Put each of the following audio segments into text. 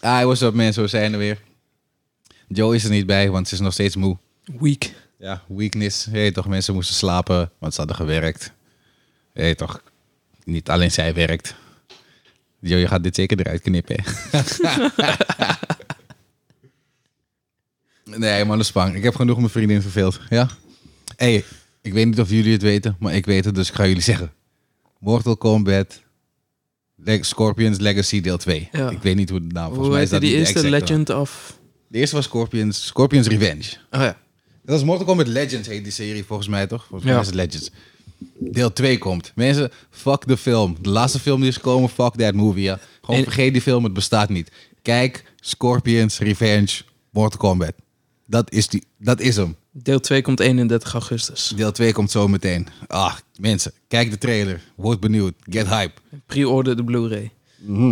Ah, what's up mensen, we zijn er weer. Joe is er niet bij, want ze is nog steeds moe. Week. Ja, weakness. Je weet toch, mensen moesten slapen, want ze hadden gewerkt. Je weet toch, niet alleen zij werkt. Joe, je gaat dit zeker eruit knippen. hè? nee, man, dat is bang. Ik heb genoeg mijn vriendin verveeld. Ja? hey, ik weet niet of jullie het weten, maar ik weet het, dus ik ga jullie zeggen. Mortal Kombat Leg- Scorpions Legacy deel 2. Ja. Ik weet niet hoe de naam, volgens Hoe mij is heette dat die niet de eerste? exacte naam. Legend of... De eerste was Scorpions, Scorpions Revenge. Oh ja. Dat is Mortal Kombat Legends heet die serie volgens mij toch? Volgens mij Ja. is het Legends. Deel 2 komt. Mensen, fuck de film. De laatste film die is gekomen, fuck that movie. Ja. Gewoon En- vergeet die film, het bestaat niet. Kijk, Scorpions Revenge, Mortal Kombat. Dat is, die, dat is hem. Deel 2 komt 31 augustus. Deel 2 komt zo meteen. Ah, mensen, kijk de trailer. Word benieuwd. Get hype. Pre-order de Blu-ray. Mhm.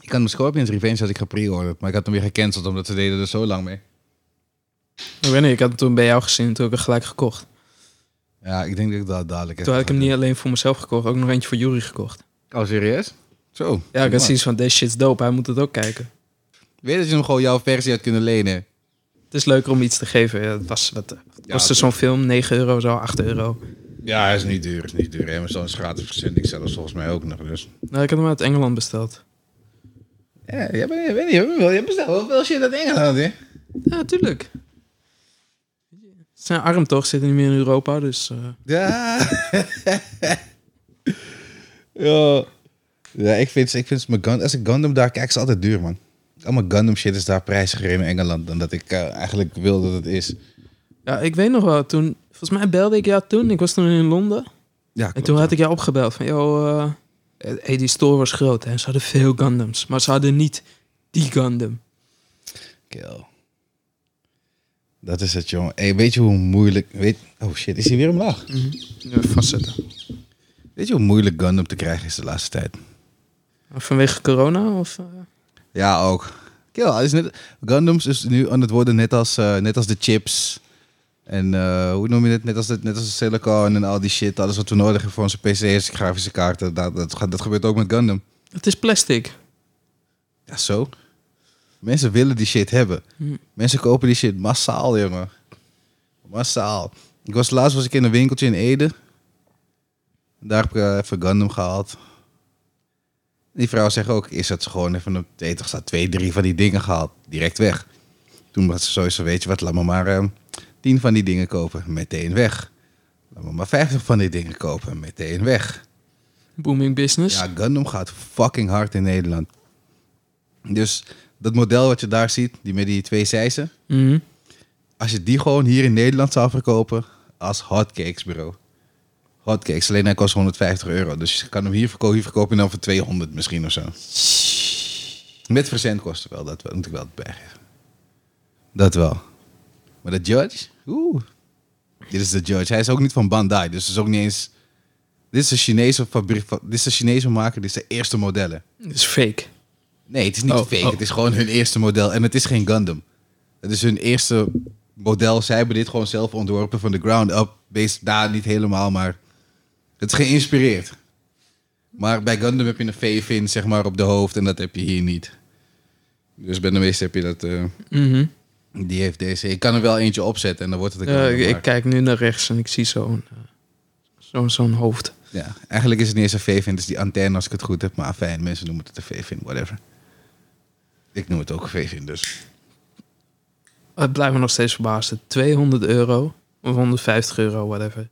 Ik had mijn Scorpions Revenge had ik gepre-orderd, maar ik had hem weer gecanceld omdat ze deden er zo lang mee. Ik weet niet, ik had hem toen bij jou gezien en toen heb ik hem gelijk gekocht. Ja, ik denk dat ik dat dadelijk Toen had ik hem even niet alleen voor mezelf gekocht, ook nog eentje voor Jury gekocht. ga doen. Oh, serieus? Zo. Ja, ik Man. had zoiets van, deze shit's dope, hij moet het ook kijken. Weet dat je hem gewoon jouw versie had kunnen lenen. Het is leuker om iets te geven. Ja, het was, wat, kostte het- zo'n film 9 euro, zo 8 euro. Ja, hij is niet duur. Is niet duur. Amazon is gratis verzending zelfs volgens mij ook nog. Dus. Nou, ik had hem uit Engeland besteld. Ja, je bent, weet niet, je, wel, je bestelt wel veel shit uit Engeland, hè? Ja, tuurlijk. Zijn arm toch, zit niet meer in Europa, dus... eh, Ja. ja. Ja, ik vind, ik vind mijn Gundam, als ik Gundam daar kijk, is altijd duur, man. Allemaal Gundam shit is daar prijziger in Engeland dan dat ik eh, eigenlijk wil dat het is. Ja, ik weet nog wel, toen... Volgens mij belde ik jou toen, ik was toen in Londen. Ja, En toen had ik jou opgebeld van, joh, eh, hey, die store was groot hè. Ze hadden veel Gundams, maar ze hadden niet die Gundam. Kill. Dat is het, jongen. Hey, weet je hoe moeilijk... Weet, oh shit, is hij weer omlaag? Ja, vastzetten. Weet je hoe moeilijk Gundam te krijgen is de laatste tijd? Vanwege corona of... eh? Ja, ook. Kill, het is net, Gundams is nu aan het worden net als, eh, net als de chips. En eh, hoe noem je het? Net als, de, net als de silicon en al die shit. Alles wat we nodig hebben voor onze PC's, grafische kaarten. Dat, dat, gaat- dat gebeurt ook met Gundam. Het is plastic. Ja, zo. Mensen willen die shit hebben. Hm. Mensen kopen die shit massaal, jongen. Massaal. Ik was laatst was ik in een winkeltje in Ede. Daar heb ik eh, even Gundam gehaald. Die vrouw zegt ook, is dat ze gewoon even een weet toch, ze had twee, drie van die dingen gehaald. Direct weg. Toen was ze sowieso, weet je wat, laat me maar eh, tien van die dingen kopen. Meteen weg. Laat me maar vijftig van die dingen kopen. Meteen weg. Booming business. Ja, Gundam gaat fucking hard in Nederland. Dus dat model wat je daar ziet, die met die twee zijzen. Mhm. Als je die gewoon hier in Nederland zou verkopen als hotcakes, bro. Hotcakes, alleen hij kost 150 euro. Dus je kan hem hier verkopen, hier verkoop je dan voor 200 misschien of zo. Met verzendkosten wel, dat moet ik wel bijgeven. Dat wel. Maar de judge? Oeh. Dit is de judge. Hij is ook niet van Bandai, dus het is ook niet eens... Dit is een Chinese fabriek, dit is een Chinese maker, dit is de eerste modellen. Het is fake. Nee, het is niet Oh, fake. oh. Het is gewoon hun eerste model. En het is geen Gundam. Het is hun eerste model. Zij hebben dit gewoon zelf ontworpen van de ground up. Based, daar niet helemaal, maar het is geïnspireerd. Maar bij Gundam heb je een V-fin zeg maar, op de hoofd en dat heb je hier niet. Dus bij de meeste heb je dat. eh, Mhm. die heeft deze. Ik kan er wel eentje opzetten en dan wordt het een Ja, Gundam, ik, ik maar- kijk nu naar rechts en ik zie zo'n eh, zo'n zo'n hoofd. Ja, eigenlijk is het niet eens een V-fin. Het is die antenne als ik het goed heb. Maar fijn, mensen noemen het een V-fin, whatever. Ik noem het ook een V-fin, dus. Het blijft me nog steeds verbaasd. 200 euro of 150 euro, whatever.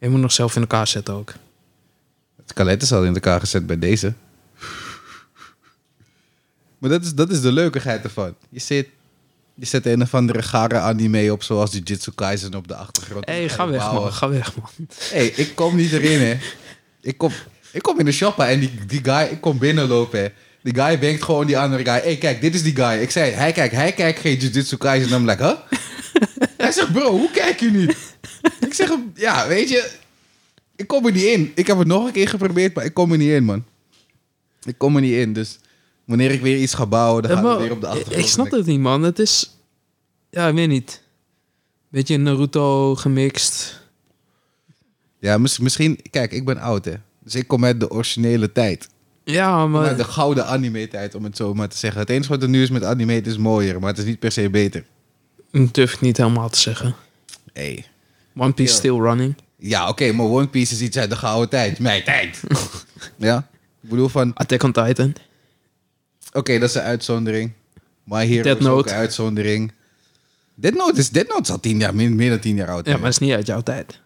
Je moet nog zelf in elkaar zetten ook. Het kalet is al in elkaar gezet bij deze. Maar dat is, dat is de leukigheid ervan. Je zit... Je zet een of andere gare anime op, zoals die Jitsu Kaisen op de achtergrond. Hé, hey, Dan ga je weg bouwen. man, ga weg man. hey, ik kom niet erin, hè. Ik kom, ik kom in de shop hè, en die, die guy, ik kom binnenlopen, hè. Die guy wenkt gewoon die andere guy. Hé, hey, kijk, dit is die guy. Ik zei, hij kijkt, hij kijkt geen Jujutsu Kaisen. En I'm like, huh? hij zegt, bro, hoe kijk je niet? ik zeg hem, ja, weet je, ik kom er niet in. Ik heb het nog een keer geprobeerd, maar ik kom er niet in, man. Ik kom er niet in, dus wanneer ik weer iets ga bouwen, dan Ja, gaat het maar weer op de ik- achtergrond. Ik snap het niet, man. Het is... Ja, ik weet niet. Beetje Naruto gemixt. Ja, mis- misschien, kijk, ik ben oud, hè. Dus ik kom uit de originele tijd. Oh, Ja, maar... Maar de gouden anime-tijd, om het zo maar te zeggen. Het enige wat er nu is met anime, het is mooier, maar het is niet per se beter. Dat durf ik niet helemaal te zeggen. Hey. One Piece Ja. still running. Ja, oké, maar One Piece is iets uit de gouden tijd. Mijn tijd. ja? Ik bedoel van, Attack on Titan. oké, dat is een uitzondering. Maar hier Death is ook Note. een uitzondering. Dead Note is, Dead Note is al tien jaar, meer, meer dan tien jaar oud. Ja, hè? maar dat is niet uit jouw tijd.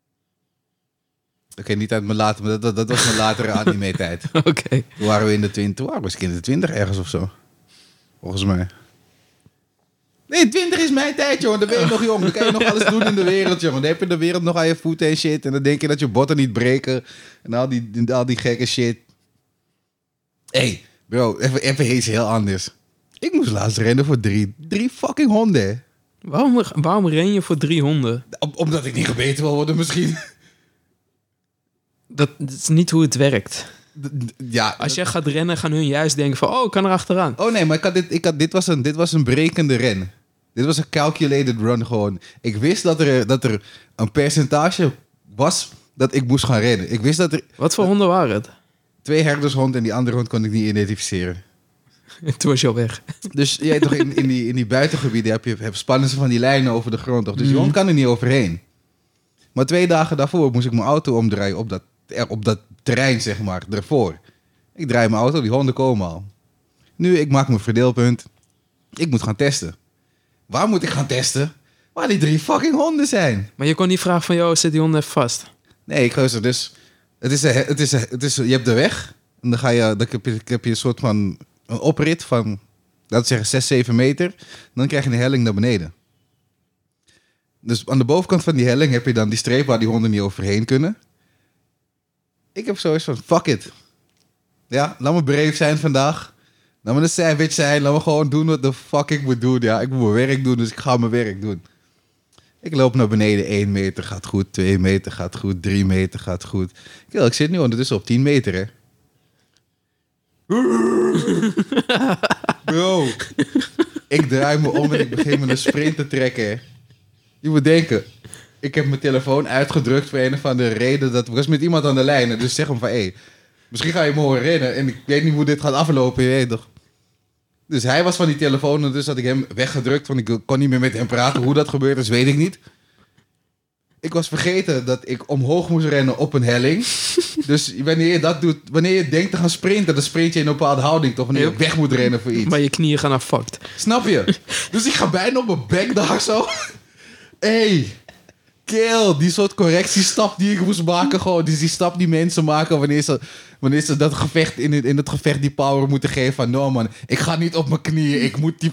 Oké, niet uit mijn later, maar dat, dat, dat was mijn latere anime-tijd. Oké. Toen waren we in de twintig, toen waren we misschien in de twintig ergens of zo. Volgens mij. Nee, twintig is mijn tijd, jongen. Dan ben je nog jong. Dan kan je nog alles doen in de wereld, jongen. Dan heb je de wereld nog aan je voeten en shit. En dan denk je dat je botten niet breken. En al die, en al die gekke shit. Hé, hey, bro, even, even iets heel anders. Ik moest laatst rennen voor drie, drie fucking honden. Waarom, waarom ren je voor drie honden? Om- omdat ik niet gebeten wil worden misschien. Dat, dat is niet hoe het werkt. D- d- Ja, Als jij gaat rennen, gaan hun juist denken van... Oh, ik kan er achteraan. Oh nee, maar ik had dit, ik had, dit, was een, dit was een brekende ren. Dit was een calculated run gewoon. Ik wist dat er, dat er een percentage was dat ik moest gaan rennen. Ik wist dat er Wat voor honden waren het? twee herdershond en die andere hond kon ik niet identificeren. Toen was je al weg. Dus jij toch in, in, die, in die buitengebieden heb je heb spannen ze van die lijnen over de grond. Toch? Dus die hond kan er niet overheen. Maar twee dagen daarvoor moest ik mijn auto omdraaien op dat, er- op dat terrein, zeg maar, ervoor. Ik draai mijn auto, die honden komen al. Nu, ik maak mijn verdeelpunt. Ik moet gaan testen. Waar moet ik gaan testen? Waar die drie fucking honden zijn. Maar je kon niet vragen van... Yo, zit die hond even vast? Nee, ik gozer, dus het is, een- het is, een- het is, je hebt de weg. En dan, ga je, dan heb, je, dan heb je een soort van een oprit van, laten we zeggen, 6, 7 meter. Dan krijg je een helling naar beneden. Dus aan de bovenkant van die helling heb je dan die streep waar die honden niet overheen kunnen. Ik heb zoiets van, fuck it. Ja, laat me breed zijn vandaag. Laat me een savage zijn. Laat me gewoon doen wat de fuck ik moet doen. Ja, ik moet mijn werk doen, dus ik ga mijn werk doen. Ik loop naar beneden. 1 meter gaat goed. 2 meter gaat goed. 3 meter gaat goed. Kill, ik zit nu ondertussen op 10 meter, hè. Bro. Ik draai me om en ik begin me een sprint te trekken, hè. Je moet denken... Ik heb mijn telefoon uitgedrukt voor een of andere reden. Dat ik was met iemand aan de lijn. en Dus zeg hem van, hé... misschien ga je me horen rennen. En ik weet niet hoe dit gaat aflopen. Je weet toch... Dus hij was van die telefoon en dus had ik hem weggedrukt, want ik kon niet meer met hem praten. Hoe dat gebeurd is, weet ik niet. Ik was vergeten dat ik omhoog moest rennen op een helling. Dus wanneer je dat doet, wanneer je denkt te gaan sprinten, dan sprint je in een bepaalde houding toch? Wanneer je Yep. weg moet rennen voor iets. Maar je knieën gaan naar fucked. Snap je? Dus ik ga bijna op mijn bek daar zo. hey, kill. Die soort correctiestap die ik moest maken. Gewoon. Dus die stap die mensen maken wanneer ze, wanneer ze dat gevecht in, het- in het gevecht die power moeten geven. Van, no man, ik ga niet op mijn knieën. Ik moet die,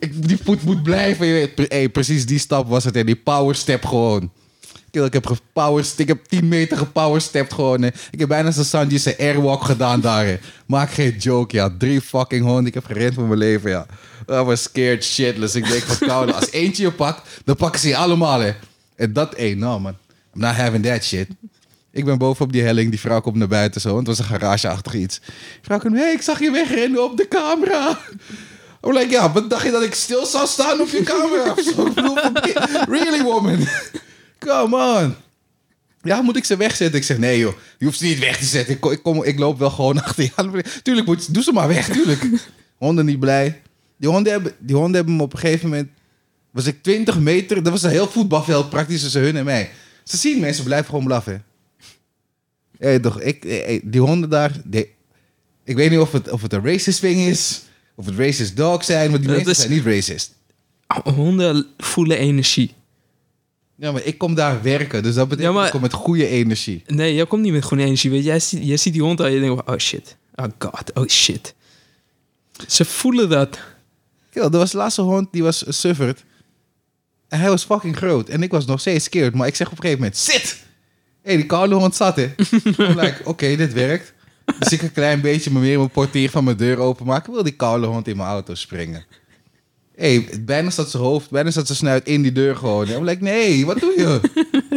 ik, die voet moet blijven. Je weet, pre- hey, precies die stap was het. En die power step gewoon. Kill, ik heb gepowerst, ik heb 10 meter gepowerstept gewoon. hè. Ik heb bijna zo'n Sanji zijn airwalk gedaan daar. hè. Maak geen joke, ja. Drie fucking honden. Ik heb gerend voor mijn leven, ja. I was scared shitless. Ik denk van koude. Als eentje je pakt, dan pakken ze je allemaal, hè. En dat, één, nou man. I'm not having that shit. Ik ben boven op die helling, die vrouw komt naar buiten zo. Want het was een garageachtig iets. Die vrouw komt, hé, hey, ik zag je wegrennen op de camera. I'm like, ja, wat dacht je dat ik stil zou staan op je camera? of zo? Ik bedoel, really woman? Come on. Ja, moet ik ze wegzetten? Ik zeg, nee joh, je hoeft ze niet weg te zetten. Ik, kom, ik, kom, ik loop wel gewoon achter je aan. Tuurlijk, moet, doe ze maar weg, tuurlijk. Honden niet blij. Die honden hebben, die honden hebben me op een gegeven moment... Was ik 20 meter, dat was een heel voetbalveld praktisch tussen hun en mij. Ze zien mensen, blijven gewoon blaffen. Hé, toch, ik, hé, hé, die honden daar... die- ik weet niet of het, of het een racist thing is, of het racist dogs zijn, want die Dat mensen is- zijn niet racist. Honden voelen energie. Ja, maar ik kom daar werken, dus dat betekent Ja, maar- ik kom met goede energie. Nee, jij komt niet met groene energie. Weet je. Jij, ziet, jij ziet die hond en je denkt van... Oh shit. Oh god. Oh shit. Ze voelen dat. Kill, er was de laatste hond, die was sufferd. En hij was fucking groot. En ik was nog steeds scared. Maar ik zeg op een gegeven moment, zit! Hé, die koude hond zat, hè. I'm like, oké, dit werkt. Dus ik een klein beetje meer mijn portier van mijn deur openmaken. Wil die koude hond in mijn auto springen. Hé, bijna zat zijn hoofd, bijna zat zijn snuit in die deur gewoon. En ik like, nee, wat doe je?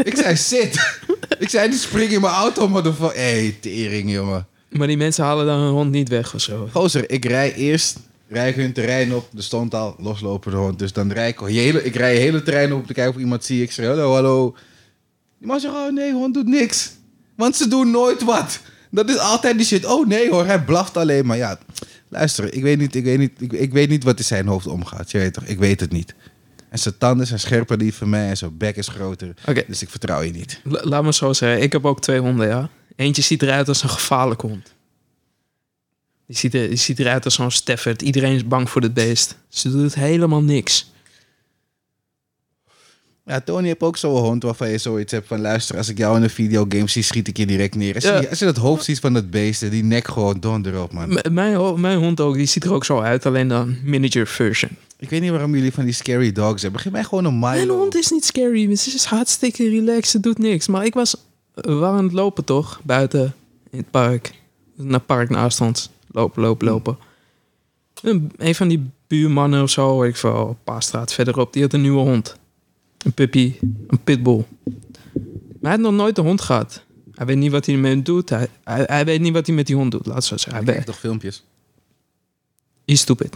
ik zei, zit! ik zei, die spring in mijn auto, motherfucker. Hé, tering, jongen. Maar die mensen halen dan hun hond niet weg of zo. Gozer, ik rij eerst, rij ik hun terrein op. Er stond al loslopende hond. Dus dan rij ik al je hele, ik rij je hele terrein op om te kijken of iemand zie. Ik zeg hallo, hallo. Die man zegt, oh nee, hond doet niks. Want ze doen nooit wat. Dat is altijd die shit. Oh nee hoor, hij blaft alleen maar. Ja, luister, ik weet niet, ik weet niet, ik, ik weet niet wat in zijn hoofd omgaat. Je weet toch, ik weet het niet. En zijn tanden zijn scherper die van mij en zijn bek is groter. Oké. Dus ik vertrouw je niet. La- laat me zo zeggen. Ik heb ook twee honden, ja. Eentje ziet eruit als een gevaarlijke hond. Die ziet, er, die ziet eruit als zo'n Stafford. Iedereen is bang voor dit beest. Ze doet helemaal niks. Ja, Tony heeft ook zo'n hond waarvan je zoiets hebt van... luister, als ik jou in een videogame zie, schiet ik je direct neer. Als, Ja. je, als je dat hoofd ziet van dat beest en die nek gewoon don erop, man. M- mijn, ho- mijn hond ook, die ziet er ook zo uit. Alleen dan miniature version. Ik weet niet waarom jullie van die scary dogs hebben. Geef mij gewoon een Milo. Mijn hond is niet scary. dus Ze is hartstikke relaxed. Ze doet niks. Maar ik was eh, wel aan het lopen, toch? Buiten in het park. Naar het park naast ons. Lopen, lopen, lopen. Een, een van die buurmannen of zo, weet ik veel, een paar straat verderop, die had een nieuwe hond. Een puppy, een pitbull. Maar hij had nog nooit een hond gehad. Hij weet niet wat hij ermee doet. Hij, hij, hij weet niet wat hij met die hond doet. Laat het zo zeggen. Ik Hij krijg weet, toch filmpjes? is stupid.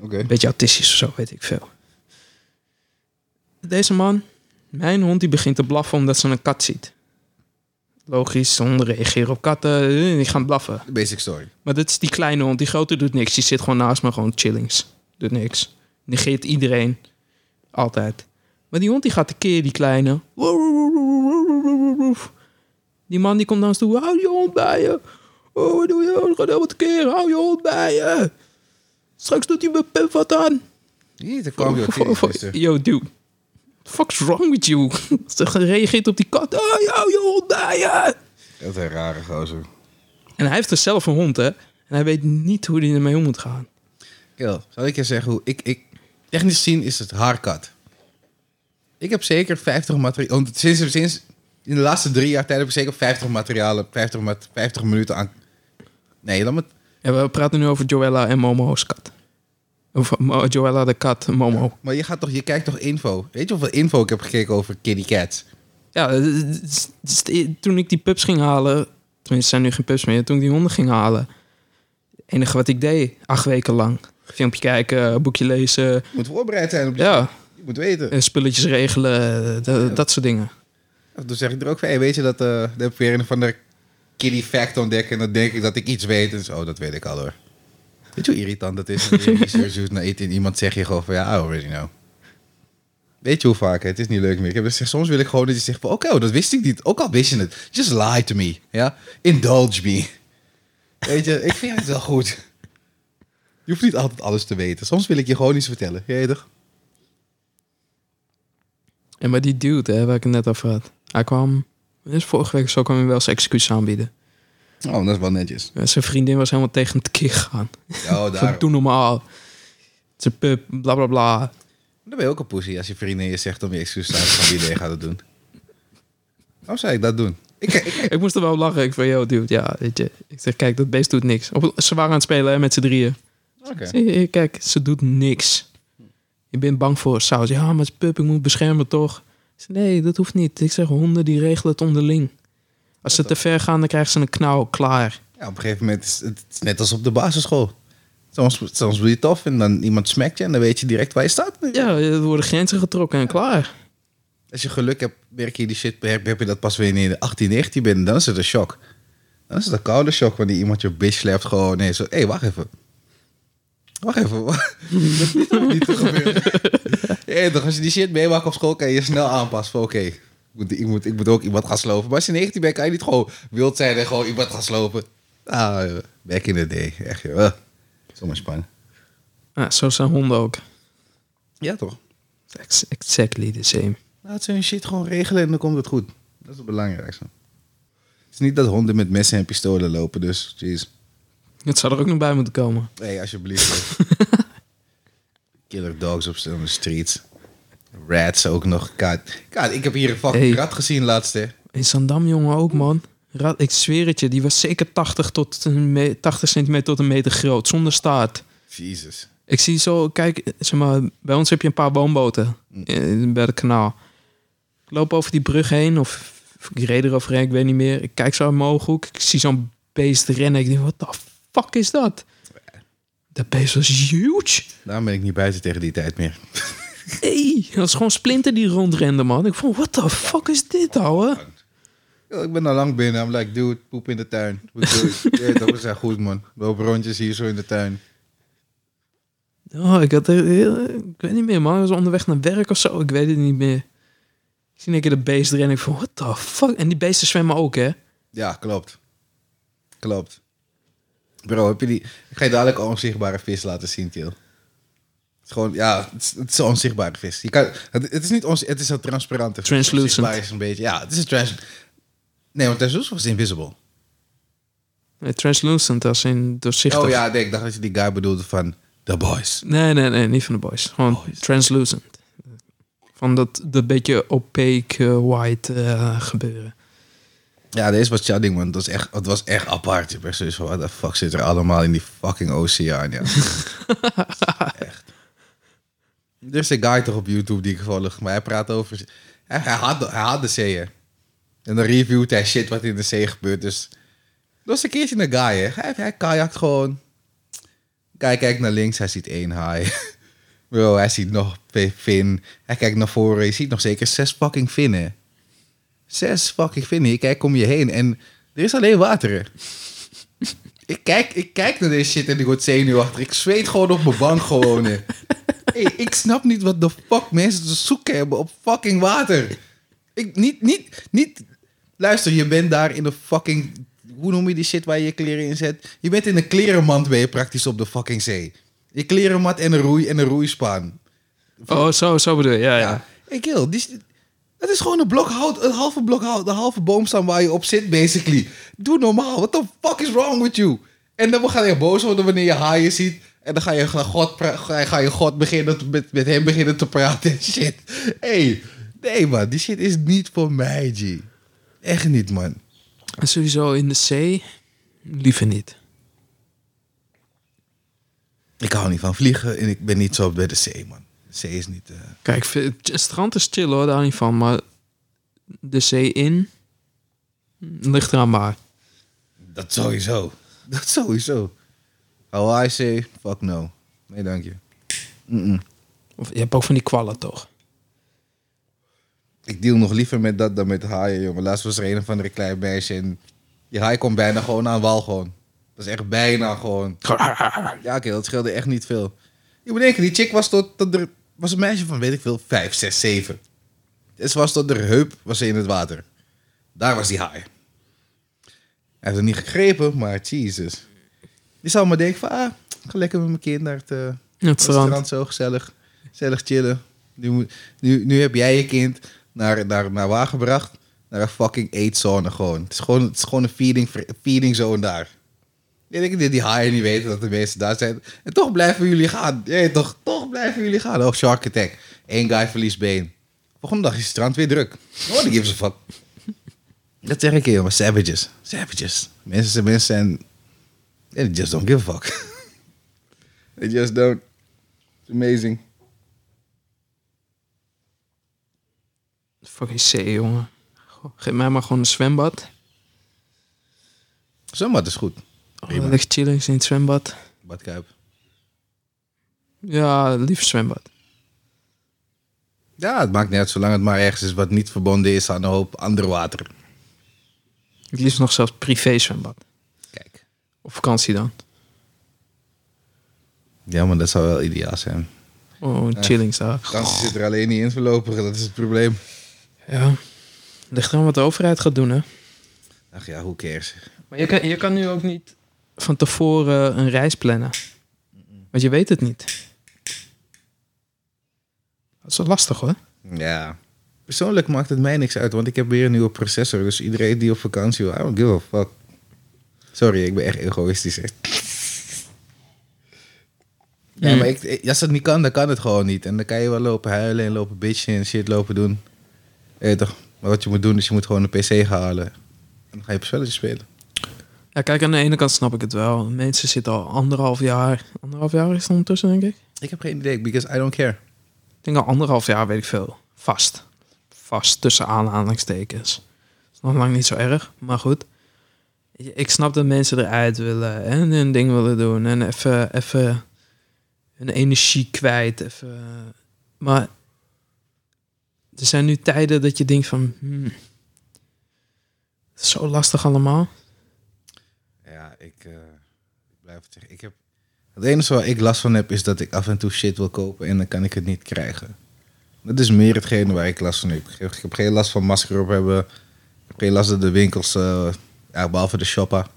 Oké. Een beetje autistisch of zo, weet ik veel. Deze man, mijn hond, die begint te blaffen omdat ze een kat ziet. Logisch, honden reageren op katten, eh, die gaan blaffen. De basic story. Maar dat is die kleine hond, die grote doet niks. Die zit gewoon naast me, gewoon chillings. Doet niks. Negeert iedereen. Altijd. Maar die hond die gaat tekeer, die kleine. Die man die komt naar ons toe. Hou je hond bij je. Oh, wat doe je? Het gaat helemaal tekeer. Hou je hond bij je. Straks doet hij mijn pip wat aan. Hier, daar kwam je ook Yo, dude. The fuck's wrong with you? Ze reageert op die kat. Oh, yo, je hond bij je. Dat is een rare gozer. En hij heeft er zelf een hond, hè. En hij weet niet hoe hij ermee om moet gaan. Yo, zal ik je zeggen hoe ik, ik... Technisch gezien is het haar kat. Ik heb zeker 50 materialen... Sinds, sinds in de laatste drie jaar tijd heb ik zeker 50 materialen... 50, mat- 50 minuten aan... Nee, laat me... Ja, we praten nu over Joella en Momo's kat. Of eh, Mo- Joella de kat, Momo. Maar je, gaat toch, je kijkt toch info? Weet je hoeveel info ik heb gekeken over kitty cats? Ja, het is- het is- het is de- toen ik die pups ging halen... Tenminste, zijn nu geen pups meer. Toen ik die honden ging halen... Het enige wat ik deed, acht weken lang. Filmpje kijken, boekje lezen. Je moet voorbereid zijn op die... Ja, Je moet weten. eh, spulletjes regelen, eh, dat- dat soort dingen. Dan zeg ik er ook van, hey, weet je dat... eh dan heb ik weer een van de kitty fact ontdekken... en dan denk ik dat ik iets weet. En zo, oh, dat weet ik al hoor. Weet je hoe irritant dat is? Als je research doet naar iets en iemand zegt je gewoon van... Ja, I already know. Weet je hoe vaak? hè? Het is niet leuk meer. Ik heb gezegd, soms wil ik gewoon dat je zegt van... Oké, oh, dat wist ik niet. Ook al wist je het. Just lie to me. Ja? Indulge me. Weet je, ik vind het wel goed. Je hoeft niet altijd alles te weten. Soms wil ik je gewoon iets vertellen. Je weet toch? En maar die dude, hè, waar ik het net over had. Hij kwam... Dus vorige week of zo kwam hij wel zijn excuus aanbieden. Oh, dat is wel netjes. Ja, Zijn vriendin was helemaal tegen het keer gegaan. Oh, Van daar. toen normaal. Zijn pup, bla bla bla. Dan ben je ook een poesie als je vriendin je zegt om je excuus te gaan wie je gaat het doen. Waarom zou ik dat doen? Ik, ik, Ik moest er wel om lachen. Ik van, yo dude, ja, weet je. Ik zeg, kijk, dat beest doet niks. Op, ze waren aan het spelen hè, met z'n drieën. oké. Ik zeg, hier, Kijk, ze doet niks. Je bent bang voor saus. Ja, maar het is pup, ik moet beschermen toch? Ik zeg, nee, dat hoeft niet. Ik zeg, honden die regelen het onderling. Als ze te ver gaan, dan krijgen ze een knauw. Klaar. Ja, op een gegeven moment is het het is net als op de basisschool. Soms, soms doe je het tof en dan iemand smekt je en dan weet je direct waar je staat. Ja, er worden grenzen getrokken en klaar. Als je geluk hebt, merk je die shit, heb, heb je dat pas weer in de 18, 19 bent. Dan is het een shock. Dan is het een koude shock wanneer iemand je bitch slapt gewoon. Nee, zo, hé, hey, wacht even. Wacht even. wacht. dat is nog niet te gebeuren. Ja, toch, als je die shit meemaakt op school, kan je je snel aanpassen. van, Oké, ik, moet, ik, moet, ik moet ook iemand gaan slopen. Maar als je 19 bent, kan je niet gewoon wild zijn en gewoon iemand gaan slopen. Ah, joh, back in the day. Echt, joh. Ah, Zomaar spannend. Ja, zo zijn honden ook. Ja, toch? Ex- Exactly the same. Laat ze hun shit gewoon regelen en dan komt het goed. Dat is het belangrijkste. Het is niet dat honden met messen en pistolen lopen, dus jeez. Het zou er ook nog bij moeten komen. Nee, alsjeblieft. Killer dogs op de streets. Rats ook nog. God, God, ik heb hier een fucking Hey. rat gezien laatst, hè. In Zandam, jongen, ook, man. Ra- Ik zweer het je, die was zeker 80, tot een me- 80 centimeter tot een meter groot, zonder staart. Jezus. Ik zie zo, kijk, zeg maar, bij ons heb je een paar woonboten eh, bij het kanaal. Ik loop over die brug heen, of, of ik reed eroverheen, ik weet niet meer. Ik kijk zo uit mijn ooghoek, ik zie zo'n beest rennen. Ik denk, wat de fuck is dat? Dat beest was huge. Daarom ben ik niet buiten tegen die tijd meer. Hey, dat is gewoon Splinter die rondrende, man. Ik vond, what the fuck is dit, ouwe? Yo, ik ben al lang binnen. I'm like, dude, poep in de tuin. Wat doe ik? Je weet toch, we zijn goed, man. Loop rondjes hier zo in de tuin. Oh, ik had er heel... Ik weet niet meer, man. Ik was onderweg naar werk of zo. Ik weet het niet meer. Ik zie een keer de beest erin en ik van, what the fuck? En die beesten zwemmen ook, hè? Ja, klopt. Klopt. Bro, heb je die... Ik ga je dadelijk een onzichtbare vis laten zien, Til. Het is gewoon, ja, het is, het is een onzichtbare vis. Je kan, het, het is niet ons, het is een transparante vis. Translucent. Onzichtbaar is een beetje, ja, het is een trans... Nee, want translucent was invisible. Nee, Translucent, als in doorzichtig. Oh ja, nee, ik dacht dat je die guy bedoelde van The Boys. Nee, nee, nee, niet van de boys. Gewoon Oh, translucent. Van dat, dat beetje opaque eh, white eh, gebeuren. Ja, deze was Chadding, man. Dat was echt, het was echt apart. Je bent zoiets van, wat de fuck zit er allemaal in die fucking oceaan, ja. echt. Er is een guy toch op YouTube die ik volg, maar hij praat over... Hij, hij had, de- hij had de zeeën. En dan reviewt hij shit wat in de zee gebeurt, dus... Dat was een keertje een guy, hè. Hij, hij kajakt gewoon. Kijk, kijkt naar links, hij ziet één haai. Bro, hij ziet nog twee vin. Hij kijkt naar voren, je ziet nog zeker zes fucking vinnen. Zes fucking vinden. Je kijkt om je heen en er is alleen water. hè. ik, kijk, ik kijk naar deze shit en ik word zenuwachtig. Ik zweet gewoon op mijn bank gewoon. hè. Hey, ik snap niet wat de fuck mensen te zoeken hebben op fucking water. Ik, niet, niet, niet... Luister, je bent daar in de fucking... Hoe noem je die shit waar je je kleren in zet? Je bent in een klerenmand ben je praktisch op de fucking zee. Je klerenmat en een roei en een roeispaan. Oh, zo, zo bedoel je. Ja, ja. Ja. Ik wil. Het is gewoon een blok hout, een halve blok hout, een halve boomstam waar je op zit, basically. Doe normaal. What the fuck is wrong with you? En dan ga je boos worden wanneer je haaien ziet. En dan ga je naar God, pra- ga, ga je God beginnen te- met, met hem beginnen te praten en shit. hey, nee man, die shit is niet voor mij, G. Echt niet, man. En sowieso in de zee, liever niet. Ik hou niet van vliegen en ik ben niet zo bij de zee, man. De zee is niet... eh, Kijk, v- het strand is chill hoor, daar niet van. Maar de zee in, ligt eraan waar. Dat sowieso. Dat sowieso. Hawaii say, fuck no. Nee, dank je. Mm-mm. Of, je hebt ook van die kwallen toch? Ik deal nog liever met dat dan met haaien, jongen. Laatst was er een of andere klein meisje en die haai komt bijna gewoon aan wal gewoon. Dat is echt bijna gewoon. Ja, oké, dat scheelde echt niet veel. Je moet denken, die chick was tot, tot er was een meisje van, weet ik veel, 5, 6, 7. En ze was tot de heup, was ze in het water. Daar was die haai. Hij heeft het niet gegrepen, maar Jesus. Die zou maar denken van, ah, ik ga lekker met mijn kind naar het, eh, Het strand. strand. zo gezellig. Gezellig chillen. Nu, moet- nu, nu heb jij je kind naar, naar, naar waar gebracht? Naar een fucking eetzone gewoon. Het is gewoon, het is gewoon een feeding, feeding zone daar. Ik denk dat die haaien niet weten dat de mensen daar zijn. En toch blijven jullie gaan. Jee, toch, toch blijven jullie gaan. Oh, Shark Attack. Eén guy verliest been. Volgende dag is het strand weer druk. Oh, Nobody gives a fuck. Dat zeg ik je, maar savages. Savages. Mensen zijn mensen en... They just don't give a fuck. They just don't. It's amazing. Fucking zee, jongen. Goh, Geef mij maar gewoon een zwembad. Zwembad is goed. Oh, Prima. ligt chillen in het zwembad. Badkuip. Ja, liefst zwembad. Ja, het maakt niet uit zolang het maar ergens is wat niet verbonden is aan een hoop ander water. Het liefst nog zelfs privé zwembad. Kijk. Op vakantie dan. Ja, maar dat zou wel ideaal zijn. Oh, een chillings daar. Kans zit er alleen niet in voorlopig, dat is het probleem. Ja. Ligt eraan wat de overheid gaat doen, hè. Ach ja, hoe cares? Maar je kan, je kan nu ook niet van tevoren een reis plannen. Want je weet het niet. Dat is wel lastig, hoor. Ja. Persoonlijk maakt het mij niks uit, want ik heb weer een nieuwe processor. Dus iedereen die op vakantie wil, I don't give a fuck. Sorry, ik ben echt egoïstisch. hè. Ja, Mm. maar ik, ik- als het niet kan, dan kan het gewoon niet. En dan kan je wel lopen huilen en lopen bitchen en shit lopen doen. Eh, toch? Maar wat je moet doen, is je moet gewoon een pc gaan halen. En dan ga je op spelletje spelen. Ja, kijk, aan de ene kant snap ik het wel. Mensen zitten al anderhalf jaar... Anderhalf jaar is het ondertussen, denk ik? Ik heb geen idee, because I don't care. Ik denk al anderhalf jaar, weet ik veel. Vast. Vast, tussen aanhalingstekens. is nog lang niet zo erg, maar goed. Ik snap dat mensen eruit willen en hun ding willen doen. En even, even hun energie kwijt. Even. Maar er zijn nu tijden dat je denkt van... hmm, Het is zo lastig allemaal. Ja, ik eh, ik blijf het zeggen. Ik heb... Het enige waar ik last van heb, is dat ik af en toe shit wil kopen en dan kan ik het niet krijgen. Dat is meer hetgene waar ik last van heb. Ik heb- Ik heb geen last van masker op hebben. Ik heb geen last dat de winkels, eh, ja, behalve de shoppa.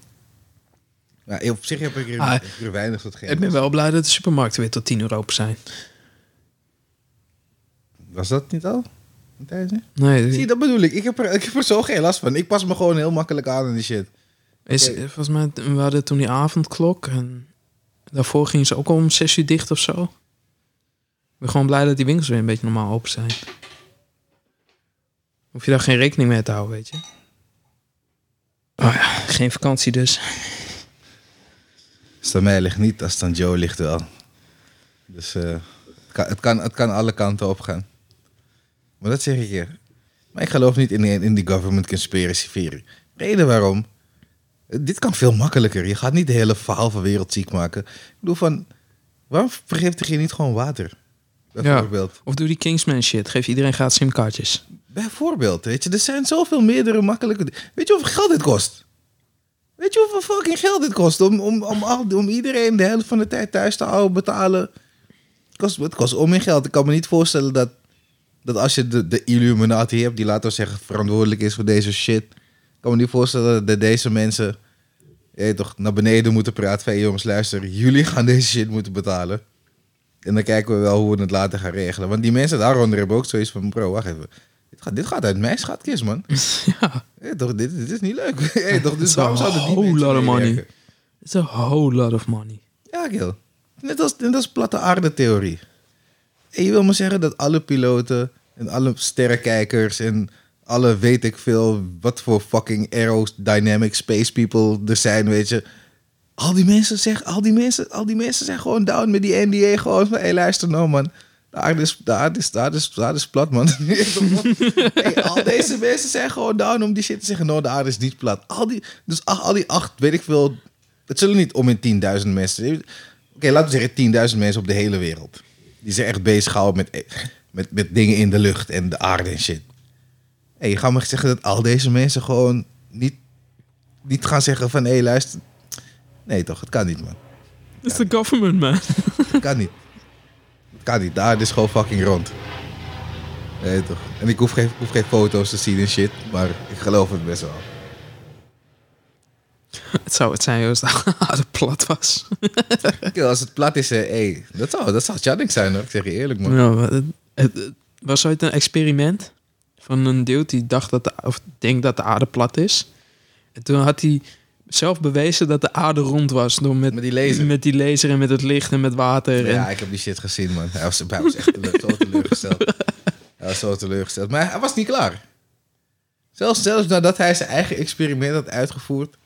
Ja, op zich heb ik er, Ah, heb ik er weinig tot geen ik ben last. wel blij dat de supermarkten weer tot 10 euro open zijn. Was dat niet al? Een tijdje? Nee, Zie, dat bedoel ik. Ik heb, er, ik heb er zo geen last van. Ik pas me gewoon heel makkelijk aan en die shit. Is, Oké. Volgens mij, we hadden toen die avondklok. En daarvoor gingen ze ook al om zes uur dicht of zo. Ik ben gewoon blij dat die winkels weer een beetje normaal open zijn. Hoef je daar geen rekening mee te houden, weet je. Oh ja, geen vakantie dus. Als het aan mij ligt niet, als het aan Joe ligt wel. Dus eh, het, kan, het, kan, het kan alle kanten op gaan. Maar dat zeg ik je. Maar ik geloof niet in, die- in die government conspiracy theory. Reden waarom? Eh, Dit kan veel makkelijker. Je gaat niet de hele verhaal van wereld ziek maken. Ik bedoel van, waarom vergiftig je niet gewoon water? Bijvoorbeeld. Of doe die Kingsman shit. Geef iedereen gratis simkaartjes. Bijvoorbeeld, weet je, er zijn zoveel meerdere makkelijke. Weet je hoeveel geld dit kost? Weet je hoeveel fucking geld dit kost om, om, om, al- om iedereen de helft van de tijd thuis te houden, betalen? Het kost, het kost om in geld. Ik kan me niet voorstellen dat, dat als je de, de Illuminati hebt, die laten we zeggen verantwoordelijk is voor deze shit. Ik kan me niet voorstellen dat deze mensen je weet toch, naar beneden moeten praten van "Hey, jongens, luister, jullie gaan deze shit moeten betalen. En dan kijken we wel hoe we het later gaan regelen. Want die mensen daaronder hebben ook zoiets van, bro, wacht even. Dit gaat, dit gaat uit mijn schatkist, man. ja, Hey, toch, dit, dit is niet leuk. Hey, toch, dus is waarom een zouden die whole mensen lot of money. meewerken? it's a whole lot of money. Ja, kill. Net als, net als platte aarde theorie. En je wil maar zeggen dat alle piloten en alle sterrenkijkers en alle weet ik veel wat voor fucking aerodynamic space people er zijn, weet je. Al die mensen zeggen, al die mensen, al die mensen zijn gewoon down met die NDA. Gewoon van, hé hey, luister nou man, de aarde is, de aarde is, de aarde is, de aarde is plat man. hey, al deze mensen zijn gewoon down om die shit te zeggen, no de aarde is niet plat. Al die, dus al, al die acht, weet ik veel, het zullen niet om in 10.000 mensen. Oké, laten we zeggen 10.000 mensen op de hele wereld. Die zich echt bezighouden met, met, met dingen in de lucht en de aarde en shit. Hey, je gaat me zeggen dat al deze mensen gewoon niet, niet gaan zeggen van... Hé, hey, luister. Nee toch, het kan niet, man. It's the government, man. Het kan niet. Het kan niet. De aarde is gewoon fucking rond. Nee toch. En ik hoef geen, ik hoef geen foto's te zien en shit. Maar ik geloof het best wel. Het zou het zijn joh, als de aarde plat was. Kill, als het plat is, hé. Hey, dat zou, dat zou Channing zijn, hoor. Ik zeg je eerlijk, man. Ja, maar het, het- het was ooit een experiment van een dude die dacht dat de, of denkt dat de aarde plat is. En toen had hij zelf bewezen dat de aarde rond was door met, Met die laser. met die laser en met het licht en met water. en- Ja, ik heb die shit gezien, man. Hij was, hij was echt tele- zo teleurgesteld. Hij was zo teleurgesteld. Maar hij was niet klaar. Zelfs, zelfs nadat hij zijn eigen experiment had uitgevoerd,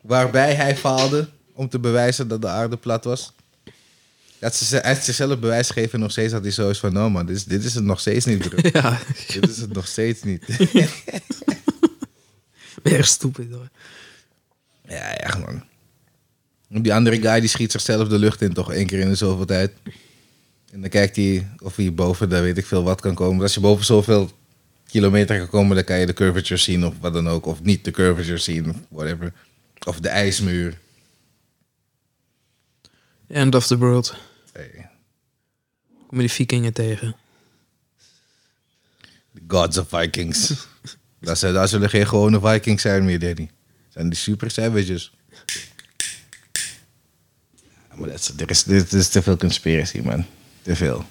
waarbij hij faalde om te bewijzen dat de aarde plat was. Dat ze, hij had zichzelf bewijs gegeven en nog steeds had hij zoiets van, no man, dit is, dit is het nog steeds niet, bro. ja, dit is het nog steeds niet. weer stupid hoor. ja, echt man. Die andere guy die schiet zichzelf de lucht in toch één keer in de zoveel tijd. En dan kijkt hij of hij boven, daar weet ik veel wat kan komen. Als je boven zoveel kilometer kan komen, dan kan je de curvature zien of wat dan ook. Of niet de curvature zien, of whatever. Of de ijsmuur. End of the world. Hey, Kom je die vikingen tegen. the gods of Vikings. daar, zijn, daar zullen geen gewone Vikings zijn meer, Danny. Zijn die super savages. Ja, Maar dat is, er, is, er is te veel conspiracy, man. Te veel.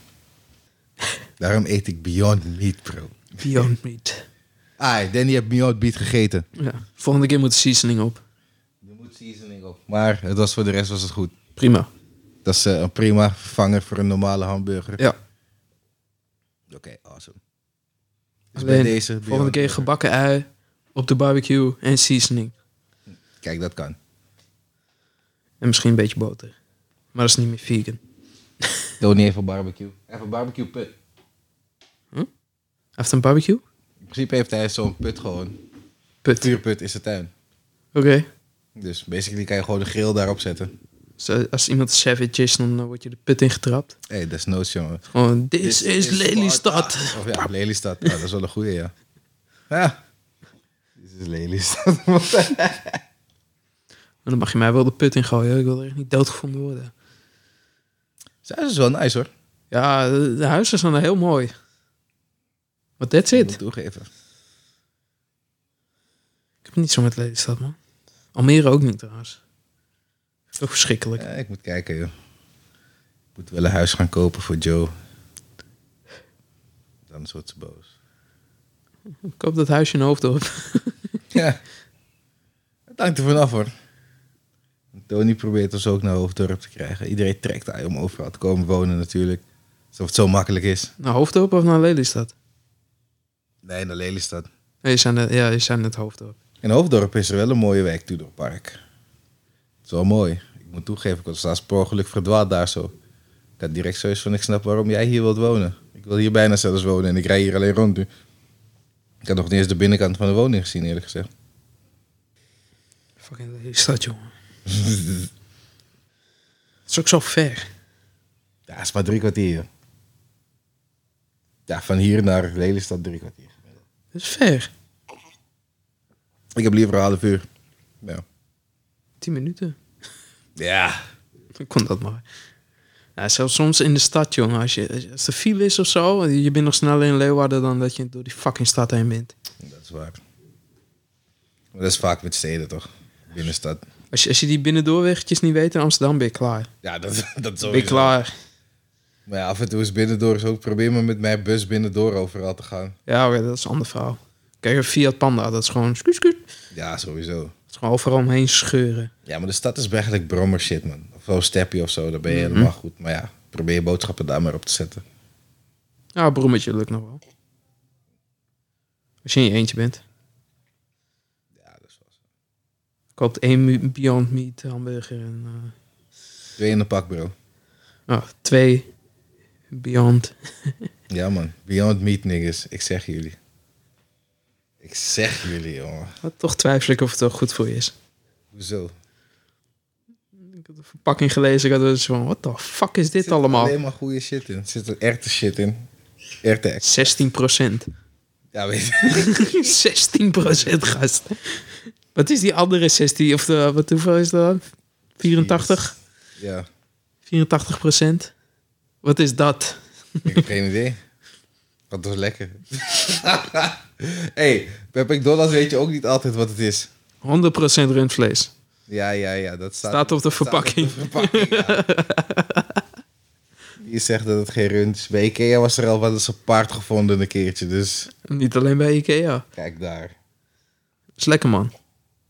Daarom eet ik Beyond Meat, bro. Beyond meat. Ah, Danny heeft Beyond Meat gegeten. Ja. Volgende keer moet de seasoning op. Er moet seasoning op. Maar het was voor de rest was het goed. Prima. Dat is eh, een prima vervanger voor een normale hamburger. Ja. Oké, awesome. Dus bij Alleen, deze volgende Beyond keer Burger. gebakken ui op de barbecue en seasoning. Kijk, dat kan. En misschien een beetje boter. Maar dat is niet meer vegan. Tony even barbecue. Even barbecue put. Heeft een barbecue? In principe heeft hij zo'n put gewoon. Put. Oké. Vuurput is de tuin. Dus basically kan je gewoon de grill daarop zetten. Zo, als iemand savage is, dan eh, word je de put ingetrapt. Hé, hey, dat is noods, jongen. Gewoon, Oh, this, is, Ah. Sparta. Lelystad. Nou, Of ja, Lelystad. Ja, dat is wel een goeie, ja. Ja. This is dit is lelijk. Maar dan mag je mij wel de put in gooien. hoor. Ik wil er echt niet doodgevonden worden. Zij is dus wel nice hoor. Ja, de, de huizen zijn er heel mooi. Maar that's Ik it. moet toegeven. Ik heb het niet zo met Lelystad, man. Almere ook niet, trouwens. Toch verschrikkelijk. Ja, ik moet kijken joh. Ik moet wel een huis gaan kopen voor Joe. Dan wordt ze boos. Ik koop dat huisje in Hoofddorp. Ja. Het hangt er vanaf hoor. Tony probeert ons ook naar Hoofddorp te krijgen. Iedereen trekt aan om overal te komen wonen natuurlijk. Alsof het zo makkelijk is. Naar Hoofddorp of naar Lelystad? Nee, naar Lelystad. Nee, je zijn net, ja, je zijn net Hoofddorp. In Hoofddorp is er wel een mooie wijk, Tudorpark. Het is wel mooi. Ik moet toegeven, ik was laatst per ongeluk verdwaald daar zo. Ik had direct zoiets van, ik snap waarom jij hier wilt wonen. Ik wil hier bijna zelfs wonen en ik rij hier alleen rond nu. Ik had nog niet eens de binnenkant van de woning gezien, eerlijk gezegd. Fucking Lelystad, jongen. Het is ook zo ver. Ja, het is maar drie kwartier. Ja, van hier naar Lelystad drie kwartier. Het is ver. Ik heb liever een half uur. Ja. Tien minuten. Ja. Ik kon dat maar. Ja, zelfs soms in de stad, jongen. Als, je, als er file is of zo, je bent nog sneller in Leeuwarden dan dat je door die fucking stad heen bent. Dat is waar. Maar dat is vaak met steden, toch? Binnenstad. Als je, als je die binnendoorwegjes niet weet in Amsterdam, ben je klaar. Oh, Ja, dat, dat Ben je sowieso. klaar. Maar ja, af en toe is binnendoor is ook probeer maar met mijn bus binnendoor overal te gaan. Ja, oké, dat is een ander verhaal. Kijk, een Fiat Panda, dat is gewoon... Skuut, skuut. Ja, sowieso. Dat is gewoon overal omheen scheuren. Ja, maar de stad is eigenlijk brommer shit, man. Of wel steppie of zo, dan ben je helemaal goed. Maar ja, probeer je boodschappen daar maar op te zetten. Ja, brommetje lukt nog wel. Als je in je eentje bent. Ja, dat is wel zo. Koopt één mu- Beyond Meat hamburger en... Twee in een pak, bro. eh, oh, twee Beyond. Ja, man. Beyond Meat niggas. Ik zeg jullie. Ik zeg jullie, jongen. Maar toch twijfel ik of het wel goed voor je is. Hoezo? Ik had de verpakking gelezen. Ik had dus van, what the fuck is dit allemaal? Alleen maar goede shit in. Er zit er echte shit in. Echte 16 procent. Ja, weet je. 16 procent, gast. Wat is die andere 16? Of de, wat, hoeveel is dat? 84? Ja, 84 procent? Wat is dat? Ik heb geen idee. Wat was lekker. hey, bij McDonald's weet je ook niet altijd wat het is. 100 procent rundvlees. Ja, ja, ja. Dat staat, Staat op de staat op de verpakking. verpakking, ja. Die zegt dat het geen rund is. Bij Ikea was er al wat als een paard gevonden een keertje. Dus Niet alleen bij Ikea. kijk daar. is lekker, man.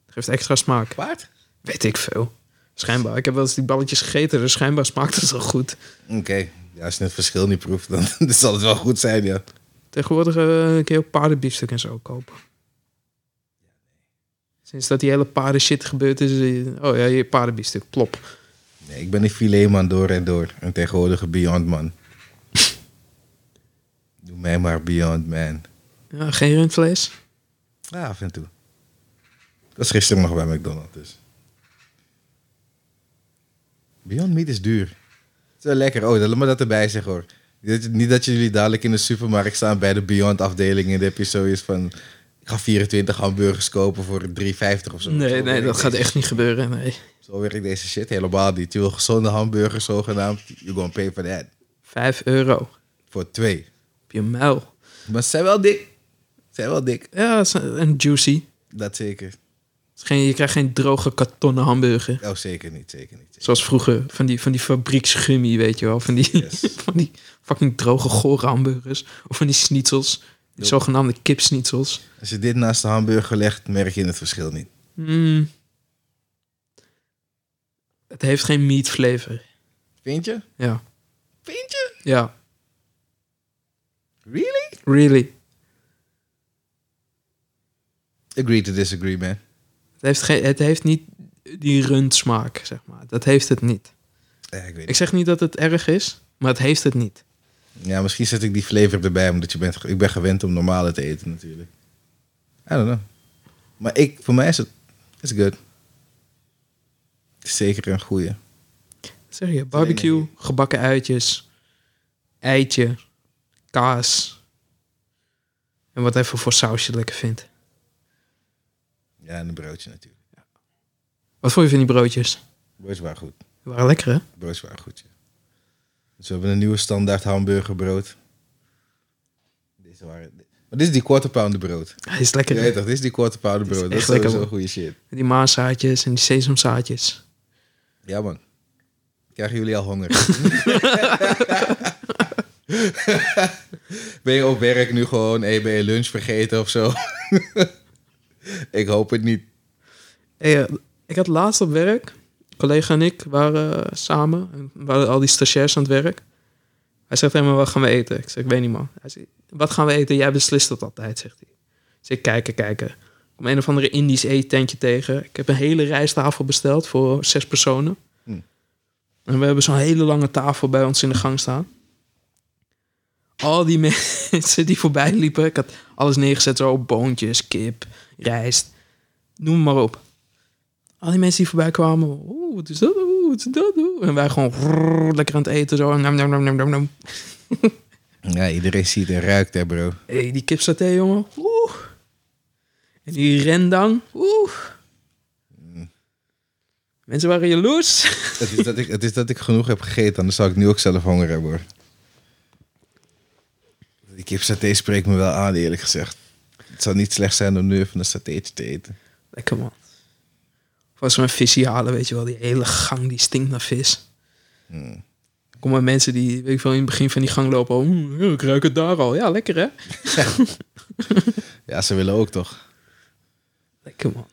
Geeft extra smaak. Paard? Weet ik veel. Schijnbaar. Ik heb wel eens die balletjes gegeten, dus schijnbaar smaakt het wel goed. Oké. Ja, als je het verschil niet proeft, dan dan zal het wel goed zijn, ja. Tegenwoordig eh kun je ook paardenbiefstuk en zo kopen. Sinds dat die hele paarden shit gebeurd is. eh, Oh ja, je paardenbiefstuk, plop. Nee, ik ben een filetman door en door. Een tegenwoordige Beyond Man. Doe mij maar Beyond Man. Ja, geen rundvlees. Ja, af en toe. Dat is gisteren nog bij McDonald's. Dus. Beyond Meat is duur. Het is wel lekker. Oh, dat, laat me dat erbij zeggen hoor. Niet dat- Niet dat jullie dadelijk in de supermarkt staan bij de Beyond afdeling en dan heb je zoiets van... Ik ga 24 hamburgers kopen voor 3,50 of zo. Nee, Zo nee, werkt dat gaat deze- echt niet gebeuren. Nee. Zo werkt deze shit helemaal niet. Je wil gezonde hamburgers zogenaamd. You're gonna pay for that. Vijf euro. Op Voor twee. je muil. Maar ze zijn wel dik. Ze zijn wel dik. Ja, is een een juicy. Dat zeker. Het is geen- Je krijgt geen droge kartonnen hamburger. Oh, zeker niet. Zeker niet. Zoals vroeger, van die, van die fabrieksgummy, weet je wel. Van die, Yes. van die fucking droge, gore hamburgers. Of van die schnitzels. Die Nope. zogenaamde kipsnitzels. Als je dit naast de hamburger legt, merk je het verschil niet. Mm. Het heeft geen meat flavor. Vind je? Ja. Vind je? Ja. Really? Really. Agree to disagree, man. Het heeft, geen, het heeft niet die rundsmaak, zeg maar. Dat heeft het niet. Ja, ik weet Ik zeg niet dat het erg is, maar het heeft het niet. niet. Ja, misschien zet ik die flavor erbij, omdat je bent, ge- ik ben gewend om normale te eten natuurlijk. I don't know. Maar ik, voor mij is het is good. Het is zeker een goeie. Zeg je, barbecue, energie. gebakken uitjes, eitje, kaas. En wat even voor saus je lekker vindt. Ja, en een broodje natuurlijk. Wat vond je van die broodjes? Broodjes waren goed. Die waren lekker, hè? Broodjes waren goed, ja. Dus we hebben een nieuwe standaard hamburgerbrood. Deze waren... Maar dit is die quarter pounder brood. Hij is lekker. Je hè? weet toch, dit is die quarter pounder Dit is brood. Dat is echt lekker, sowieso goede shit. Die maaszaadjes en die sesamzaadjes. Ja, man. Krijgen jullie al honger? ben je op werk nu gewoon, hey, ben je lunch vergeten of zo? ik hoop het niet. Hey, eh, ik had laatst op werk, een collega en ik waren eh, samen, en we hadden al die stagiairs aan het werk. Hij zegt helemaal, wat gaan we eten? Ik zeg, ik weet niet man. Hij zegt, wat gaan we eten? Jij beslist dat altijd, zegt hij. Dus ik kijken, kijken. Ik kom een of andere Indisch eettentje tegen. Ik heb een hele rijsttafel besteld voor zes personen. Hmm. En we hebben zo'n hele lange tafel bij ons in de gang staan. Al die mensen die voorbij liepen, ik had alles neergezet, zo boontjes, kip, rijst, noem maar op al die mensen die voorbij kwamen. Oeh, wat is dat? Oeh, wat is dat? Oeh. En wij gewoon rrrr, lekker aan het eten. Zo. Nam, nam, nam, nam, nam, nam. Ja, iedereen ziet en ruikt, hè, bro. Hey, die kipsaté, jongen. Oeh. En die rendang. Oeh. Mensen waren jaloers. Het is, dat ik, het is dat ik genoeg heb gegeten, anders zou ik nu ook zelf honger hebben, hoor. Die kipsaté spreekt me wel aan, eerlijk gezegd. Het zou niet slecht zijn om nu even een satéetje te eten. Lekker man. Of als we een visie halen, weet je wel. Die hele gang die stinkt naar vis. Hmm. Kom maar mensen die, weet ik veel, in het begin van die gang lopen. Oeh, ik ruik het daar al. Ja, lekker hè? Ja, ze willen ook, toch? Lekker man.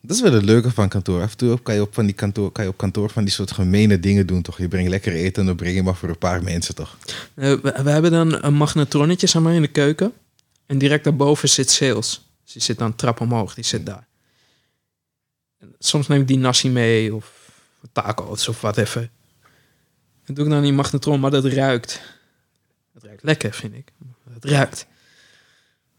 Dat is wel het leuke van kantoor. Af en toe kan je op, van die kantoor, kan je op kantoor van die soort gemene dingen doen, toch? Je brengt lekker eten en dan breng je maar voor een paar mensen, toch? Eh, we, we hebben dan een magnetronnetje zeg maar, in de keuken. En direct daarboven zit sales. Dus die zit dan trap omhoog, die zit daar. En soms neem ik die nasi mee of taco's of wat even. En doe ik dan die magnetron, maar dat ruikt. Dat ruikt lekker, vind ik. Dat ruikt.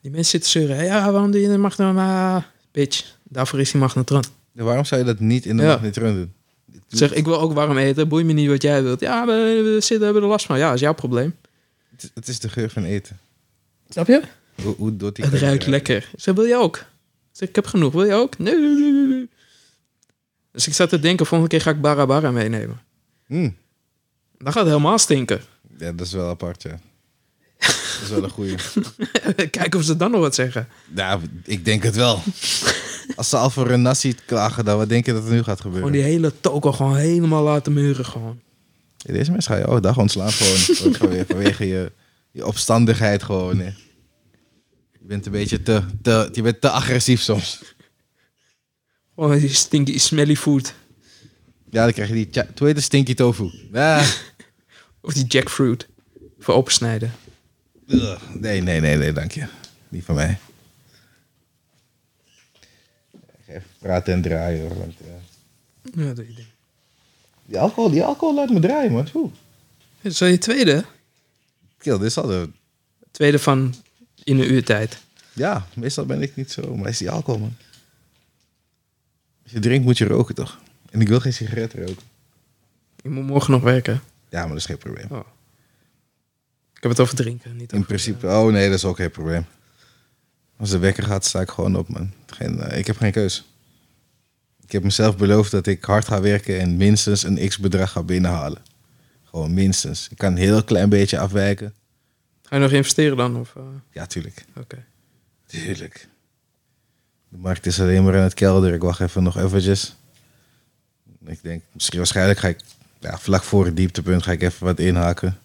Die mensen zitten zeuren. Ja, waarom doe je de magnetron? Maar, bitch, daarvoor is die magnetron. Ja, waarom zou je dat niet in de Ja. magnetron doen? Ik Zeg, ik wil ook warm eten. Boeit me niet wat jij wilt. Ja, we, we zitten, hebben er last van. Ja, is jouw probleem. Het is, het is de geur van eten. Snap je? Hoe, hoe doet die eh, Het kan ruikt ruiken? lekker. Ik zei, wil je ook? Ik zei, ik heb genoeg. Wil je ook? Nee, nee, nee, nee, nee. Dus ik zat te denken, volgende keer ga ik Barabara meenemen. Hmm. Dan gaat het helemaal stinken. Ja, dat is wel apart, ja. Dat is wel een goeie. Kijken of ze dan nog wat zeggen. Nou, ik denk het wel. Als ze al voor een nasi klagen, dan wat denk je dat er nu gaat gebeuren? Gewoon Oh, die hele toko gewoon helemaal laten muren gewoon. Ja, Deze mensen ga je oh, dag ontslaan gewoon. Ook vanwege, vanwege je, je opstandigheid gewoon. Hè. Je bent een beetje te, te, je bent te agressief soms. Gewoon die stinky smelly food. Ja, dan krijg je die, tja- hoe heet het, stinky tofu. Ja. Of die jackfruit. Voor opensnijden. Ugh. Nee, nee, nee, nee, dank je. Niet van mij. Ik ga Even praten en draaien hoor. Want, ja. Ja, dat doe je ding. Die alcohol, die alcohol laat me draaien man. Oeh. Dat is al je tweede. Kill, dit is al de- Tweede van in een uur tijd. Ja, meestal ben ik niet zo, maar is die alcohol man. Als je drinkt moet je roken toch? En ik wil geen sigaret roken. Je moet morgen nog werken. Ja, maar dat is geen probleem. Oh. Ik heb het over drinken, niet In over... principe, oh nee, dat is ook geen probleem. Als de wekker gaat, sta ik gewoon op, man. Geen, eh, ik heb geen keus. Ik heb mezelf beloofd dat ik hard ga werken en minstens een x-bedrag ga binnenhalen. Gewoon minstens. Ik kan een heel klein beetje afwijken. Ga je nog investeren dan? Of, eh, Ja, tuurlijk. Oké. Tuurlijk. De markt is alleen maar aan het kelder. Ik wacht even nog eventjes. Ik denk, misschien waarschijnlijk ga ik ja, vlak voor het dieptepunt ga ik even wat inhaken.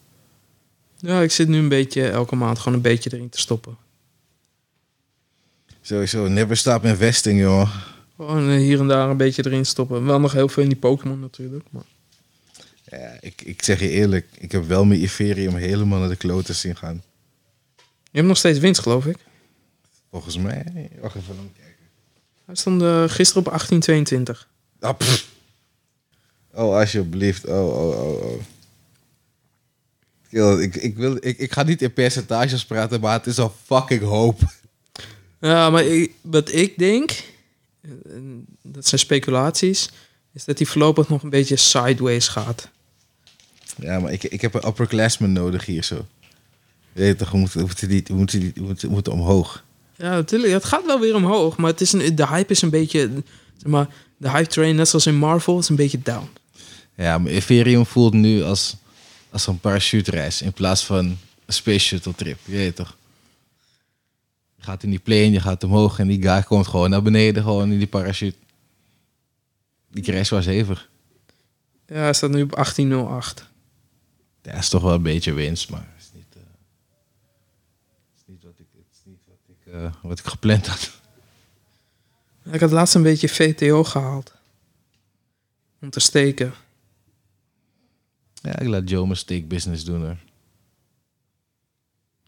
Ja, ik zit nu een beetje elke maand gewoon een beetje erin te stoppen. Sowieso, never stop investing, jongen. Gewoon eh, hier en daar een beetje erin stoppen. Wel nog heel veel in die Pokémon natuurlijk. Maar Ja, ik, ik zeg je eerlijk, ik heb wel mijn Ethereum helemaal naar de kloten zien gaan. je hebt nog steeds winst, geloof ik. Volgens mij. Wacht even, dan kijken. Hij stond eh, gisteren op 1822. Ah, pff. oh, alsjeblieft. Oh, oh, oh, oh. Kill, ik, ik, wil, ik, ik ga niet in percentages praten, maar het is al fucking hoop. Ja, maar ik, wat ik denk, eh, dat zijn speculaties, is dat hij voorlopig nog een beetje sideways gaat. Ja, maar ik, ik heb een upperclassman nodig hier zo. Je weet toch, we moeten, we moeten, die, we moeten, die, we moeten, we moeten omhoog. Ja, natuurlijk. Het gaat wel weer omhoog, maar het is een, de hype is een beetje... Zeg maar, de hype train, net zoals in Marvel, is een beetje down. Ja, maar Ethereum voelt nu als, als een parachutereis in plaats van een space shuttle trip. Je weet toch? Je gaat in die plane, je gaat omhoog en die guy komt gewoon naar beneden, gewoon in die parachute. Die crash was hevig. Ja, hij staat nu op 1808. Dat is toch wel een beetje winst, maar het is niet, eh, het is niet wat ik, het is niet wat ik, eh, wat ik gepland had. Ik had laatst een beetje VTO gehaald. Om te steken. Ja, ik laat Joe mijn steak business doen hoor.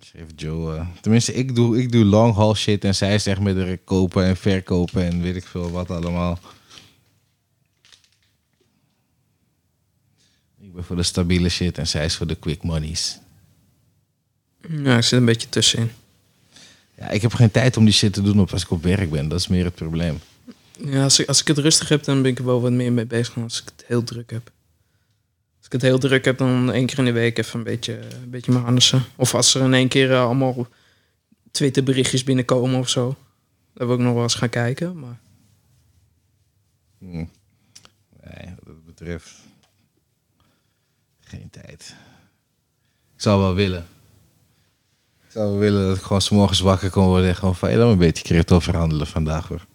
Schreef Joe. eh, tenminste, ik doe, ik doe long haul shit en zij zegt met haar kopen en verkopen en weet ik veel wat allemaal. Ik ben voor de stabiele shit en zij is voor de quick monies. Ja, ik zit een beetje tussenin. Ja, ik heb geen tijd om die shit te doen op als ik op werk ben. Dat is meer het probleem. Ja, als ik, als ik het rustig heb, dan ben ik er wel wat meer mee bezig dan als ik het heel druk heb. Als ik het heel druk heb, dan één keer in de week even een beetje, een beetje manussen. Of als er in één keer eh, allemaal Twitter berichtjes binnenkomen of zo. Dan wil ik nog wel eens gaan kijken. Maar Hm. Nee, wat dat betreft. Geen tijd. Ik zou wel willen. Ik zou wel willen dat ik gewoon 's morgens wakker kon worden en gewoon van, hey, laat me een beetje crypto verhandelen vandaag hoor.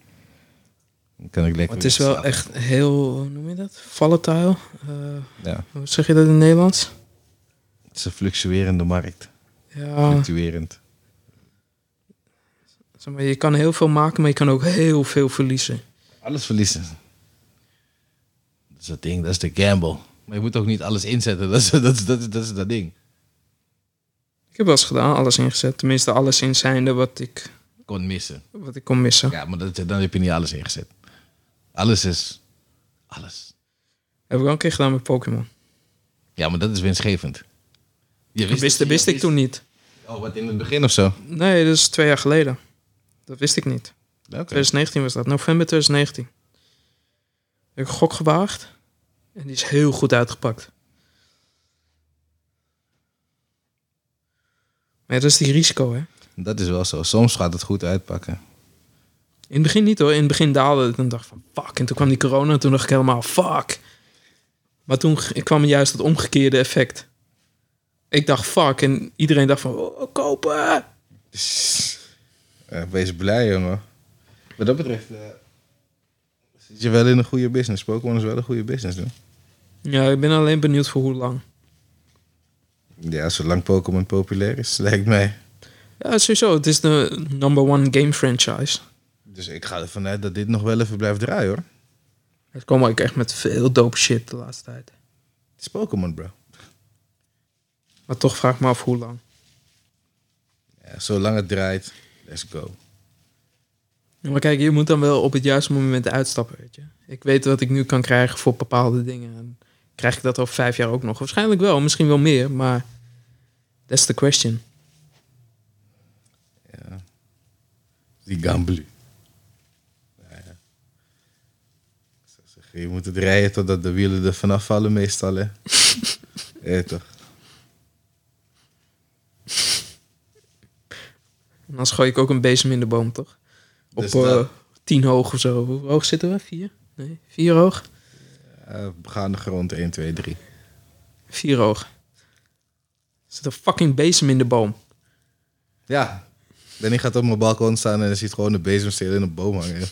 Dan kan ik lekker. het is weer wel slapen. echt heel, hoe noem je dat? Volatile. Eh, Ja, hoe zeg je dat in het Nederlands? het is een fluctuerende markt. Ja, Fluctuerend. zeg maar, je kan heel veel maken, maar je kan ook heel veel verliezen. Alles verliezen. Dat is dat ding, dat is de gamble. Maar je moet ook niet alles inzetten, dat is dat, is, dat, is, dat, is dat ding. Ik heb wel eens gedaan, alles ingezet. Tenminste, alles in zijnde wat ik, Kon missen. wat ik kon missen. Ja, maar dat, dan heb je niet alles ingezet. Alles is. Alles. Heb ik wel een keer gedaan met Pokémon. Ja, maar dat is winstgevend. Je Dat wist, dat wist ik toen niet. Oh, wat in het begin of zo? Nee, dat is twee jaar geleden. Dat wist ik niet. Oké. 2019 was dat. November 2019. Ik heb een gok gewaagd. En die is heel goed uitgepakt. Maar ja, dat is die risico, hè? Dat is wel zo. Soms gaat het goed uitpakken. In het begin niet, hoor. In het begin daalde het en dacht van fuck. En toen kwam die corona en toen dacht ik helemaal fuck. Maar toen g- kwam juist het omgekeerde effect. Ik dacht fuck en iedereen dacht van oh, kopen. Eh, wees blij, jongen. Wat dat betreft eh, zit je wel in een goede business. Pokémon is wel een goede business, hoor. Ja, ik ben alleen benieuwd voor hoe lang. Ja, zolang Pokémon populair is, lijkt mij. Ja, sowieso. Het is de number one game franchise. Dus ik ga ervan uit dat dit nog wel even blijft draaien, hoor. Het kwam ook echt met veel dope shit de laatste tijd. Het is Pokémon, bro. Maar toch vraag ik me af hoe lang. Ja, zolang het draait, let's go. Ja, Maar kijk, je moet dan wel op het juiste moment uitstappen, weet je. Ik weet wat ik nu kan krijgen voor bepaalde dingen. En krijg ik dat over vijf jaar ook nog? Waarschijnlijk wel, misschien wel meer, maar... That's the question. Ja. Die Gamblu. Je moet het rijden totdat de wielen er vanaf vallen meestal, hè? ja, toch? En dan gooi ik ook een bezem in de boom, toch? Op Dus dat- eh, tien hoog of zo. Hoe hoog zitten we? Vier? Nee, vier hoog? Ja, we gaan de grond 1, 2, 3. Vier hoog. Er zit een fucking bezem in de boom. Ja. Danny gaat op mijn balkon staan en hij ziet gewoon de bezemsteel in een boom hangen. What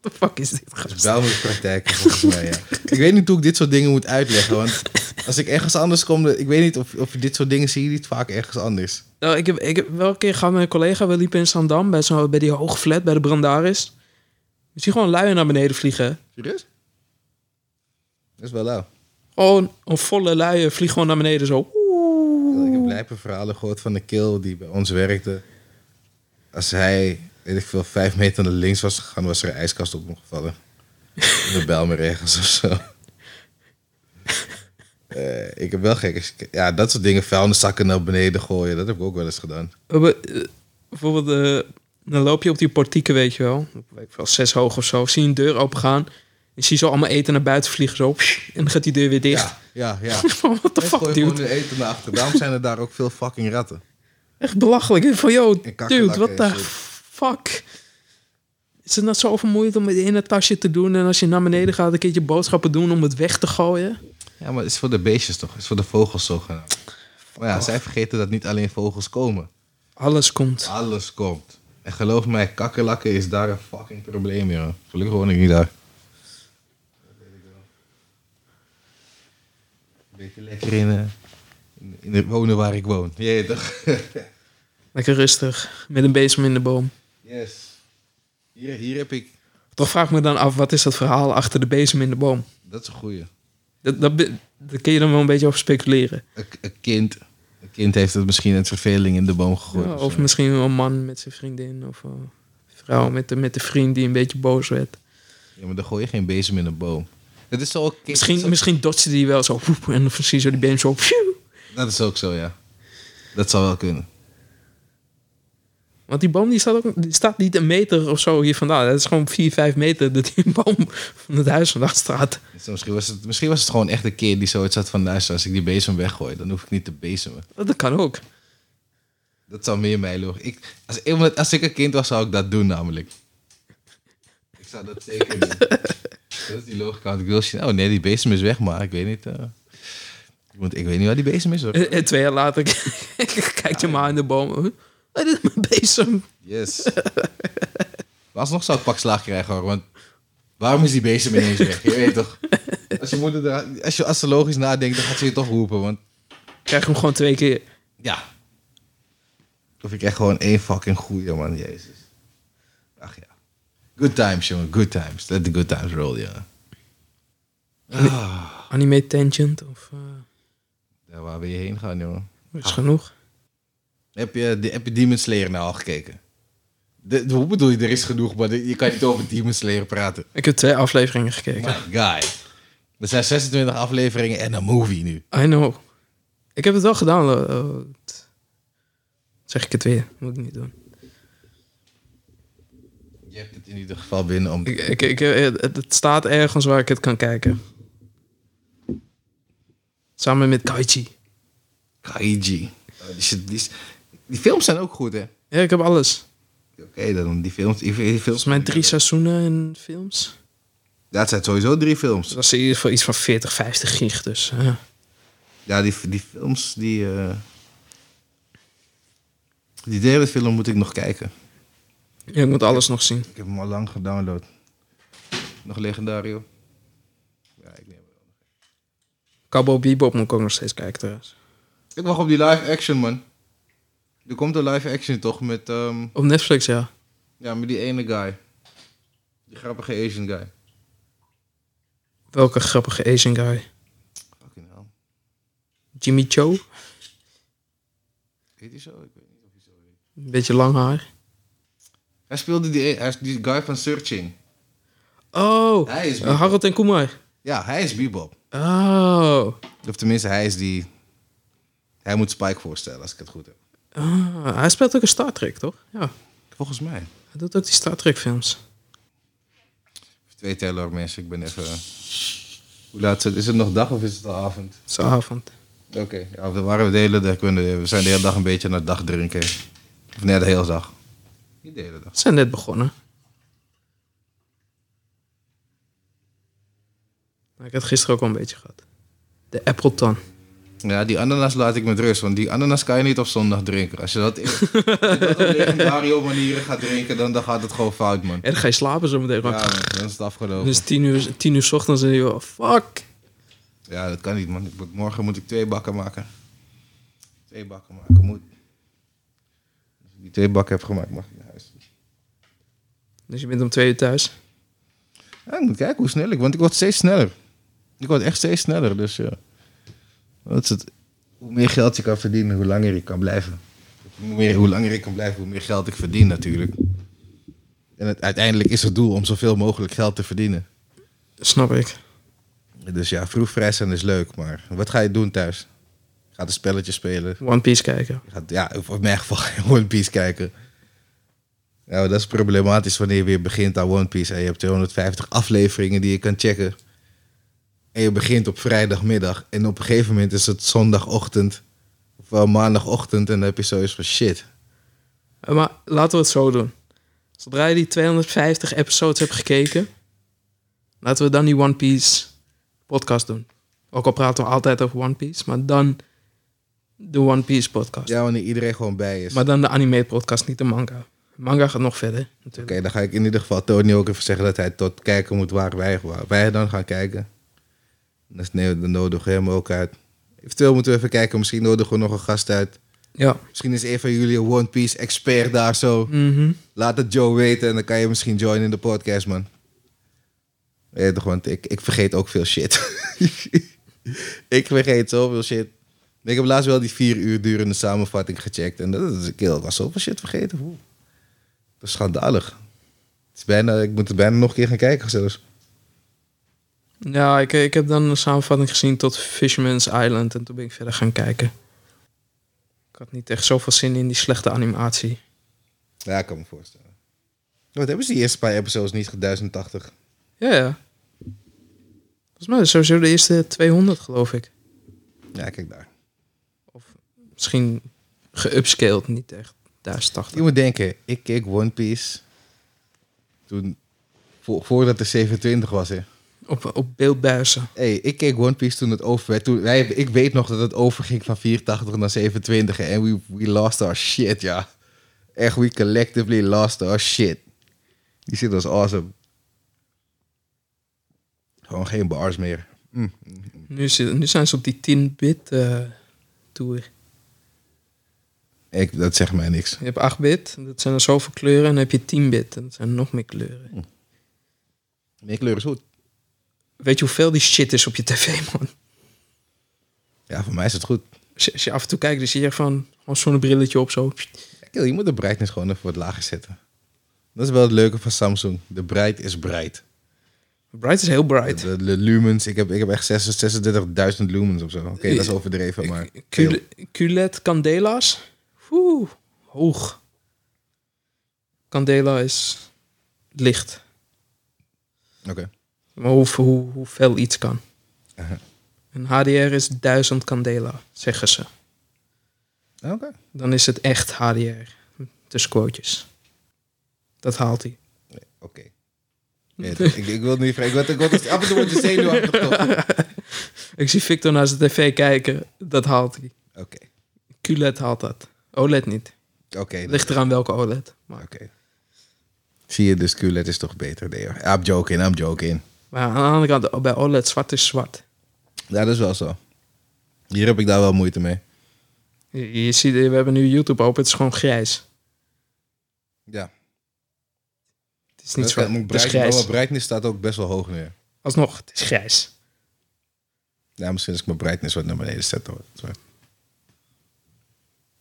the fuck is dit? Dus daar moet ik praktijk volgens mij, ja. Ik weet niet hoe ik dit soort dingen moet uitleggen, want als ik ergens anders kom, dan- ik weet niet of, of je dit soort dingen zie je niet vaak ergens anders. Nou, ik, heb, ik heb wel een keer gehad met een collega. We liepen in Zandam bij, zo, bij die hoge flat bij de Brandaris. Je ziet gewoon luien naar beneden vliegen. Serieus? Dat is wel lauw. Gewoon Oh, een volle luien vliegen gewoon naar beneden zo. Ik heb lijpe verhalen gehoord van de kill die bij ons werkte. Als hij, weet ik veel, vijf meter naar links was gegaan, was er een ijskast op hem gevallen. In de Bijlmer ergens of zo. Eh, ik heb wel gekke... Ja, dat soort dingen, vuilniszakken naar beneden gooien, dat heb ik ook wel eens gedaan. We hebben, eh, Bijvoorbeeld, eh, dan loop je op die portieken, weet je wel. Op, Weet ik veel, zes hoog of zo. Zie je een deur open gaan. Je ziet zo allemaal eten naar buiten vliegen zo. En dan gaat die deur weer dicht. Ja, ja, ja. Van, What the Mensen fuck, gooien gewoon eh, dude? hun eten naar achter. Daarom zijn er daar ook veel fucking ratten. Echt belachelijk. Ik Van, yo, kakkelakken dude, wat en de shit. fuck? Is het nou zo vermoeiend om het in het tasje te doen... en als je naar beneden gaat een keertje boodschappen doen om het weg te gooien? Ja, maar het is voor de beestjes toch? Het is voor de vogels zogenaamd. Maar ja, zij vergeten dat niet alleen vogels komen. Alles komt. Alles komt. En geloof mij, kakkerlakken is daar een fucking probleem, joh. Gelukkig woon ik niet daar. Beetje lekker in, eh, in, in het wonen waar ik woon. Jee, toch? Lekker rustig. Met een bezem in de boom. Yes. Hier, hier heb ik... Toch vraag ik me dan af, wat is dat verhaal achter de bezem in de boom? Dat is een goeie. Dat, dat, be- daar kun je dan wel een beetje over speculeren. Een, een kind... Een kind heeft het misschien het verveling in de boom gegooid. Ja, of of zo. misschien wel een man met zijn vriendin. Of eh, een vrouw met de, met de vriend die een beetje boos werd. Ja, maar dan gooi je geen bezem in een boom. Dat is zo ook... Misschien, zo- misschien dodgede die wel zo. woep, En dan precies zo die been zo. pfiou. Dat is ook zo, ja. Dat zou wel kunnen. Want die boom die staat, ook, die staat niet een meter of zo hier vandaan. Dat is gewoon 4, 5 meter dat die boom van het huis vandaan staat. Dus misschien, was het, misschien was het gewoon echt een keer die zoiets had van... luister, als ik die bezem weggooi, dan hoef ik niet te bezemen. Dat kan ook. Dat zou meer mij logisch... Ik, als, iemand- als ik een kind was, zou ik dat doen namelijk. Ik zou dat zeker doen. dat is die logica. Want ik wil zien, oh nee, die bezem is weg, maar ik weet niet... eh, want ik weet niet waar die bezem is, hoor. En, en Eh, twee jaar later kijk je maar in de boom. Huh? Oh, dit is mijn bezem. Yes. maar alsnog zou ik pak slaag krijgen, hoor. Want waarom is die bezem ineens weg? Je weet toch? Als je, moeder eraan- als je als ze logisch nadenkt, dan gaat ze je toch roepen, want... Krijg hem gewoon twee keer. Ja. Of ik echt gewoon één fucking goeie, man. Jezus. Ach ja. Good times, jongen. Good times. Let the good times roll, ja. Ah. Anime Tangent of... eh, Ja, waar wil je heen gaan, jongen? is genoeg. Heb je, de- heb je Demon Slayer nou al gekeken? De, de- hoe bedoel je, er is genoeg, maar de- je kan niet over Demon Slayer praten. Ik heb twee afleveringen gekeken. My guy. Er zijn 26 afleveringen en een movie nu. I know. Ik heb het wel gedaan. eh, eh, t- zeg ik het weer. Moet ik niet doen. Je hebt het in ieder geval binnen om... Ik, ik, ik, eh, het, het staat ergens waar ik het kan kijken. Samen met Kaichi. Kaiji. Oh, die, shit, die, is- die films zijn ook goed, hè? Ja, ik heb alles. Oké, dan die films... Die, die films Volgens mij drie seizoenen en films. Dat zijn sowieso drie films. Dus dat is in ieder geval iets van 40, 50 gig. Dus ja. Ja, die, die films, die... eh, Die derde film moet ik nog kijken. Ja, ik moet alles nog zien. Ik heb hem al lang gedownload. Nog legendario? Ja, ik neem het. Cowboy Bebop moet ik ook nog steeds kijken trouwens. Ik wacht op die live action, man. Er komt een live action, toch? Met, ehm, Op Netflix, ja. ja, met die ene guy. Die grappige Asian guy. Welke grappige Asian guy. Fucking hell. Jimmy Cho. Heet hij zo? Ik weet niet. Een beetje lang haar. Hij speelde die, hij is die guy van Searching. Oh, Hij is eh, Harold en Kumar. Ja, hij is Bebop. Oh. Of tenminste, hij is die... Hij moet Spike voorstellen, als ik het goed heb. Ah, hij speelt ook een Star Trek, toch? Ja. Volgens mij. Hij doet ook die Star Trek films. Twee teller mensen, ik ben even. Hoe laat is het? Is het nog dag of is het al avond? S'avond. Oké, ja, we waren de hele dag. We zijn de hele dag een beetje naar dag drinken. Of nee, de hele dag. Niet de hele dag. We zijn net begonnen. Maar Nou, Ik had gisteren ook al een beetje gehad. De Appleton. Ja, die ananas laat ik met rust, want die ananas kan je niet op zondag drinken. Als je dat, als je dat op legendario manieren gaat drinken, dan, dan gaat het gewoon fout, man. En dan ga je slapen zo meteen. Ja, Ja. man, dan is het afgelopen. Dus tien uur, tien uur 's ochtends en je oh, fuck. Ja, dat kan niet, man. Ik moet- morgen moet ik twee bakken maken. Twee bakken maken moet. Als ik die twee bakken heb gemaakt, mag ik naar huis. Dus je bent om twee uur thuis. Ja, ik moet kijken hoe snel ik... Want ik word steeds sneller. Ik word echt steeds sneller, dus ja. Dat is het. Hoe meer geld je kan verdienen, hoe langer ik kan blijven. Hoe, meer, hoe langer ik kan blijven, hoe meer geld ik verdien natuurlijk. En het, uiteindelijk is het doel om zoveel mogelijk geld te verdienen. Snap ik. Dus ja, vroeg vrij zijn is leuk, maar wat ga je doen thuis? Je gaat een spelletje spelen. One Piece kijken. Je gaat, ja, of in mijn geval One Piece kijken. Ja, maar dat is problematisch wanneer je weer begint aan One Piece. En je hebt 250 afleveringen die je kan checken. En je begint op vrijdagmiddag. En op een gegeven moment is het zondagochtend. Of Vooral maandagochtend en dan heb je zoiets van shit. Eh, Maar laten we het zo doen. Zodra je die 250 episodes hebt gekeken, laten we dan die One Piece podcast doen. Ook al praten we altijd over One Piece, maar dan de One Piece podcast. Ja, wanneer iedereen gewoon bij is. Maar dan de anime podcast, niet de manga. Manga gaat nog verder, Oké, natuurlijk. dan ga ik in ieder geval Tony ook even zeggen dat hij tot kijken moet waar wij, waar wij dan gaan kijken. Dat is nee, dan nodigen we hem ook uit. Eventueel moeten we even kijken, misschien nodigen we nog een gast uit. Ja. Misschien is een van jullie een One Piece expert daar zo. Mhm. Laat het Joe weten en dan kan je misschien joinen in de podcast, man. Weet toch, want ik, ik vergeet ook veel shit. ik vergeet zoveel shit. Ik heb laatst wel die vier uur durende samenvatting gecheckt. En dat is een keer, ik was zoveel shit vergeten. Oeh. Dat is schandalig. Het is bijna, ik moet het bijna nog een keer gaan kijken zelfs. Ja, ik, ik heb dan een samenvatting gezien tot Fisherman's Island en toen ben ik verder gaan kijken. Ik had niet echt zoveel zin in die slechte animatie. Ja, ik kan me voorstellen. Wat hebben ze die eerste paar episodes niet gedaan? 1080. Ja, ja. Volgens mij is sowieso de eerste 200, geloof ik. Ja, kijk daar. Misschien geupscaled, niet echt 1080. Je moet denken, ik keek One Piece toen, vo- voordat er 27 was, hè. Op, op beeldbuizen. Hey, ik keek One Piece toen het over werd. Toen, wij, ik weet nog dat het overging van 84 naar 27. En we, we lost our shit, ja. Echt, we collectively lost our shit. Die shit was awesome. Gewoon geen bars meer. Mm. Nu, zit- nu zijn ze op die 10-bit eh, tour. Ik, dat zegt mij niks. Je hebt 8-bit, dat zijn er zoveel kleuren. En dan heb je 10-bit, en dat zijn er nog meer kleuren. Hm. Meer kleur is goed. Weet je hoeveel die shit is op je tv, man? Ja, voor mij is het goed. Als je, als je af en toe kijkt, dan zie je gewoon, gewoon zo'n brilletje op zo. Kill, je moet de brightness gewoon even wat lager zetten. Dat is wel het leuke van Samsung. De bright is bright. Bright is heel De, bright. de- de lumens, ik heb, ik heb echt 36 36.000 lumens of zo. Oké, dat is overdreven, maar... Q- QLED Candela's. Oeh, hoog. Candela is licht. Oké. Maar hoe, hoe, hoe fel iets kan. Aha. Een HDR is 1000 Candela, zeggen ze. Oké. Dan is het echt HDR. Tussen dus quotejes. Dat haalt hij. Oké. Nee, dat- ik, ik wil niet vragen. Ik word, ik word, af en toe word je zenuwachtig. toch? Oké. Ik zie Victor naar zijn tv kijken. Dat haalt hij. QLED haalt dat. OLED niet. Oké. nou, Ligt eraan welke OLED. Maar, Oké. Zie je, dus QLED is toch beter? Nee hoor. I'm joking, I'm joking. maar aan de andere kant, bij OLED zwart is zwart. Ja, dat is wel zo. Hier heb ik daar wel moeite mee. Je, je ziet, we hebben nu YouTube open. Het is gewoon grijs. Ja. Het is niet Oké, zwart. maar Het is bright- maar grijs. Mijn brightness staat ook best wel hoog neer. Alsnog, het is grijs. Ja, misschien als ik mijn brightness wat naar beneden zet. Hoor. Sorry.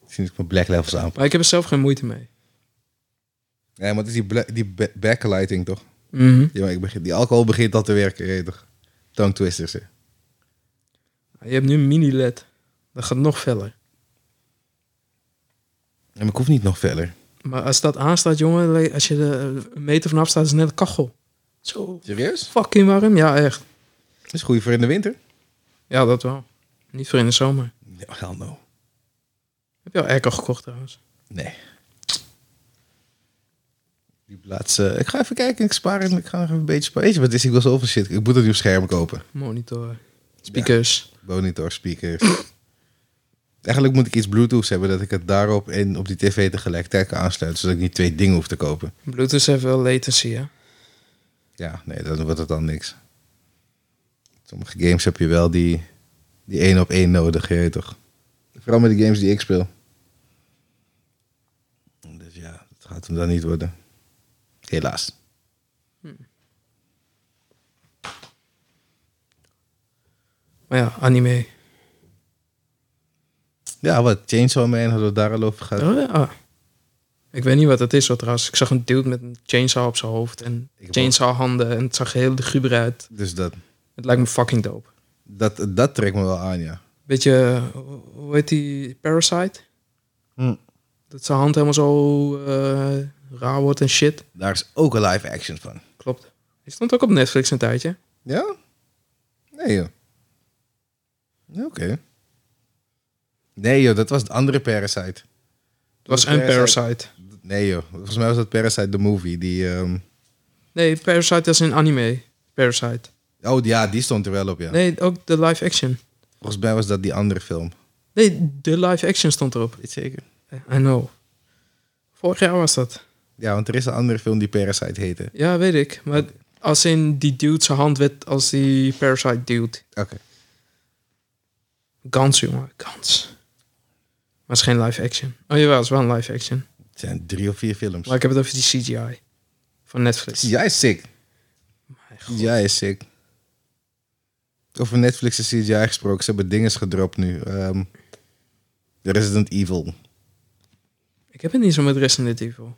Misschien als ik mijn black levels aan. Maar ik heb er zelf geen moeite mee. Ja, maar het is die, bla- die ba- backlighting toch? Mhm. Ja, maar ik begin, die alcohol begint al te werken, je weet toch? Tongue twisters. hè. Je hebt nu een mini-LED. Dat gaat nog feller. Ja, maar ik hoef niet nog verder. Maar als dat aanstaat, jongen, als je er een meter vanaf staat, is het net een kachel. Zo Serieus? fucking warm. Ja, echt. Dat is goed voor in de winter. Ja, dat wel. Niet voor in de zomer. Nee, hell no. Heb je al airco gekocht trouwens? Nee. Die plaats, eh, ik ga even kijken, ik spaar het, ik ga nog even een beetje sparen. Weet je wat het is, ik wil zoveel shit. Ik moet het nu op scherm kopen. Monitor, eh, speakers. Monitor, speakers. Eigenlijk moet ik iets bluetooth hebben, dat ik het daarop en op die tv tegelijkertijd kan aansluiten. Zodat ik niet twee dingen hoef te kopen. Bluetooth heeft wel latency, hè? Ja, nee, dan wordt het dan niks. Sommige games heb je wel die, die één op één nodig, je weet toch? Vooral met de games die ik speel. Dus ja, dat gaat hem dan niet worden. Helaas. Maar ja, anime. Ja, wat? Chainsaw Man hadden we het daar al over gehad. Oh, ja. Ah. Ik weet niet wat dat is, wat trouwens. Ik zag een dude met een chainsaw op zijn hoofd en heb ook- chainsaw handen. En het zag heel de guber uit. Dus dat, Het lijkt me fucking dope. dat, dat trekt me wel aan, ja. beetje, eh, hoe heet die, Parasite? Hm. Dat zijn hand helemaal zo eh, raar wordt en shit. Daar is ook een live action van. Klopt. Die stond ook op Netflix een tijdje. Ja? Nee, joh. Ja, Oké. Nee joh, dat was de andere Parasite. Het was een Parasite. Nee joh, volgens mij was dat Parasite the Movie. Die, ehm, Nee, Parasite is een anime. Parasite. Oh ja, die stond er wel op ja. Nee, ook de live action. Volgens mij was dat die andere film. Nee, de live action stond erop. Eh, Weet zeker? I know. Vorig jaar was dat. Ja, want er is een andere film die Parasite heette. Ja, weet ik. Maar als in die dude zijn hand werd als die Parasite dude. Oké. Gans, jongen. Gans. Maar het is geen live action. Oh jawel, het is wel een live action. Het zijn drie of vier films. Maar ik heb het over die CGI. Van Netflix. Jij is sick. Mijn god. Jij is sick. Over Netflix en CGI gesproken. Ze hebben dinges gedropt nu. Ehm Resident Evil. Ik heb het niet zo met Resident Evil.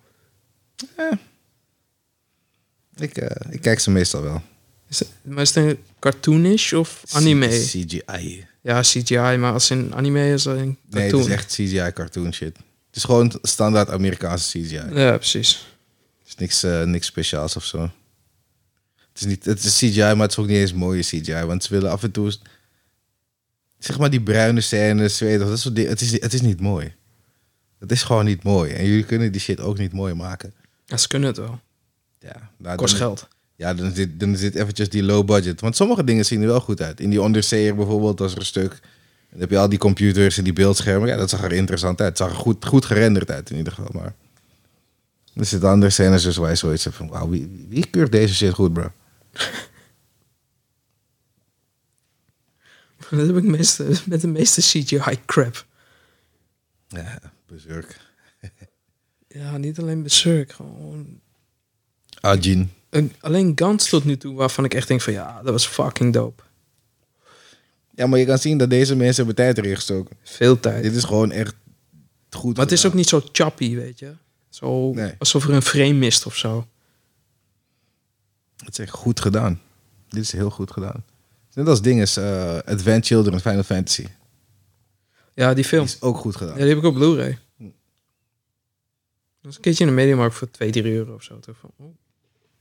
Ik, eh, ik kijk ze meestal wel. Is het, maar is het een cartoonish of anime? CGI. ja, CGI, maar als in anime is dat een Nee, cartoon. het is echt CGI cartoon shit. Het is gewoon standaard Amerikaanse CGI. Het Ja, precies. is niks, eh, niks speciaals of zo. Het is, niet, het is CGI, maar het is ook niet eens mooie CGI. Want ze willen af en toe... Zeg maar die bruine scènes, weet je, toch, dat soort dingen. Het is, het is niet mooi. Het is gewoon niet mooi. En jullie kunnen die shit ook niet mooi maken. Ja, ze kunnen het wel. Ja, nou, Kost dan, geld. ja dan, zit, dan zit eventjes die low budget. Want sommige dingen zien er wel goed uit. In die onderzeeër bijvoorbeeld, als er een stuk... Dan heb je al die computers en die beeldschermen. Ja, dat zag er interessant uit. Het zag er goed, goed gerenderd uit in ieder geval. Maar er zitten andere scènes dus waar je zoiets hebt van... Wauw, wie, wie keurt deze shit goed, bro? Dat heb ik meeste, met de meeste CGI crap. Ja, bezurk. Ja, niet alleen Berserk. Gewoon... Ajin. En Alleen Gans tot nu toe, waarvan ik echt denk van ja, dat was fucking dope. Ja, maar je kan zien dat deze mensen hebben tijd erin gestoken. Veel tijd. Dit is gewoon echt goed Maar het is ook gedaan. niet zo choppy, weet je. Zo, Nee. Alsof er een frame mist of zo. Het is echt goed gedaan. Dit is heel goed gedaan. Net als ding is eh, Advent Children Final Fantasy. Ja, die Die film. is ook goed gedaan. Ja, die heb ik op Blu-ray. Dat is een keertje in de Mediamarkt voor 2, 3 euro of zo. Toen van, oh,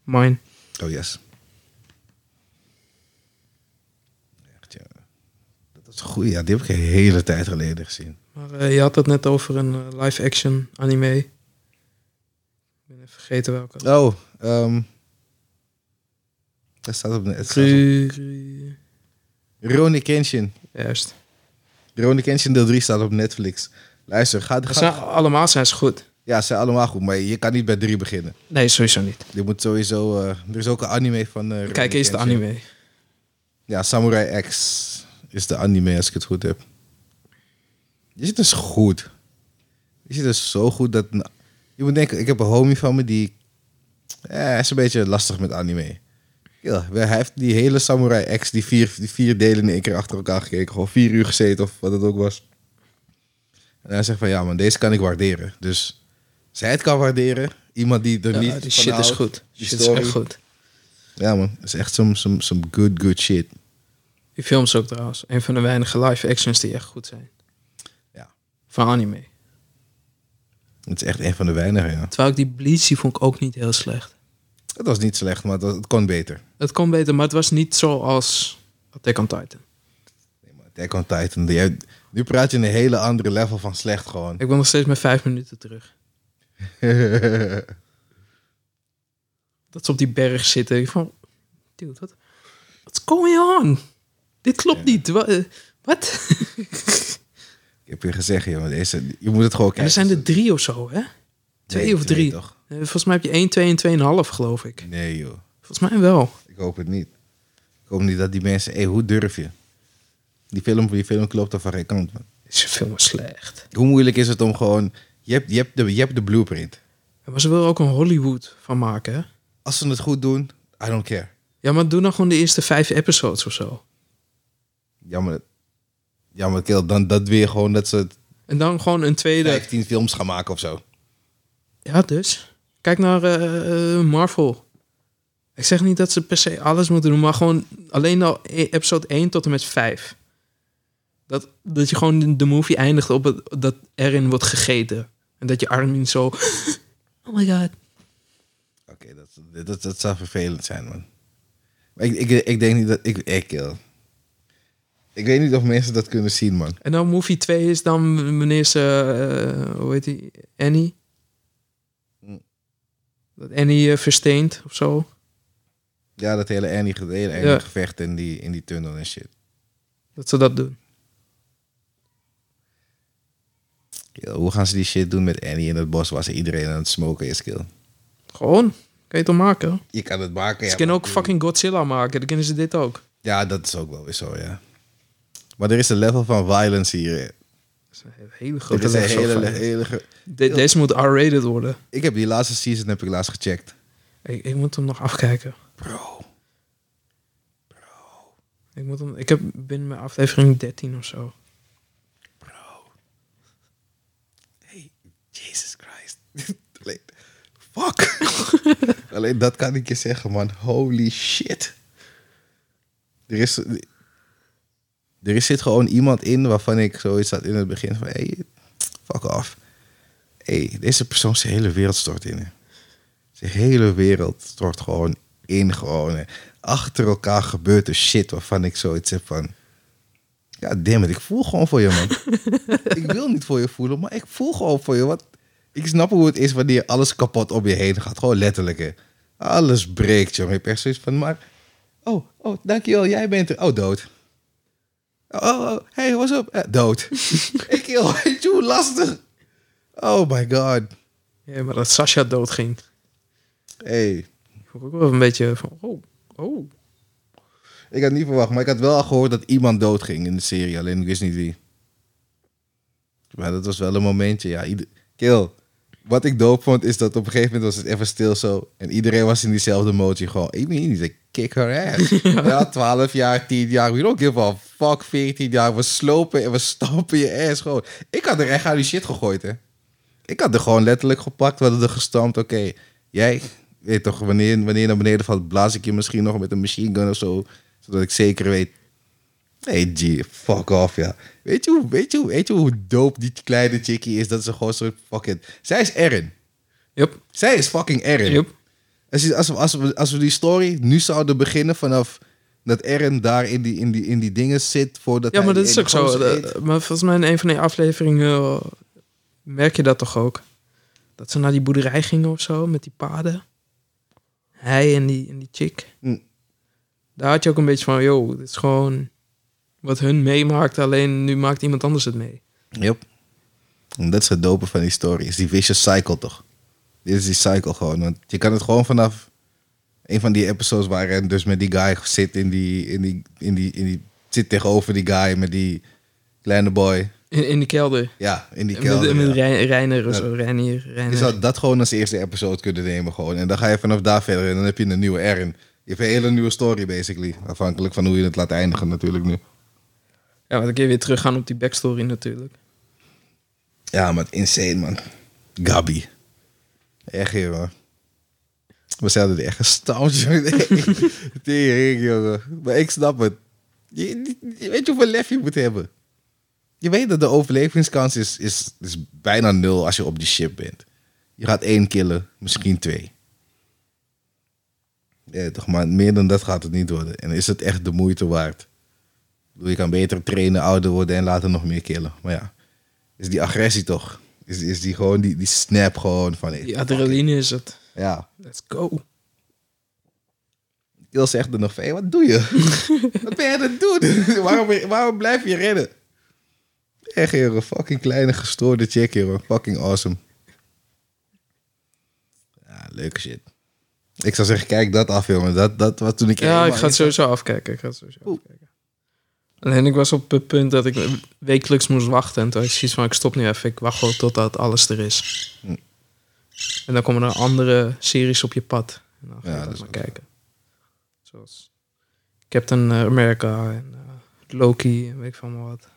Mine. Oh yes. Echt, ja. Dat is goed. Ja, die heb ik een hele tijd geleden gezien. Maar eh, je had het net over een eh, live-action anime. Ik ben even vergeten welke. Oh, ehm dat staat op net. Ru- Ru- Ronnie Kenshin. Juist. Ronnie Kenshin deel 3 staat op Netflix. Luister, ga, Dat ga, zijn, allemaal zijn ze goed. Ja, ze zijn allemaal goed, maar je kan niet bij 3 beginnen. Nee, sowieso niet. Je moet sowieso... eh, er is ook een anime van... eh, Kijk Rurouni eerst de Kenshin. anime. Ja, Samurai X is de anime, als ik het goed heb. Die zit dus goed. Die zit dus zo goed dat... Je moet denken, ik heb een homie van me die... Eh, hij is een beetje lastig met anime. Ja, hij heeft die hele Samurai X, die vier, die vier delen in één keer achter elkaar gekeken. Gewoon vier uur gezeten of wat het ook was. En hij zegt van, ja man, deze kan ik waarderen. Dus zij het kan waarderen. Iemand die er Ja, niet die van shit is houdt. goed. Die Die shit story. is echt goed. Ja man, het is echt some, some, some good, good shit. Die films ook trouwens. Een van de weinige live-actions die echt goed zijn. Ja. Van anime. Het is echt een van de weinigen, ja. Terwijl ik die Bleach, die vond ik ook niet heel slecht. Het was niet slecht, maar het, was- het kon beter. Het kon beter, maar het was niet zoals Attack on Titan. Nee, maar Attack on Titan, die- nu praat je een hele andere level van slecht gewoon. Ik ben nog steeds met vijf minuten terug. Dat ze op die berg zitten. Ik Van, dude, wat what's going on? Dit klopt niet. Wa- eh, Wat? ik heb je gezegd, joh, deze, je moet het gewoon En kijken. er zijn er drie of zo, hè? Twee Nee, of drie. toch? Eh, Volgens mij heb je één, twee en tweeënhalf, geloof ik. Nee joh, Volgens mij wel. ik hoop het niet. Ik hoop niet dat die mensen, hé, hoe durf je? Die film, die film klopt er van geen kant, man. Is veel maar slecht. Hoe moeilijk is het om gewoon, je hebt, je hebt, de, je hebt de blueprint. Ja, Maar ze willen er ook een Hollywood van maken, hè? Als ze het goed doen, I don't care. Ja, maar doe dan gewoon de eerste vijf episodes of zo. Jammer, jammer kill, dan dat weer gewoon dat ze En dan gewoon een tweede. 15 films gaan maken of zo. Ja, dus. Kijk naar eh, eh, Marvel. Ik zeg niet dat ze per se alles moeten doen, maar gewoon alleen al e- episode 1 tot en met 5. Dat, dat je gewoon de- de movie eindigt op het, dat erin wordt gegeten. En dat je Armin zo. Oh my god. Oké, dat, dat, dat zou vervelend zijn, man. Maar ik, ik, ik denk niet dat... Ik, ik, eh, Ik weet niet of mensen dat kunnen zien, man. En dan movie 2 is dan wanneer ze, eh, hoe heet die, Annie? Hm. Dat Annie eh, versteent of zo. Ja, dat hele Annie, ge- hele Annie Ja. gevecht in die, in die tunnel en shit. Dat ze dat doen. Kill. Hoe gaan ze die shit doen met Annie in het bos waar ze iedereen aan het smoken is, kill? Gewoon, kan je toch maken? Je kan het maken, ja. ze kunnen maar- ook fucking Godzilla maken, dan kunnen ze dit ook. Ja, dat is ook wel weer zo, ja. Maar er is een level van violence hier. Dat is een hele Dit grote is een les, hele, of- hele... ge- De- Deze moet R-rated worden. Ik heb die laatste season heb ik laatst gecheckt. Ik, ik moet hem nog afkijken. Bro. Ik, moet hem, ik heb binnen mijn aflevering 13 of zo. Jesus Christ. Alleen, fuck. Alleen dat kan ik je zeggen, man. Holy shit. Er is, er is zit gewoon iemand in waarvan ik zoiets had in het begin van... Hey, fuck off. Hey, deze persoon zijn hele wereld stort in. hè. Zijn hele wereld stort gewoon in. Gewoon, hè. achter elkaar gebeurt er shit waarvan ik zoiets heb van... Ja, damn it, ik voel gewoon voor je, man. ik wil niet voor je voelen, maar ik voel gewoon voor je. Want ik snap hoe het is wanneer alles kapot om je heen gaat. Gewoon letterlijk, hè. Alles breekt, jongen. Ik heb echt zoiets van, maar... Oh, oh, dankjewel, jij bent er. Oh, dood. Oh, oh, oh, hey, what's up? Eh, dood. ik, joh, weet je hoe lastig? Oh my god. Ja, maar dat Sasha doodging. Hey, Ik vond ik ook wel een beetje van, oh, oh. ik had niet verwacht, maar ik had wel al gehoord dat iemand doodging in de serie. Alleen ik wist niet wie. Maar dat was wel een momentje, ja. Ieder... Kill. Wat ik doop vond, is dat op een gegeven moment was het even stil zo. En iedereen was in diezelfde motie. Gewoon, ik weet niet, ik kick her ass. ja. 12 jaar, 10 jaar, we don't give a fuck. 14 jaar, we slopen en we stampen je ass gewoon. Ik had er echt aan die shit gegooid, hè. Ik had er gewoon letterlijk gepakt, we hadden er gestampt. Oké, jij weet toch, wanneer, wanneer je naar beneden valt, blaas ik je misschien nog met een machine gun of zo. Zodat ik zeker weet. Hey G, fuck off, ja. Weet je, hoe- weet, je, hoe- weet je hoe dope die kleine chickie is? Dat ze gewoon soort fucking... Zij is Erin. Yup, Zij is fucking Erin. yup. Als, je- als, we- als, we, als we die story nu zouden beginnen vanaf dat Erin daar in die, in, die, in die dingen zit voordat Ja, hij maar dat die is ook ene zo. eh, gozer Dat- eet. maar volgens mij in een van die afleveringen eh, merk je dat toch ook? Dat ze naar die boerderij gingen of zo, met die paden. Hij en die, en die chick. Hm. Daar had je ook een beetje van, yo, dit is gewoon wat hun meemaakt, alleen nu maakt iemand anders het mee. Yep. En dat is het dope van die story. Is die vicious cycle toch? Dit is die cycle gewoon. Want je kan het gewoon vanaf een van die episodes waar hij dus met die guy zit in die, in die, in die, in die zit tegenover die guy met die kleine boy. In, in de kelder. Ja, in die En met, kelder. met ja. Rein- Reiner of Ja. zo, Reinier, Je Reiner. zou dat gewoon als eerste episode kunnen nemen gewoon. En dan ga je vanaf daar verder en dan heb je een nieuwe Erin. Je hebt een hele nieuwe story basically. Afhankelijk van hoe je het laat eindigen natuurlijk nu. Ja, maar dan kun je weer teruggaan op die backstory natuurlijk. Ja, maar insane, man. Gabi. Echt, jongen. We zijn er echt gestampt, jongen. Tering, jongen. Maar ik snap het. Je, je weet je hoeveel lef je moet hebben. Je weet dat de overlevingskans is, is, is bijna nul als je op die ship bent. Je gaat één killen, misschien twee. Ja, toch, maar meer dan dat gaat het niet worden. En is het echt de moeite waard? Ik bedoel, Je kan beter trainen, ouder worden en later nog meer killen. Maar ja is die agressie toch? Is, is die gewoon die, die snap gewoon van... Die adrenaline is het. Ja. Let's go. Il zegt er nog van, hey, wat doe je? wat ben je aan het doen? waarom, waarom blijf je rennen? Echt, jongen. Fucking kleine gestoorde chick, jongen. Fucking awesome. Ja, leuke shit. Ik zou zeggen, kijk dat af, jongen. Dat, dat was toen ik... Ja, ik helemaal ga het in- sowieso afkijken. Ik ga het sowieso Oeh. afkijken. Alleen ik was op het punt dat ik wekelijks moest wachten. En toen had ik zoiets van, ik stop nu even. Ik wacht gewoon totdat alles er is. Hm. En dan komen er andere series op je pad. En dan ga Ja, je dat dat is maar ook kijken. Zoals Captain America en eh, Loki en weet ik van maar wat.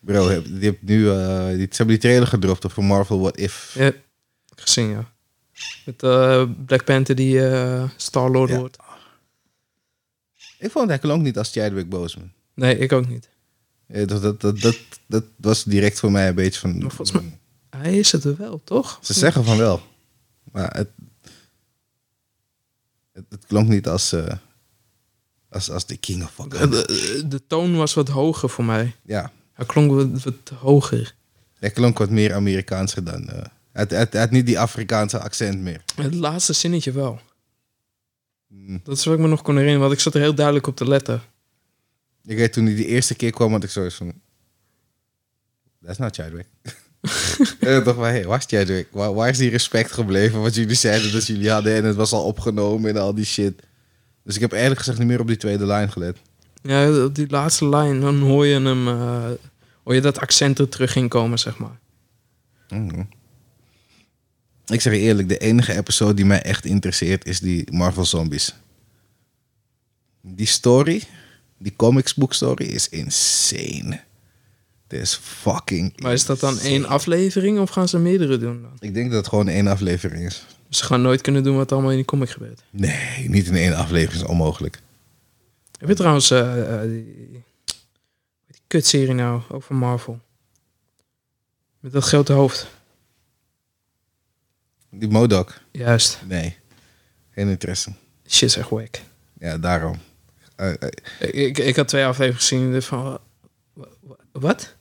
Bro, heb- die hebt nu... eh, die, ze hebben die trailer gedropt voor Marvel What If. Ja, gezien, ja. Met eh, Black Panther die eh, Star-Lord Ja. wordt. Ik vond hij klonk niet als Chadwick Boseman. Nee, ik ook niet. Ja, dat, dat, dat, dat, dat was direct voor mij een beetje van... Maar volgens mij- Hij is het wel, toch? Ze zeggen van wel. Maar het, het, het klonk niet als, eh, Als, als de king of fuck. De, de- de toon was wat hoger voor mij. Ja, Hij klonk wat, wat hoger. hij klonk wat meer Amerikaanser dan. eh het, het, het had niet die Afrikaanse accent meer. Het laatste zinnetje wel. Hm. Dat is wat ik me nog kon herinneren, want ik zat er heel duidelijk op te letten. Ik weet toen hij de eerste keer kwam, had ik zoiets van... That's not Chadwick. en toch van, hey, waar is Chadwick? Waar, waar is die respect gebleven wat jullie zeiden dat jullie hadden? En het was al opgenomen en al die shit. Dus ik heb eerlijk gezegd niet meer op die tweede lijn gelet. Ja, op die laatste lijn, dan hoor je hem... eh, hoor je dat accent er terug in komen, zeg maar. Mhm. Ik zeg je eerlijk, de enige episode die mij echt interesseert is die Marvel Zombies. Die story, die comics book story, is insane. Het is fucking Maar is dat dan insane. één aflevering of gaan ze meerdere doen dan? Ik denk dat het gewoon één aflevering is. Ze gaan nooit kunnen doen wat allemaal in die comic gebeurt. Nee, niet in één aflevering is onmogelijk. Heb je trouwens eh, eh, die, die kutserie nou over Marvel? Met dat grote hoofd. Die Modoc? Juist. Nee. Geen interesse. Shit, is echt wack. Ja, daarom. Eh, eh, Ik, ik, ik had twee afleveringen gezien en dacht van... wa- wa- wa- Wat?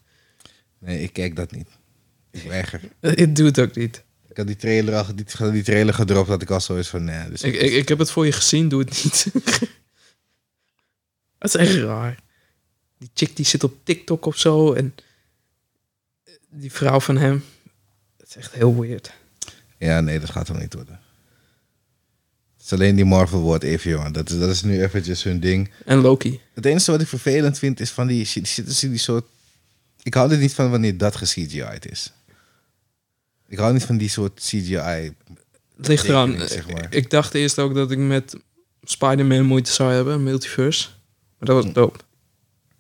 nee, ik kijk dat niet. Ik weiger. Eh, Ik doe het ook niet. Ik had die trailer, al, die, die trailer gedropt, had ik al zoiets van, nee. Dus Ik, ik, ik heb het voor je gezien, doe het niet. dat is echt raar. Die chick die zit op TikTok of zo en... eh, Die vrouw van hem. Dat is echt heel weird. Ja, nee, dat gaat hem niet worden. Het is alleen die Marvel wordt even, jongen. Dat is, dat is nu eventjes hun ding. En Loki. Het enige wat ik vervelend vind, is van die... shit- Zitten ze in die soort... Ik hou er niet van wanneer dat ge-CGI'd is. Ik hou niet van die soort CGI. Het ligt eraan. Tekening, zeg maar. Ik dacht eerst ook dat ik met Spider-Man moeite zou hebben, multiverse. Maar Hm. dat was dope.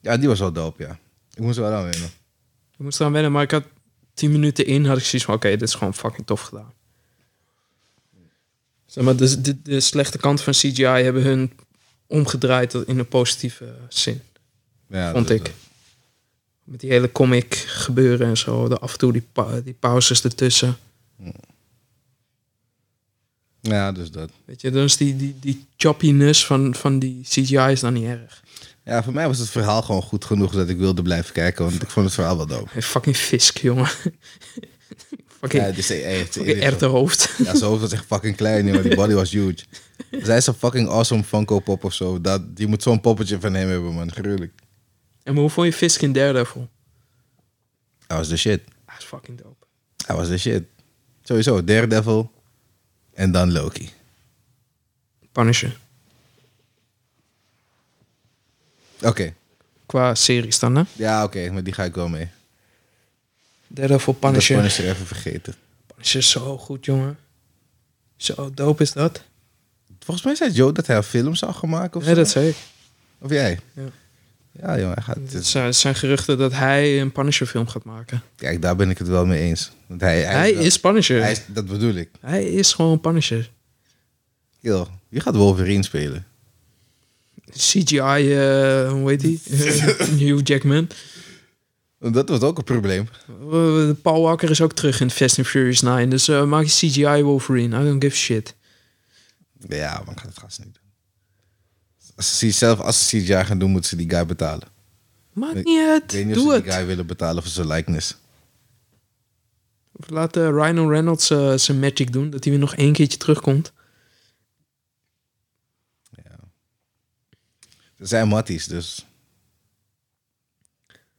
Ja, die was wel dope, ja. Ik moest er wel aan wennen. Ik moest eraan wennen, maar ik had tien minuten in, had ik zoiets van, oké, dit is gewoon fucking tof gedaan. Zeg maar, de, de, de slechte kant van CGI hebben hun omgedraaid tot- in een positieve zin, Ja, vond dat- ik. Met die hele comic gebeuren en zo, de, af en toe die, pa- die pauzes ertussen. Ja, dus dat. Weet je, dus die, die, die choppiness van, van die CGI is dan niet erg. Ja, voor mij was het verhaal gewoon goed genoeg dat ik wilde blijven kijken. Want ik vond het verhaal wel dope. Hey, fucking Fisk, jongen. fucking Ja, dus, hey, hey, het- Fucking erwtenhoofd. Ja, zijn hoofd was echt fucking klein, jongen. Die body was huge. Zij is een fucking awesome Funko Pop of zo. Dat, die moet zo'n poppetje van hem hebben, man. Gruwelijk. En maar hoe vond je Fisk in Daredevil? Hij was de shit. Hij is fucking dope. Hij was de shit. Sowieso, Daredevil. En dan Loki. Punisher. Oké. Qua series dan, hè? Ja, oké. maar die ga ik wel mee. Daredevil, Dat is Punisher. Punisher. Punisher even vergeten. is zo goed, jongen. Zo dope is dat. Volgens mij zei Joe dat hij een film zou gaan maken of Nee, zo. dat zei ik. Of jij? Ja. Ja, jongen. Hij gaat, Het zijn, het zijn geruchten dat hij een Punisher film gaat maken. Kijk, daar ben ik het wel mee eens. Want hij, hij, Hij is Punisher. hij Hij is, is- Dat bedoel ik. gewoon Punisher. Yo, je gaat Wolverine spelen. CGI, eh, hoe heet die? Eh, Hugh Jackman. Want Dat wordt ook een probleem. Eh, Paul Walker is ook terug in Fast and Furious 9. Dus eh, maak je CGI Wolverine. I don't give a shit. Ja, man, gaat het gast niet doen. Als ze zelf als ze CGI gaan doen, moeten ze die guy betalen. Maakt Ik- niet uit. Ik weet niet of Doe ze het. die guy willen betalen voor zijn likeness. Of Laat eh, Rhino Reynolds eh, zijn magic doen. Dat hij weer nog één keertje terugkomt. Ze zijn matties, dus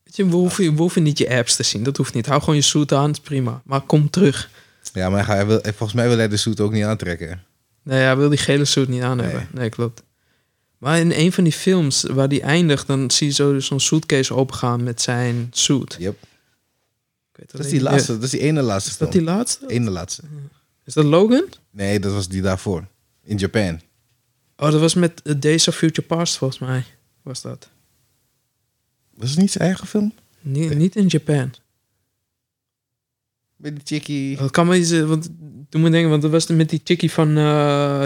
Weet je, we, hoeven, we hoeven niet je apps te zien. Dat hoeft niet. Hou gewoon je suit aan. Het is prima. Maar kom terug. ja, maar hij wil, volgens mij wil hij de suit ook niet aantrekken. Nee, hij wil die gele suit niet aan hebben. Nee, klopt. Maar in een van die films waar die eindigt... dan zie je zo dus zo'n suitcase opengaan met zijn suit. Yep. Ik weet Dat is alleen- die laatste, Ja, dat is die ene laatste. Is dat die film. laatste? ene laatste? Is dat Logan? Nee, dat was die daarvoor. In Japan. Oh, dat was met eh, Days of Future Past volgens mij. Was dat. Was het niet zijn eigen film? Ni- Niet in Japan. Met die chickie. Dat kan me iets... eh, Want, doe me denken, want dat was met die chickie van eh,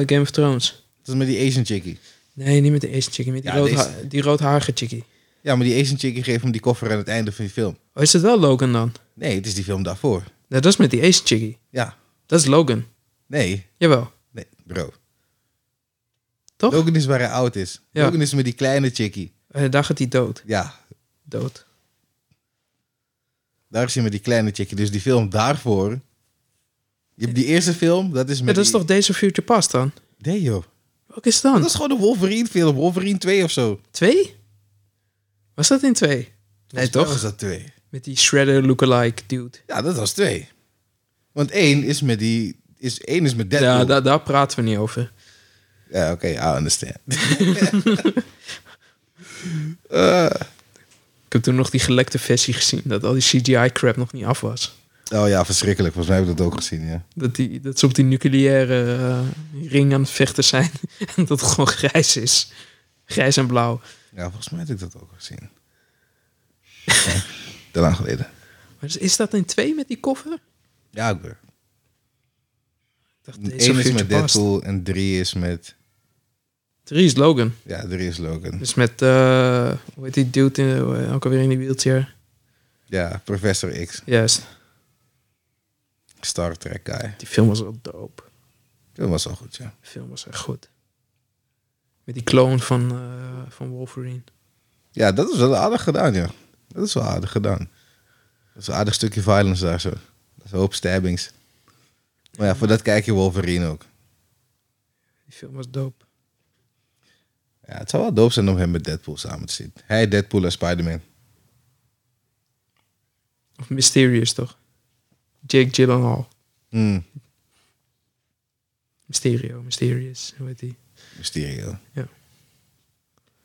Game of Thrones. Dat is met die Asian chickie. Nee, niet met de eerste chickie, met die, Ja, rood, deze. die roodharige chickie. Ja, maar die Asian chickie geeft hem die koffer aan het einde van die film. Oh, is dat wel Logan dan? Nee, het is die film daarvoor. Nee, dat is met die eerste chickie. Ja. Dat is Logan. Nee. Jawel. Nee, bro. Toch? Logan is waar hij oud is. Ja. Logan is met die kleine chickie. En Eh, daar gaat hij dood. Ja, Dood. daar is hij met die kleine chickie. Dus die film daarvoor... Je hebt die eerste film, dat is met Ja, dat is die- toch Days of Future Past dan? Nee joh. Welke is het dan? Dat is gewoon een Wolverine film. Wolverine 2 of zo. Twee? Was dat in twee? Nee, Volgens mij toch? was dat 2. Met die Shredder lookalike dude. Ja, dat was 2. Want 1 is met die... Is, 1 is met Deadpool. Ja, daar, daar praten we niet over. Ja, oké, I understand. Eh, Ik heb toen nog die gelekte versie gezien. Dat al die CGI-crap nog niet af was. oh ja, verschrikkelijk. Volgens mij heb ik dat ook gezien, ja. Dat, die, dat ze op die nucleaire eh, ring aan het vechten zijn. en dat het gewoon grijs is. Grijs en blauw. Ja, volgens mij heb ik dat ook gezien. Ja, te lang geleden. Maar is, is dat in twee met die koffer? Ik Ja, ik ben. dacht, Days of Eén is Future met Past. Deadpool en drie is met... Drie is Logan. Ja, drie is Logan. Dus met, eh, hoe heet die dude in, eh, ook alweer in die wheelchair? Ja, Professor X. Juist. Star Trek guy. Die film was wel dope. Dat was wel goed, ja. De film was echt goed. Met die clone van, eh, van Wolverine. Ja, dat is wel aardig gedaan, ja. Dat is wel aardig gedaan. Dat is een aardig stukje violence daar zo. Dat is een hoop stabbings. Maar ja, voor dat kijk je Wolverine ook. Die film was dope. Ja, het zou wel doof zijn om hem met Deadpool samen te zien. Hij, Deadpool en Spider-Man. Of Mysterious toch? Jake Gyllenhaal. Hmm, Mysterio, Mysterious. Hoe heet die? Mysterio. Ja.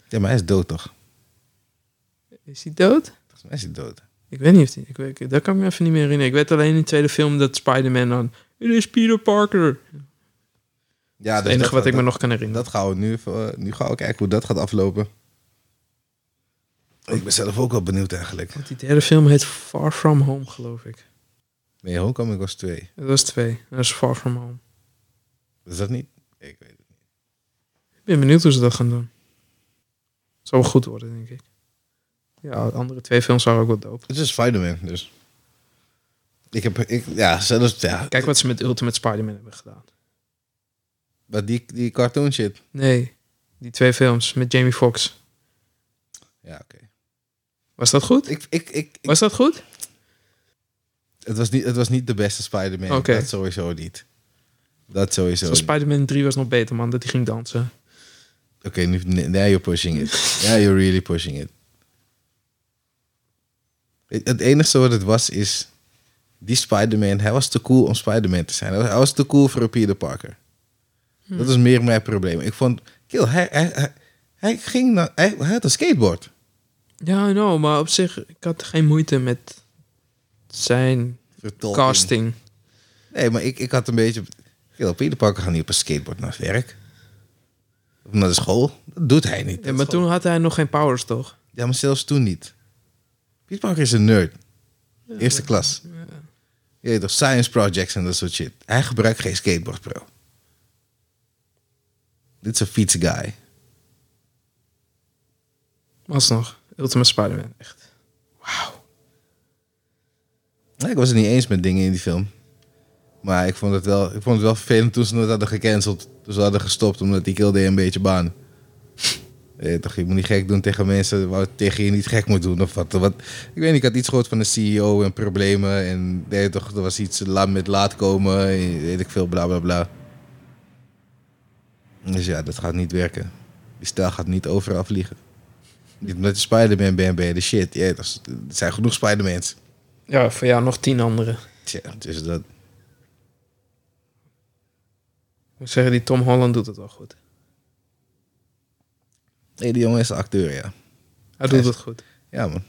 Ja, maar hij is dood toch? Is hij dood? Volgens mij is hij dood. Ik weet niet of hij... Ik weet, dat kan ik me even niet meer herinneren. Ik weet alleen in de tweede film dat Spider-Man dan... Het is Peter Parker. Ja, dus dus dat is het enige wat ik me nog kan herinneren. Dat gaan we nu, even, eh, nu gaan we kijken hoe dat gaat aflopen. Ik ben zelf ook wel benieuwd eigenlijk. Want die derde film heet Far From Home, geloof ik. Nee, Homecoming was twee. Dat was twee. Dat is Far From Home. Is dat niet? Ik weet het. Ik ben benieuwd hoe ze dat gaan doen. Het zou wel goed worden, denk ik. Ja, de andere twee films waren ook wel dope. Het is Spider-Man, dus. Ik heb, ik, ja, zelfs, ja. Kijk wat ze met Ultimate Spider-Man hebben gedaan. Maar die, die cartoon shit. Nee, die twee films met Jamie Foxx. Ja, oké. Was dat goed? Ik, ik, ik, ik- Was dat goed? het, was niet, het was niet de beste Spider-Man. Oké. Dat sowieso niet. Dat sowieso Zoals niet. Spider-Man 3 was nog beter, man. Dat hij ging dansen. Oké, nu, nee, now you're pushing it. Now you're really pushing it. Het, het enige wat het was is... Die Spider-Man, hij was te cool om Spider-Man te zijn. Hij was, hij was te cool voor een Peter Parker. Hmm. Dat is meer mijn probleem. Ik vond... Kill, hij, hij, hij, hij ging naar... Hij, hij had een skateboard. Ja, I know, maar op zich, ik had geen moeite met zijn Vertolking. casting. Nee, maar ik, ik had een beetje... Kill, Peter Parker gaat niet op een skateboard naar het werk. Of naar de school. Dat doet hij niet. Ja, maar toen had hij nog geen powers, toch? Ja, maar zelfs toen niet. Peter Parker is een nerd. Eerste klas. Je weet toch, science projects en dat soort shit. Hij gebruikt geen skateboard, bro. Dit is een fietsguy. Maar alsnog, Ultimate Spider-Man, echt. Nee, Ik was het niet eens met dingen in die film. Maar ik vond het wel, ik vond het wel vervelend toen ze het hadden gecanceld. Toen ze hadden gestopt, omdat die kilde een beetje baan. Je, weet toch, je moet niet gek doen tegen mensen waar tegen je niet gek moet doen. Of wat, wat. Ik weet niet, ik had iets gehoord van de CEO en problemen. En je weet toch, er was iets la- met laat komen. en Weet ik veel, bla bla bla. Dus ja, dat gaat niet werken. Die stijl gaat niet overal vliegen. Niet omdat je Spider-Man bent, ben je de shit. Je, weet toch, er zijn genoeg Spider-Mans. Ja, voor jou nog tien anderen. Tja, dus dat... Ik moet zeggen, die Tom Holland doet het wel goed. Nee, die jongen is een acteur, ja. Hij Hij doet is- het goed. Ja, man.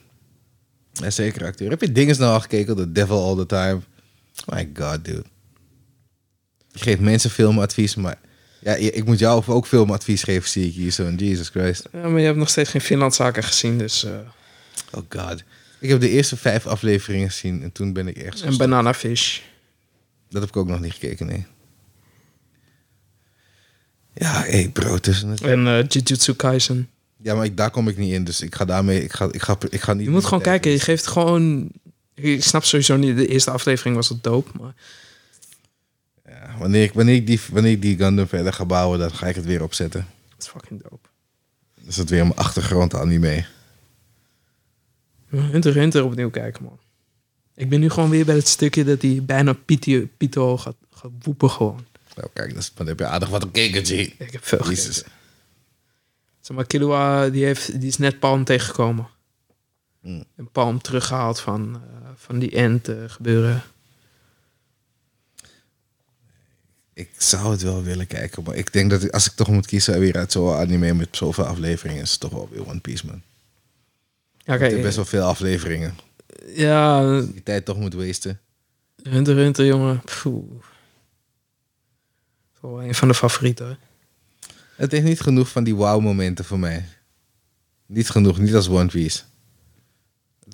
Hij is zeker een acteur. Heb je dingen nou al gekeken? The Devil All The Time. My god, dude. Je geeft mensen filmadvies, maar... Ja, je- ik moet jou ook filmadvies geven, zie ik hier zo. Jesus Christ. Ja, maar je hebt nog steeds geen Finlandzaken gezien, dus... eh, Oh god. Ik heb de eerste vijf afleveringen gezien en toen ben ik ergens... en Banana Fish. Dat heb ik ook nog niet gekeken, nee. Ja, hé hey bro, tussen het... En eh, Jujutsu Kaisen. Ja, maar ik, daar kom ik niet in, dus ik ga daarmee... Ik ga, ik ga, ik ga niet... Je moet gewoon kijken. Je geeft gewoon... Ik snap sowieso niet. De eerste aflevering was het dope. Maar Ja, wanneer, ik, wanneer, ik die, wanneer ik die Gundam verder ga bouwen, dan ga ik het weer opzetten. is fucking dope. Is het weer een achtergrond anime? Hunter x Hunter opnieuw kijken, man. Ik ben nu gewoon weer bij het stukje dat hij bijna Pito, Pito gaat, gaat woepen gewoon. Nou, kijk, dat is, dan heb je aardig wat gekeken, G. Ik heb veel Jezus. gekeken. Zeg maar, Killua, die, heeft, die is net Palm tegengekomen. Hmm. En Palm teruggehaald van, eh, van die end eh, gebeuren. Ik zou het wel willen kijken, maar ik denk dat ik- als ik toch moet kiezen weer uit zo'n anime met zoveel afleveringen, is het toch wel weer One Piece, man. Ja, Er kijk, zijn best wel veel afleveringen. ja, Die tijd toch moet wasten. Hunter x Hunter, jongen. Pfoe. Dat is wel een van de favorieten. hoor. Het heeft niet genoeg van die wow-momenten voor mij. Niet genoeg, niet als One Piece.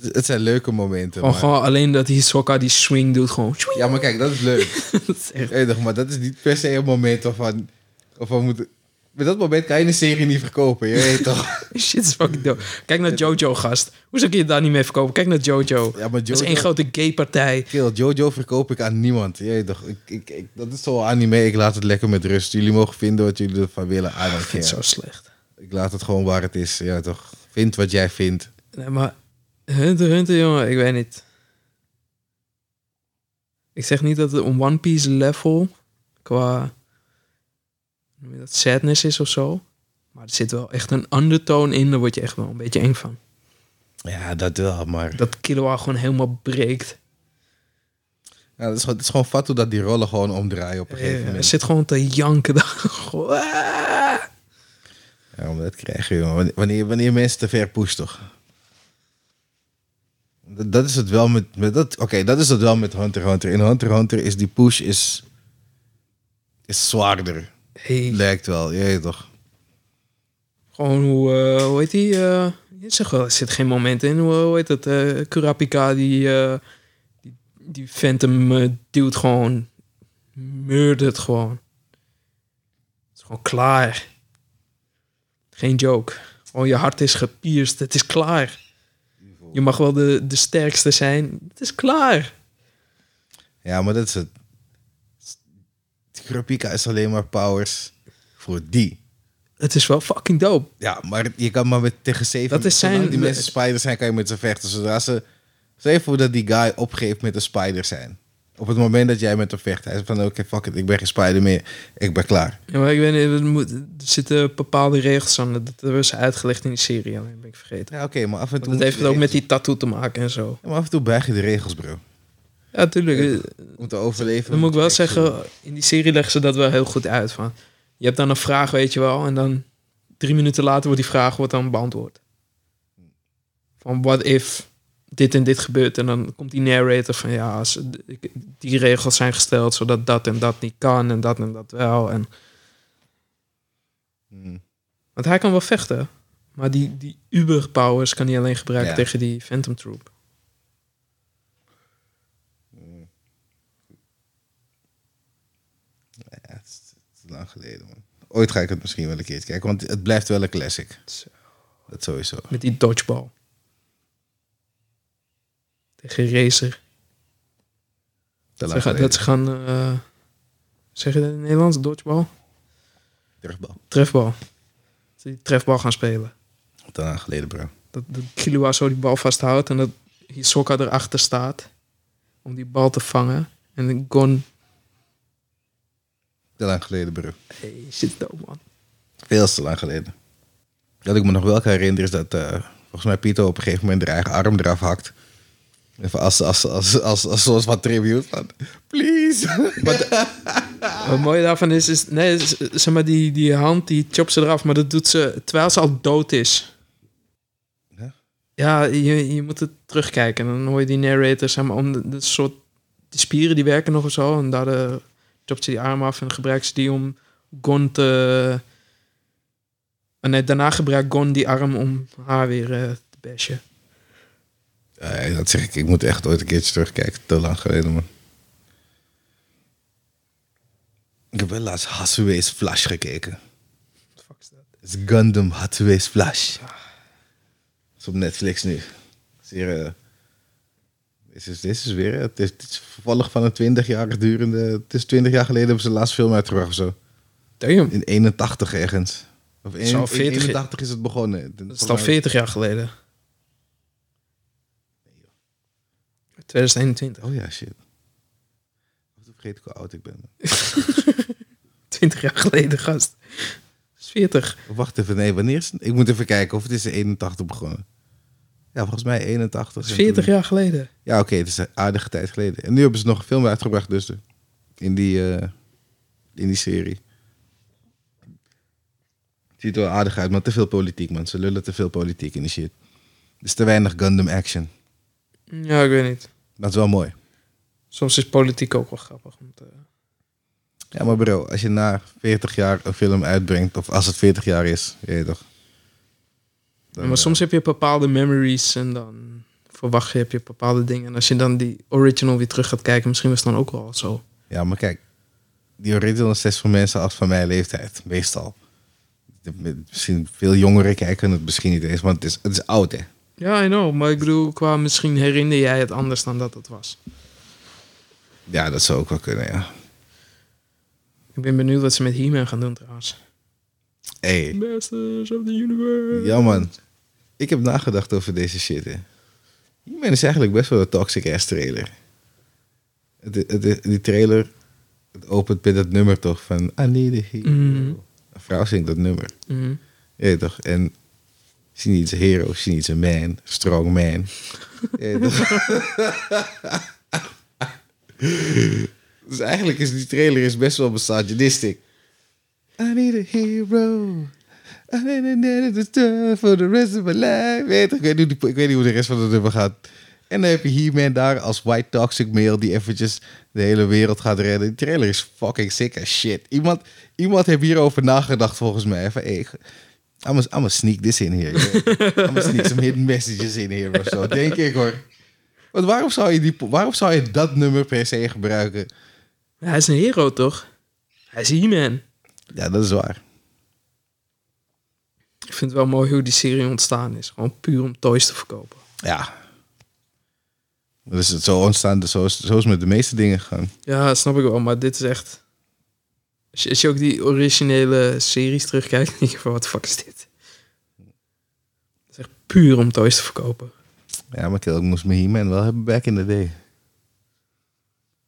Het het zijn leuke momenten. Gewoon, maar- gewoon alleen dat Hisoka die swing doet, gewoon. Ja, maar kijk, dat is leuk. Dat is echt- Enig, maar dat is niet per se een moment waarvan. Of we moeten. Met dat moment kan je een serie niet verkopen, je weet toch? Shit is fucking dope. Kijk naar Jojo, gast. Hoezo kun je daar niet mee verkopen? Kijk naar Jojo. Ja, maar Dat is Jojo- één grote gay-partij. Kill, Jojo verkoop ik aan niemand. Je weet toch? Ik, ik, ik- dat is zo'n anime, ik laat het lekker met rust. Jullie mogen vinden wat jullie ervan willen. I don't Ik Ah, vind het zo care. slecht. Ik laat het gewoon waar het is, ja toch? Vind wat jij vindt. Nee, maar Hunter x Hunter, jongen, ik weet niet. Ik zeg niet dat het een One Piece level qua hoe noem je dat sadness is of zo. Maar er zit wel echt een undertone in, daar word je echt wel een beetje eng van. Ja, dat wel, maar. Dat Killua gewoon helemaal breekt. Ja, dat is, gewoon- het is gewoon fat hoe dat die rollen gewoon omdraaien op een gegeven Hij moment. zit gewoon te janken. daar. Gewoon, ah. Ja, maar dat krijg je, jongen. Wanneer- Wanneer, wanneer mensen te ver pushen, toch? Dat, dat is het wel met... met dat- Oké, dat is het wel met Hunter x Hunter. In Hunter x Hunter is die push is, is zwaarder. Hey, Lijkt wel, je weet toch? Gewoon hoe, eh, hoe heet die? eh, je zegt wel, er zit geen moment in. Hoe, hoe heet dat? eh, Kurapika, die, eh, die, die Phantom eh, duwt gewoon. Murdert gewoon. Het is gewoon klaar. Geen joke. Gewoon je hart is gepierst. Het is klaar. Je mag wel de, de sterkste zijn. Het is klaar. Ja, maar dat is het. Kurapika is alleen maar powers voor die. Het is wel fucking dope. Ja, maar je kan maar met tegen zeven... Dat is zijn- zolang die mensen spider zijn, kan je met ze vechten. Zodra ze... Zeg je voor dat die guy opgeeft met een spider zijn. Op het moment dat jij met hem vecht. Hij is van, oké, fuck it, ik ben geen spider meer. Ik ben klaar. Ja, maar ik weet niet, er, moet- er zitten bepaalde regels aan. Dat dat was uitgelegd in die serie. Alleen ben ik vergeten. Ja, oké, maar af en toe... Want dat heeft moet het je ook met regels- die tattoo te maken en zo. Ja, maar af en toe buig je de regels, bro. Ja, tuurlijk. eh, Om te overleven. Dan moet ik wel moet je echt- zeggen, in die serie leggen ze dat wel heel goed uit. Van, je hebt dan een vraag, weet je wel, en dan drie minuten later wordt die vraag wordt dan beantwoord. Van what if dit en dit gebeurt? En dan komt die narrator van ja, als, ik- die regels zijn gesteld zodat dat en dat niet kan en dat en dat wel. En, Hm. want hij kan wel vechten, maar die, die uberpowers kan hij alleen gebruiken Ja. tegen die Phantom Troop. Ja, het is, het is lang geleden, man. Ooit ga ik het misschien wel een keer kijken, want het blijft wel een classic. Zo. Dat sowieso. Met die dodgeball. Tegen Racer. Te Dat lang ze, gaan- dat ze gaan... eh, zeg je dat in het Nederlands? Dodgeball? Terugbal. Trefbal. Dat ze die trefbal gaan spelen. Te lang geleden, bro. Dat, dat Killua zo die bal vasthoudt en dat Hisoka erachter staat. Om die bal te vangen. En dan Gon... Te lang geleden, bro. Hey, shit dope man. Veel te lang geleden. Wat ik me nog wel kan herinneren is dat eh, volgens mij Pieter op een gegeven moment haar eigen arm eraf hakt. Even als, als, als, als, als, soort van tribute. Van, please. Wat mooi daarvan is, is... Nee, is- zeg maar, die, die hand die chopt ze eraf. Maar dat doet ze terwijl ze al dood is. Ja, je, je moet het terugkijken. Dan hoor je die narrator, zeg maar, om de, de soort... Die spieren die werken nog of zo. En daar eh, chopt ze die arm af en gebruikt ze die om Gon te... En nee, daarna gebruikt Gon die arm om haar weer eh, te bashen. Eh, dat zeg ik, ik moet echt ooit een keertje terugkijken. Te lang geleden, man. Ik heb wel laatst Hatsue's Flash gekeken. What the fuck is dat? Het is Gundam Hatsue's Flash. is op Netflix nu. Zeer, eh, dit, is, dit is weer... Het is, het is vervolg van een 20 jaar durende... Het is 20 jaar geleden hebben ze de laatste film uitgebracht of zo. Damn. In 81 ergens. Of is al in, 40 in 81 is het begonnen. Dat is dan 40 jaar geleden. 2021. Oh ja, shit. Of dan vergeet ik hoe oud ik ben. 20 jaar geleden, gast. Dat is 40. Wacht even, nee, wanneer is het? Ik moet even kijken of het is in 81 begonnen. Ja, volgens mij 81. Dat is en 40 toen- jaar geleden. Ja, oké, het is een aardige tijd geleden. En nu hebben ze nog een film uitgebracht, dus de- in die, eh, in die serie. Het ziet er wel aardig uit, maar te veel politiek, man. Ze lullen te veel politiek in die shit. Er is te weinig Gundam action. Ja, ik weet niet. Dat is wel mooi. Soms is politiek ook wel grappig. Want, eh, Ja, maar bro, als je na 40 jaar een film uitbrengt, of als het 40 jaar is, je weet toch. Dan, maar eh, soms heb je bepaalde memories en dan verwacht je, heb je bepaalde dingen. En als je dan die original weer terug gaat kijken, misschien was het dan ook wel zo. Ja, maar kijk, die original is voor mensen als van mijn leeftijd, meestal. De- Misschien veel jongeren kijken het misschien niet eens, want het is, het is oud, hè. Ja, I know. Maar ik bedoel, qua misschien herinner jij het anders dan dat het was. Ja, dat zou ook wel kunnen, ja. Ik ben benieuwd wat ze met He-Man gaan doen trouwens. Hey. Masters of the Universe. Ja, man. Ik heb nagedacht over deze shit, hè. He-Man is eigenlijk best wel een toxic ass trailer. Het, het, het- die trailer het opent met dat nummer toch van... I need a hero. Mhm. Een vrouw zingt dat nummer. Mhm. Je weet toch? En she needs a hero, she needs a man, strong man. Je weet toch? dus eigenlijk is die trailer is best wel misogynistic. I need a hero. I need a need a star for the rest of my life. Weet toch? Ik weet, niet, hoe die- ik weet niet hoe de rest van het nummer gaat. En dan heb je He-Man daar als white toxic male die eventjes de hele wereld gaat redden. Die trailer is fucking sick as shit. Iemand, iemand heeft hierover nagedacht volgens mij. Van, hey, I'm a, I'm a sneak this in here. I'm a sneak some hidden messages in here of zo. Denk ik hoor. Want waarom zou, je die, waarom zou je dat nummer per se gebruiken? Hij is een hero, toch? Hij is He-Man. Ja, dat is waar. Ik vind het wel mooi hoe die serie ontstaan is. Gewoon puur om toys te verkopen. Ja. Dat is het zo ontstaan. dus Zo is, zo is het met de meeste dingen gegaan. Ja, dat snap ik wel, maar dit is echt... Als je, als je ook die originele series terugkijkt, denk je van, wat fuck is dit? Het is echt puur om toys te verkopen. Ja, maar kill, ik moest me He-Man wel hebben back in the day.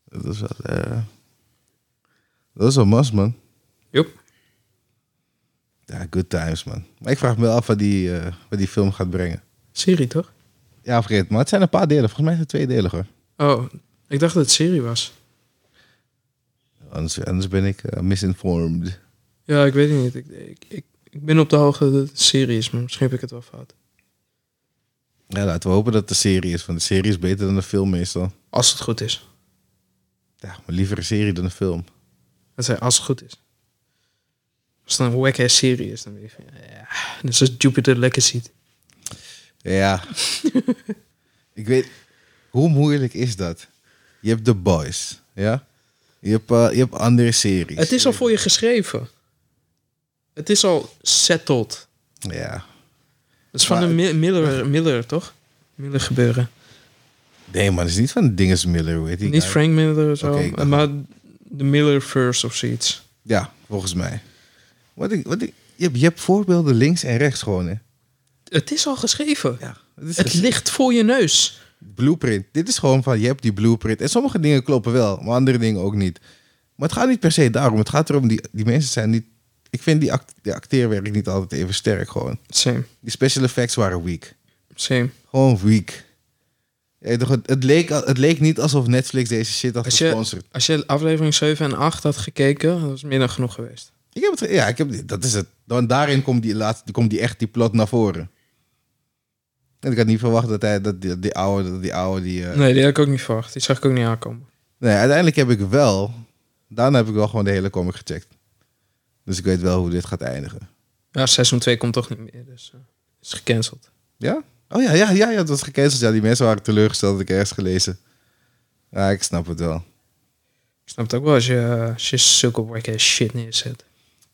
Dat was wel... eh, dat was wel must, man. Joep. Ja, good times, man. Maar ik vraag me wel af wat die, eh, wat die film gaat brengen. Serie, toch? Ja, vergeet het, Maar het zijn een paar delen. Volgens mij zijn het twee delen, hoor. Oh, ik dacht dat het serie was. Anders, anders ben ik eh, misinformed. Ja, ik weet het niet. Ik, ik, ik, ik ben op de hoogte dat het serie is, maar misschien heb ik het wel fout. Ja, laten we hopen dat het de serie is. Want de serie is beter dan de film meestal. Als het goed is. Ja, maar liever een serie dan een film. Dat zei als het goed is. Als het een wack-ass serie is, dan weet je van, ja, net zoals Jupiter Legacy. Ja. ik weet... Hoe moeilijk is dat? Je hebt The Boys, ja? Je hebt, eh, je hebt andere series. Het is al voor je geschreven. Het is al settled. Ja. Dat is van Maar de Mi- Miller, Miller, toch? Miller gebeuren. Nee, man. Het is niet van Dinges Miller, hoe heet die Niet guy? Frank Miller of zo, Oké, ik dacht- maar de Miller First of zoiets. Ja, volgens mij. Wat ik, wat ik, je, hebt, je hebt voorbeelden links en rechts gewoon, hè? Het is al geschreven. Ja. Het is Het ligt voor je neus. blueprint. Dit is gewoon van, je hebt die blueprint. En sommige dingen kloppen wel, maar andere dingen ook niet. Maar het gaat niet per se daarom. Het gaat erom, die, die mensen zijn niet... Ik vind die, act, die acteerwerk niet altijd even sterk gewoon. Same, Die special effects waren weak. same. Gewoon weak. Ja, toch, het, het, leek, al- het leek niet alsof Netflix deze shit had Als je- gesponsord. Als je aflevering 7 en 8 had gekeken, dat was meer dan genoeg geweest. Ik heb het, ge- ja, ik heb, dat is het. Want daarin komt die, laatste, komt die echt die plot naar voren. En ik had niet verwacht dat hij dat die, die oude, dat die oude die, eh, Nee, die had ik ook niet verwacht. Die zag ik ook niet aankomen. Nee, uiteindelijk heb ik wel. Daarna heb ik wel gewoon de hele comic gecheckt. Dus ik weet wel hoe dit gaat eindigen. Ja, seizoen 2 komt toch niet meer, dus eh, is gecanceld. Ja? Oh ja, ja, ja, ja, dat was gecanceld. Ja, die mensen waren teleurgesteld. Dat ik ergens gelezen. Ja, ik snap het wel. Ik snap het ook wel als je, eh, als je zulke wack-ass shit neerzet.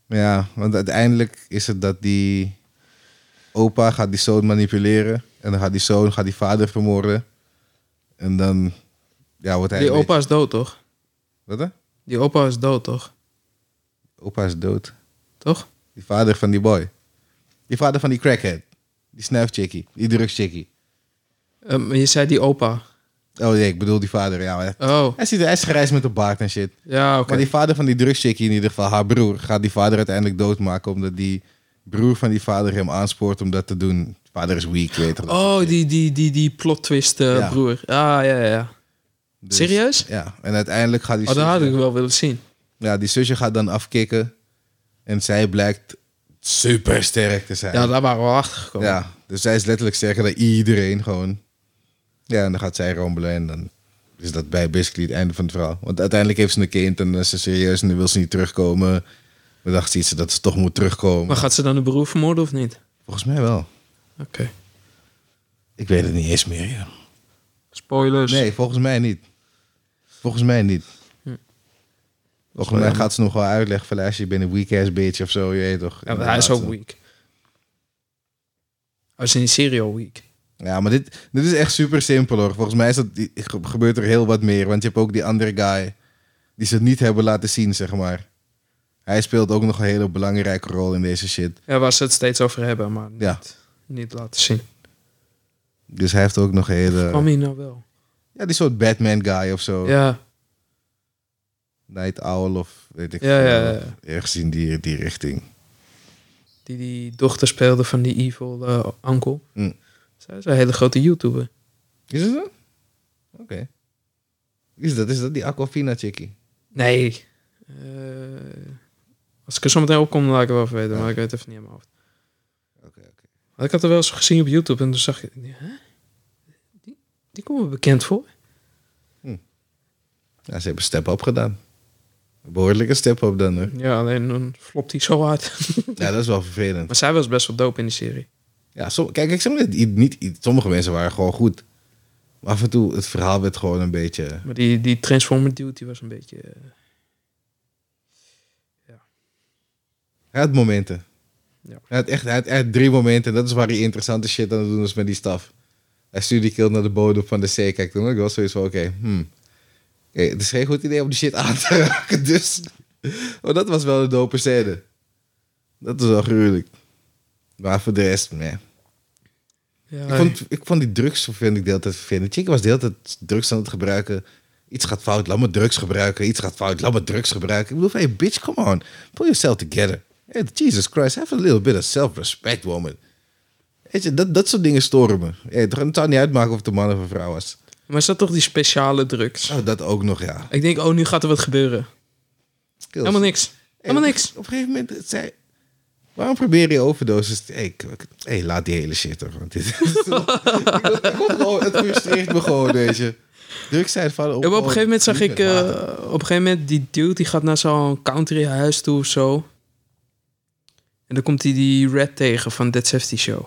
Ja, want uiteindelijk is het dat die opa gaat die zoon manipuleren. En dan gaat die zoon gaat die vader vermoorden. En dan ja, wordt hij... Die een beetje- opa is dood, toch? Wat hè? Die opa is dood, toch? Opa is dood. Toch? Die vader van die boy. Die vader van die crackhead. Die snuifchickie. Die drugschickie. Ehm, je zei die opa. Oh nee, ik bedoel die vader. Ja, maar Oh, hij, ziet, hij is gereisd met een baard en shit. ja, oké. Maar die vader van die drugschickie, in ieder geval haar broer, gaat die vader uiteindelijk doodmaken. Omdat die broer van die vader hem aanspoort om dat te doen. Vader is weak, weet je. Oh, die, die, die, die plot twist eh, Ja. broer. Ah, ja, ja, ja. Dus- Serieus? Ja, en uiteindelijk gaat die Oh, dat zusje- had ik wel willen zien. Ja, die zusje gaat dan afkicken. En zij blijkt super sterk te zijn. Ja, daar waren we al achter gekomen. Ja, dus zij is letterlijk sterker dan iedereen gewoon. Ja, en dan gaat zij rommelen en dan is dat bij basically het einde van het verhaal. Want uiteindelijk heeft ze een kind en dan is ze serieus en dan wil ze niet terugkomen. Maar dacht ze iets dat ze toch moet terugkomen. Maar gaat ze dan de broer vermoorden of niet? Volgens mij wel. Oké. Ik weet het niet eens meer, ja. Spoilers. Nee, volgens mij niet. Volgens mij niet. Hm. Volgens mij gaat ze nog wel uitleggen van luister, je bent een weak-ass bitch of zo, je weet toch. Ja, maar hij is ook weak. weak. Hij is in die serie al weak. Ja, maar dit, dit is echt super simpel hoor. Volgens mij is dat, die- ge- gebeurt er heel wat meer. Want je hebt ook die andere guy die ze niet hebben laten zien, zeg maar. Hij speelt ook nog een hele belangrijke rol in deze shit. Ja, waar ze het steeds over hebben, maar niet, Ja. niet laten zien. Dus hij heeft ook nog een Kwam hele... hij nou wel? Ja, die soort Batman guy of zo. Ja, Night Owl of weet ik Ja, veel. ja, ja. Ergens in die, die richting. die, die dochter speelde van die evil eh uncle. Hm. Zij is een hele grote YouTuber. Is het zo? Oké. Is, dat, is dat die Aquafina chickie? Nee. Eh, als ik er zo meteen op kom, dan laat ik het wel even weten. Maar ik weet het even niet in mijn hoofd. Oké, oké. Want ik had er wel eens gezien op YouTube en toen zag ik... Hè? Die, die komen we bekend voor. Ja, ze hebben step-up gedaan. Een Behoorlijke step-up dan hoor. Ja, alleen dan flopt hij zo hard. Ja, dat is wel vervelend. Maar zij was best wel dope in die serie. Ja, som- kijk, ik zeg maar, niet, niet, sommige mensen waren gewoon goed. Maar af en toe, het verhaal werd gewoon een beetje... Maar die, die Transformer dude, die was een beetje... eh, Hij had momenten. Ja. Hij, had echt, hij had echt drie momenten. Dat is waar hij interessante shit aan het doen is met die staf. Hij stuurde die kill naar de bodem van de zee. Kijk, toen had ik wel zoiets van, oké, hmm. Oké, het is geen goed idee om die shit aan te raken, dus... Maar dat was wel een dope scène. Dat was wel gruwelijk. Maar voor de rest, nee. ja, Ik vond, ik vond die drugs vind ik de hele tijd vervelend. Chick was de hele tijd drugs aan het gebruiken. Iets gaat fout, laat me drugs gebruiken. Iets gaat fout, laat me drugs gebruiken. Ik bedoel, van, hey bitch, come on. Pull yourself together. Hey, Jesus Christ, have a little bit of self-respect, woman. Weet je, dat, dat soort dingen storen me. Hey, het- het zou niet uitmaken of het een man of een vrouw was. Maar is dat toch die speciale drugs? Oh, dat ook nog, ja. Ik denk, oh, nu gaat er wat gebeuren. Skills. Helemaal niks. Hey, Helemaal op- niks. Op een gegeven moment het zei... Waarom probeer je overdoses? te- Hey, k- k- hey, laat die hele shit er. Want dit is- Ik word- ik word gewoon- het frustreert me gewoon, deze. Druk zijn van... oh, Ja, maar op een gegeven moment zag drink ik... met water. eh, op een gegeven moment, die dude die gaat naar zo'n country huis toe of zo. En dan komt hij die Red tegen van Dead 70 Show.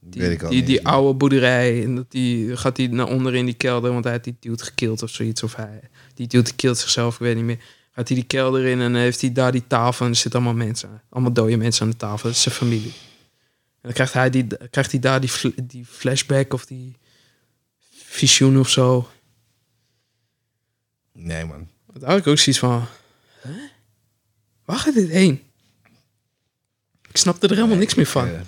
Die, Weet ik al die, niet die eens meer. oude boerderij. En dat die, gaat hij naar onder in die kelder. Want hij had die dude gekild of zoiets. Of hij, die dude kilt zichzelf, ik weet niet meer. Gaat hij die kelder in en heeft hij daar die tafel. En er zitten allemaal mensen. Allemaal dode mensen aan de tafel. Dat is zijn familie. En dan krijgt hij, die, krijgt hij daar die, fl- die flashback of die visioen of zo. Nee, man. Daar had ik ook zoiets van... Hè? Waar gaat dit heen? Ik snapte er helemaal niks meer van. Eh,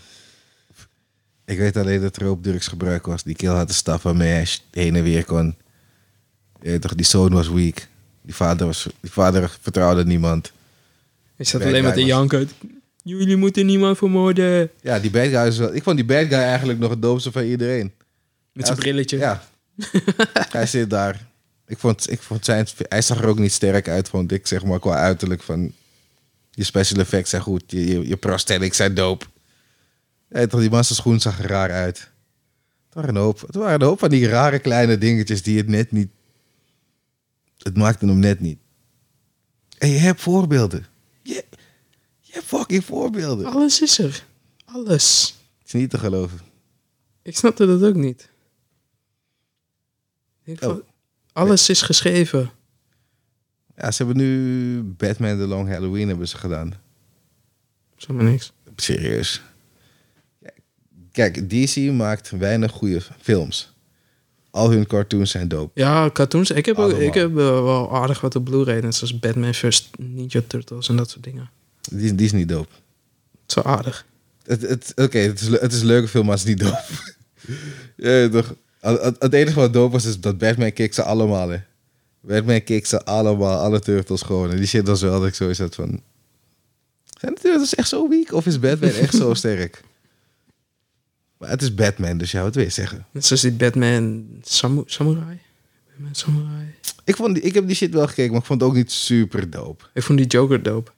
ik weet alleen dat er op drugs gebruik was. Die kill had een staf waarmee hij sh- heen en weer kon. Je weet toch, die zoon was weak. Die vader, was, die vader vertrouwde niemand. Hij zat Nee, alleen maar te kijk, janken. Jullie moeten niemand vermoorden. Ja, die bad guy is wel... Ik vond die bad guy eigenlijk nog het doopste van iedereen. Met zijn Ja, brilletje. Ja. hij zit daar. Ik vond, ik vond zijn, hij zag er ook niet sterk uit, vond ik, zeg maar, qua uiterlijk. Van, je special effects zijn goed, je, je, je prosthetics zijn dope. Ja, toch, die man zijn schoen zag er raar uit. Het waren, een hoop, het waren een hoop van die rare kleine dingetjes die het net niet... Het maakte hem net niet. En je hebt voorbeelden. Je, je hebt fucking voorbeelden. Alles is er. Alles. Het is niet te geloven. Ik snapte dat ook niet. Ik Oh. vond- Alles is geschreven. Ja, ze hebben nu Batman The Long Halloween hebben ze gedaan. Zeg maar niks. Serieus. Kijk, DC maakt weinig goede films. Al hun cartoons zijn dope. Ja, cartoons. Ik heb, ook, Allemaal. ik heb eh, wel aardig wat op Blu-ray. Net zoals Batman vs. Ninja Turtles en dat soort dingen. Die, is- die is niet dope. Zo aardig. Het, het, Oké, het, is, le- het is een leuke film, maar het is niet dope. ja, toch? Het, het- het enige wat dope was, is dat Batman keek ze allemaal, hè. Batman keek ze allemaal, alle Turtles gewoon. En die shit was wel dat ik zoiets had van... Zijn de Turtles echt zo weak? Of is Batman echt zo sterk? Maar het is Batman, dus ja, wat wil je zeggen? Net zoals die Batman Samu- Samurai. Batman Samurai. Ik, vond die, ik heb die shit wel gekeken, maar ik vond het ook niet super dope. Ik vond die Joker dope.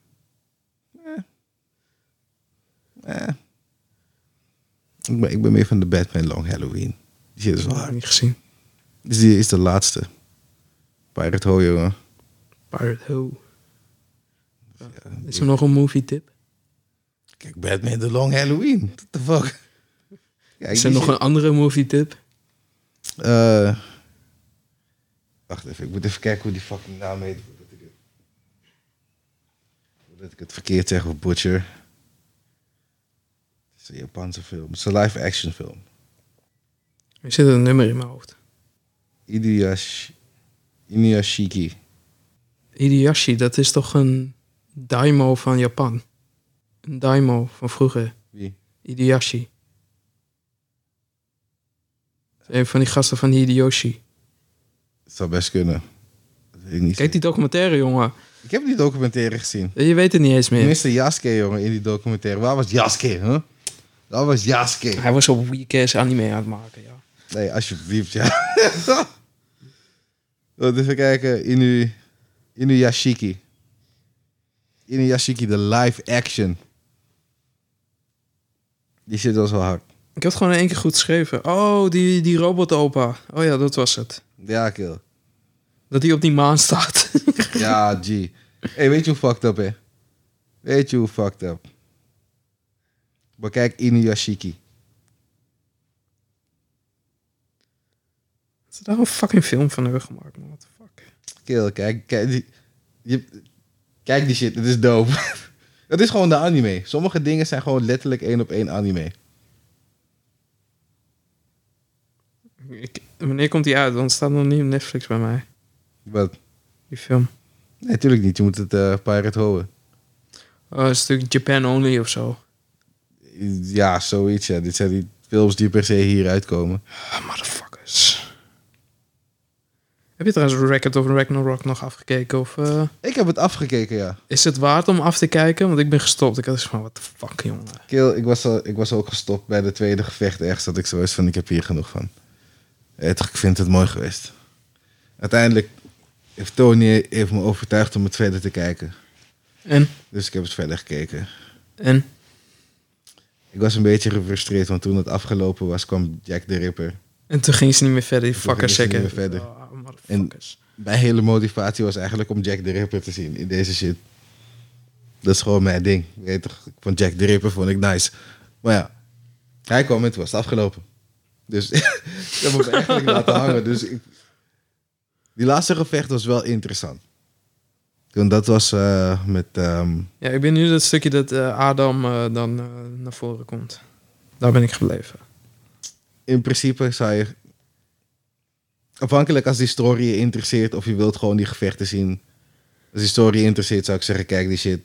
Eh. Ik, ben, ik ben meer van de Batman Long Halloween. Die shit is Dat heb waar. ik niet gezien. Dus die is de laatste. Pirate Ho, jongen. Pirate Ho. Is er nog een movie tip? Kijk, Batman The Long Halloween. What the fuck? Kijk, Is er die nog shit- een andere movie tip? Eh, wacht even, ik moet even kijken hoe die fucking naam heet. voordat ik het- Voordat ik het verkeerd zeg of butcher. Het is een Japanse film. Het is een live-action film. Er zit een nummer in mijn hoofd. Inuyasha- Inuyashiki. Hideyoshi, dat is toch een daimo van Japan? Een daimo van vroeger. Wie? Hideyoshi. Dat is Een van die gasten van Hideyoshi. Het zou best kunnen. Dat weet ik niet. Kijk die documentaire, jongen. Ik heb die documentaire gezien. Je weet het niet eens meer. Tenminste, Yasuke, jongen, in die documentaire. Waar was Yasuke, hè? Waar was Yasuke? Hij was op weekends anime aan het maken, ja. Nee, alsjeblieft, ja. Wat even kijken. Inu, Inuyashiki. Inuyashiki, de live action. Die zit wel zo hard. Ik heb het gewoon in één keer goed geschreven. Oh, die, die robot-opa. Oh ja, dat was het. Ja, kill. Dat hij op die maan staat. Ja, G. Hey, weet je hoe fucked up, hè? Weet je hoe fucked up? Bekijk Inuyashiki. Ze daar nou een fucking film van hebben gemaakt, man. What the fuck? Kill, kijk. Kijk die, je- kijk die shit, het is dope. Het is gewoon de anime. Sommige dingen zijn gewoon letterlijk één op één anime. Ik, wanneer komt die uit? Want het staat nog niet op Netflix bij mij. Wat? Die film. Nee, natuurlijk niet. Je moet het eh pirate houden. Oh, een stuk Japan Only of zo. Ja, zoiets. Ja. Dit zijn die films die per se hier uitkomen. Ah, motherfuckers. Heb je trouwens Record of Ragnarok nog afgekeken? Of eh, Ik heb het afgekeken, ja. is het waard om af te kijken? Want ik ben gestopt. Ik had eens van, what the fuck, jongen. Kill, ik was, al, ik was ook gestopt bij de tweede gevecht. Ergens dat ik zo is van, ik heb hier genoeg van. Eh, toch, ik vind het mooi geweest. Uiteindelijk heeft Tony heeft me overtuigd om het verder te kijken. En? Dus ik heb het verder gekeken. En? Ik was een beetje gefrustreerd, want toen het afgelopen was, kwam Jack the Ripper. En toen ging ze niet meer verder, die Toen fuckers gingen ze zeker. niet meer verder. Ah, motherfuckers. Mijn hele motivatie was eigenlijk om Jack the Ripper te zien in deze shit. Dat is gewoon mijn ding. Weet je toch? Ik vond Jack the Ripper vond ik nice. Maar ja, hij kwam en toen was het afgelopen. Dus ik heb hem eigenlijk laten hangen. Dus ik... Die laatste gevecht was wel interessant. Want dat was eh, met... ehm, Ja, ik ben nu dat stukje dat eh, Adam eh, dan eh, naar voren komt. Daar ben ik gebleven. in principe zou je... Afhankelijk als die story je interesseert of je wilt gewoon die gevechten zien. Als die story je interesseert zou ik zeggen, kijk die shit.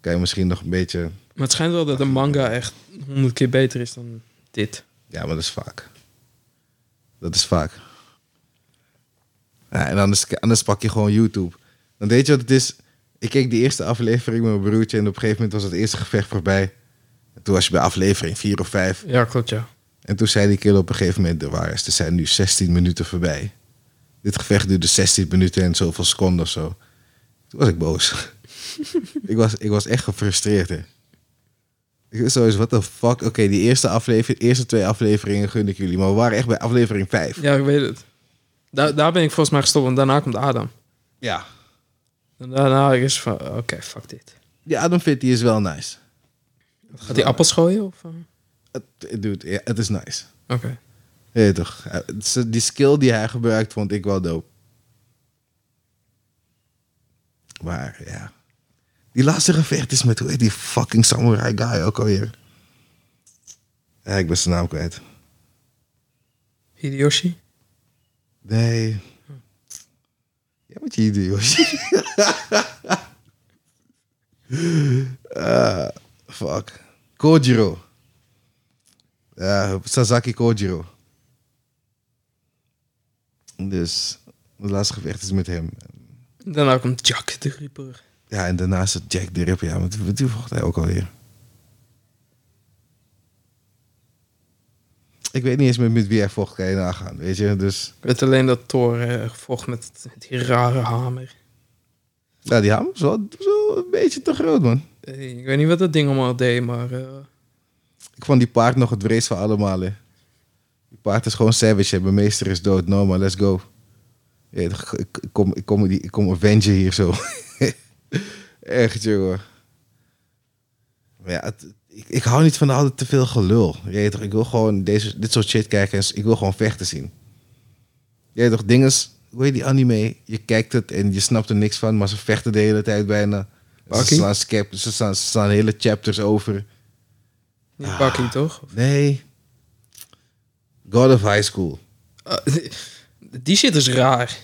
Kan je misschien nog een beetje... Maar het schijnt wel dat de manga echt honderd keer beter is dan dit. Ja, maar dat is vaak. Dat is vaak. Ja, en anders, anders pak je gewoon YouTube. Dan weet je wat het is. Ik keek die eerste aflevering met mijn broertje en op een gegeven moment was het eerste gevecht voorbij. En toen was je bij aflevering 4 of 5. Ja, klopt, ja. En toen zei die kerel op een gegeven moment de waarheid. Er zijn nu 16 minuten voorbij. Dit gevecht duurde 16 minuten en zoveel seconden of zo. Toen was ik boos. ik, was, ik was echt gefrustreerd, hè. Ik was sowieso, what the fuck? Oké, die eerste, aflevering, eerste twee afleveringen gun ik jullie. Maar we waren echt bij aflevering 5. Ja, ik weet het. Daar, daar ben ik volgens mij gestopt, want daarna komt Adam. Ja. En daarna is van, oké, fuck dit. Die Adam Fit, die is wel nice. Gaat hij appels gooien? Of, eh? Het- Dude, ja, het is nice. Oké. Ja, toch. Eh, het is- Die skill die hij gebruikt vond ik wel dope. Maar ja. Die laatste gevecht is met hoe heet die fucking samurai guy ook alweer. Ja, ik ben zijn naam kwijt. Hideyoshi? Nee. Ja, wat je hier doet, Yoshi. Ah, fuck. Kojiro. Ja, Sasaki Kojiro. Dus het laatste gevecht is met hem. Daarna komt Jack de Ripper. Ja, en daarnaast het Jack de Ripper. Ja, want wat- die vocht hij ook alweer. Ik weet niet eens meer met wie hij vocht. Kan je nagaan, weet je? Dus, Ik weet alleen dat Thor eh, vocht met die rare hamer. ja, die hamer was wel, wel een beetje te groot, man. Eh, Ik weet niet wat dat ding allemaal deed, maar... eh, Ik vond die paard nog het vrees van allemaal, hè. Die paard is gewoon savage, hè. Mijn meester is dood. No, man, let's go. Ja, toch, ik, ik kom, ik, kom, die- ik kom avengen hier zo. Echt, jongen. Maar ja, het- ik, ik hou niet van altijd te veel gelul. Je weet toch, ik wil gewoon deze, dit soort shit kijken. En s- ik wil gewoon vechten zien. Je weet toch, dingen... Hoe heet die anime? Je kijkt het en je snapt er niks van. Maar ze vechten de hele tijd bijna. Ze Baki? slaan, scap- ze, slaan, ze slaan hele chapters over. Niet Bucky, toch? Nee. God of High School. Ah, die shit is raar.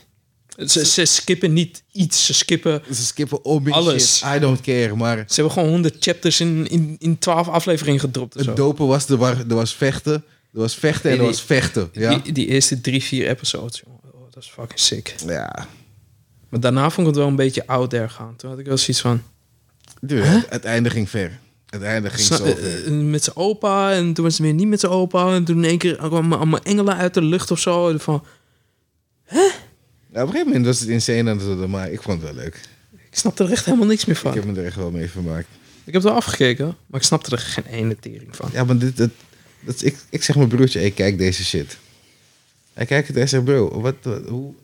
Ze, ze skippen niet iets. Ze skippen... Ze skippen om in Alles. shit. I don't care. Maar Ze hebben gewoon 100 chapters in, in, in 12 afleveringen gedropt. of zo. het dopen was, er, wa- er was vechten. Er was vechten en er Nee, was vechten. Ja. Die, die eerste drie, vier episodes, jongen. Oh, dat is fucking sick. ja. Maar daarna vond ik het wel een beetje out there gaan. Toen had ik wel zoiets van... Dude, het, het einde ging ver. Het einde ging sna- zo eh, ver. eh, met zijn opa en toen was het weer niet met zijn opa. En toen in één keer kwamen allemaal engelen uit de lucht of zo. En Van, Nou, op een gegeven moment was het insane aan het worden, maar ik vond het wel leuk. ik snap er echt helemaal niks meer van. Ik heb me er echt wel mee vermaakt. Ik heb het wel afgekeken, maar ik snapte er geen ene tering van. Ja, maar dit, dat, dat, is- ik, ik zeg mijn broertje, hey, kijk deze shit. Hij kijkt het en hij zegt, bro, wat, wat- hoe?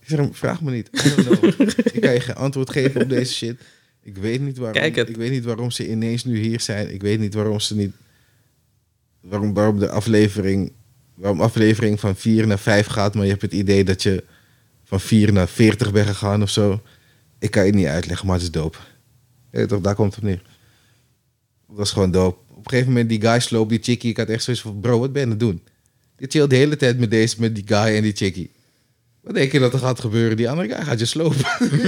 Ik zeg hem, vraag me niet. I don't know. ik kan je geen antwoord geven op deze shit. Ik weet niet waarom. Kijk het. Ik weet niet waarom ze ineens nu hier zijn. Ik weet niet waarom ze niet... Waarom, waarom de aflevering... Waarom aflevering van 4 naar 5 gaat, maar je hebt het idee dat je van 4 naar 40 bent gegaan of zo. Ik kan het niet uitleggen, maar het is dope. Ja, toch, daar komt het op neer. Dat was gewoon dope. Op een gegeven moment die guy sloop die chickie. Ik had echt zoiets van, bro, wat ben je aan het doen? Je chillt de hele tijd met, deze, met die guy en die chickie. Wat denk je dat er gaat gebeuren? Die andere guy gaat je slopen.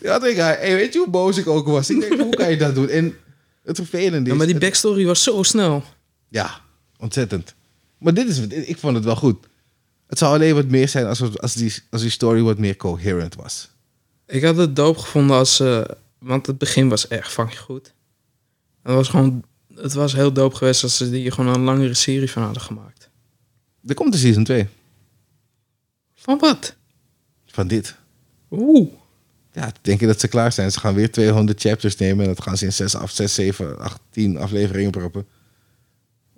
die andere guy, hey, weet je hoe boos ik ook was? Ik denk, hoe kan je dat doen? En het vervelende Ja, is... maar die het- backstory was zo snel. ja, ontzettend. Maar dit is, ik vond het wel goed. Het zou alleen wat meer zijn als, het- als, die, als die story wat meer coherent was. Ik had het doop gevonden als... eh, want het begin was echt fucking goed. Het was gewoon... Het was heel doop geweest als ze hier gewoon een langere serie van hadden gemaakt. Er komt de season 2 Van wat? van dit. Oeh. Ja, denk je dat ze klaar zijn. Ze gaan weer 200 chapters nemen en dat gaan ze in 6, af, 6 7, 8, 10 afleveringen proppen.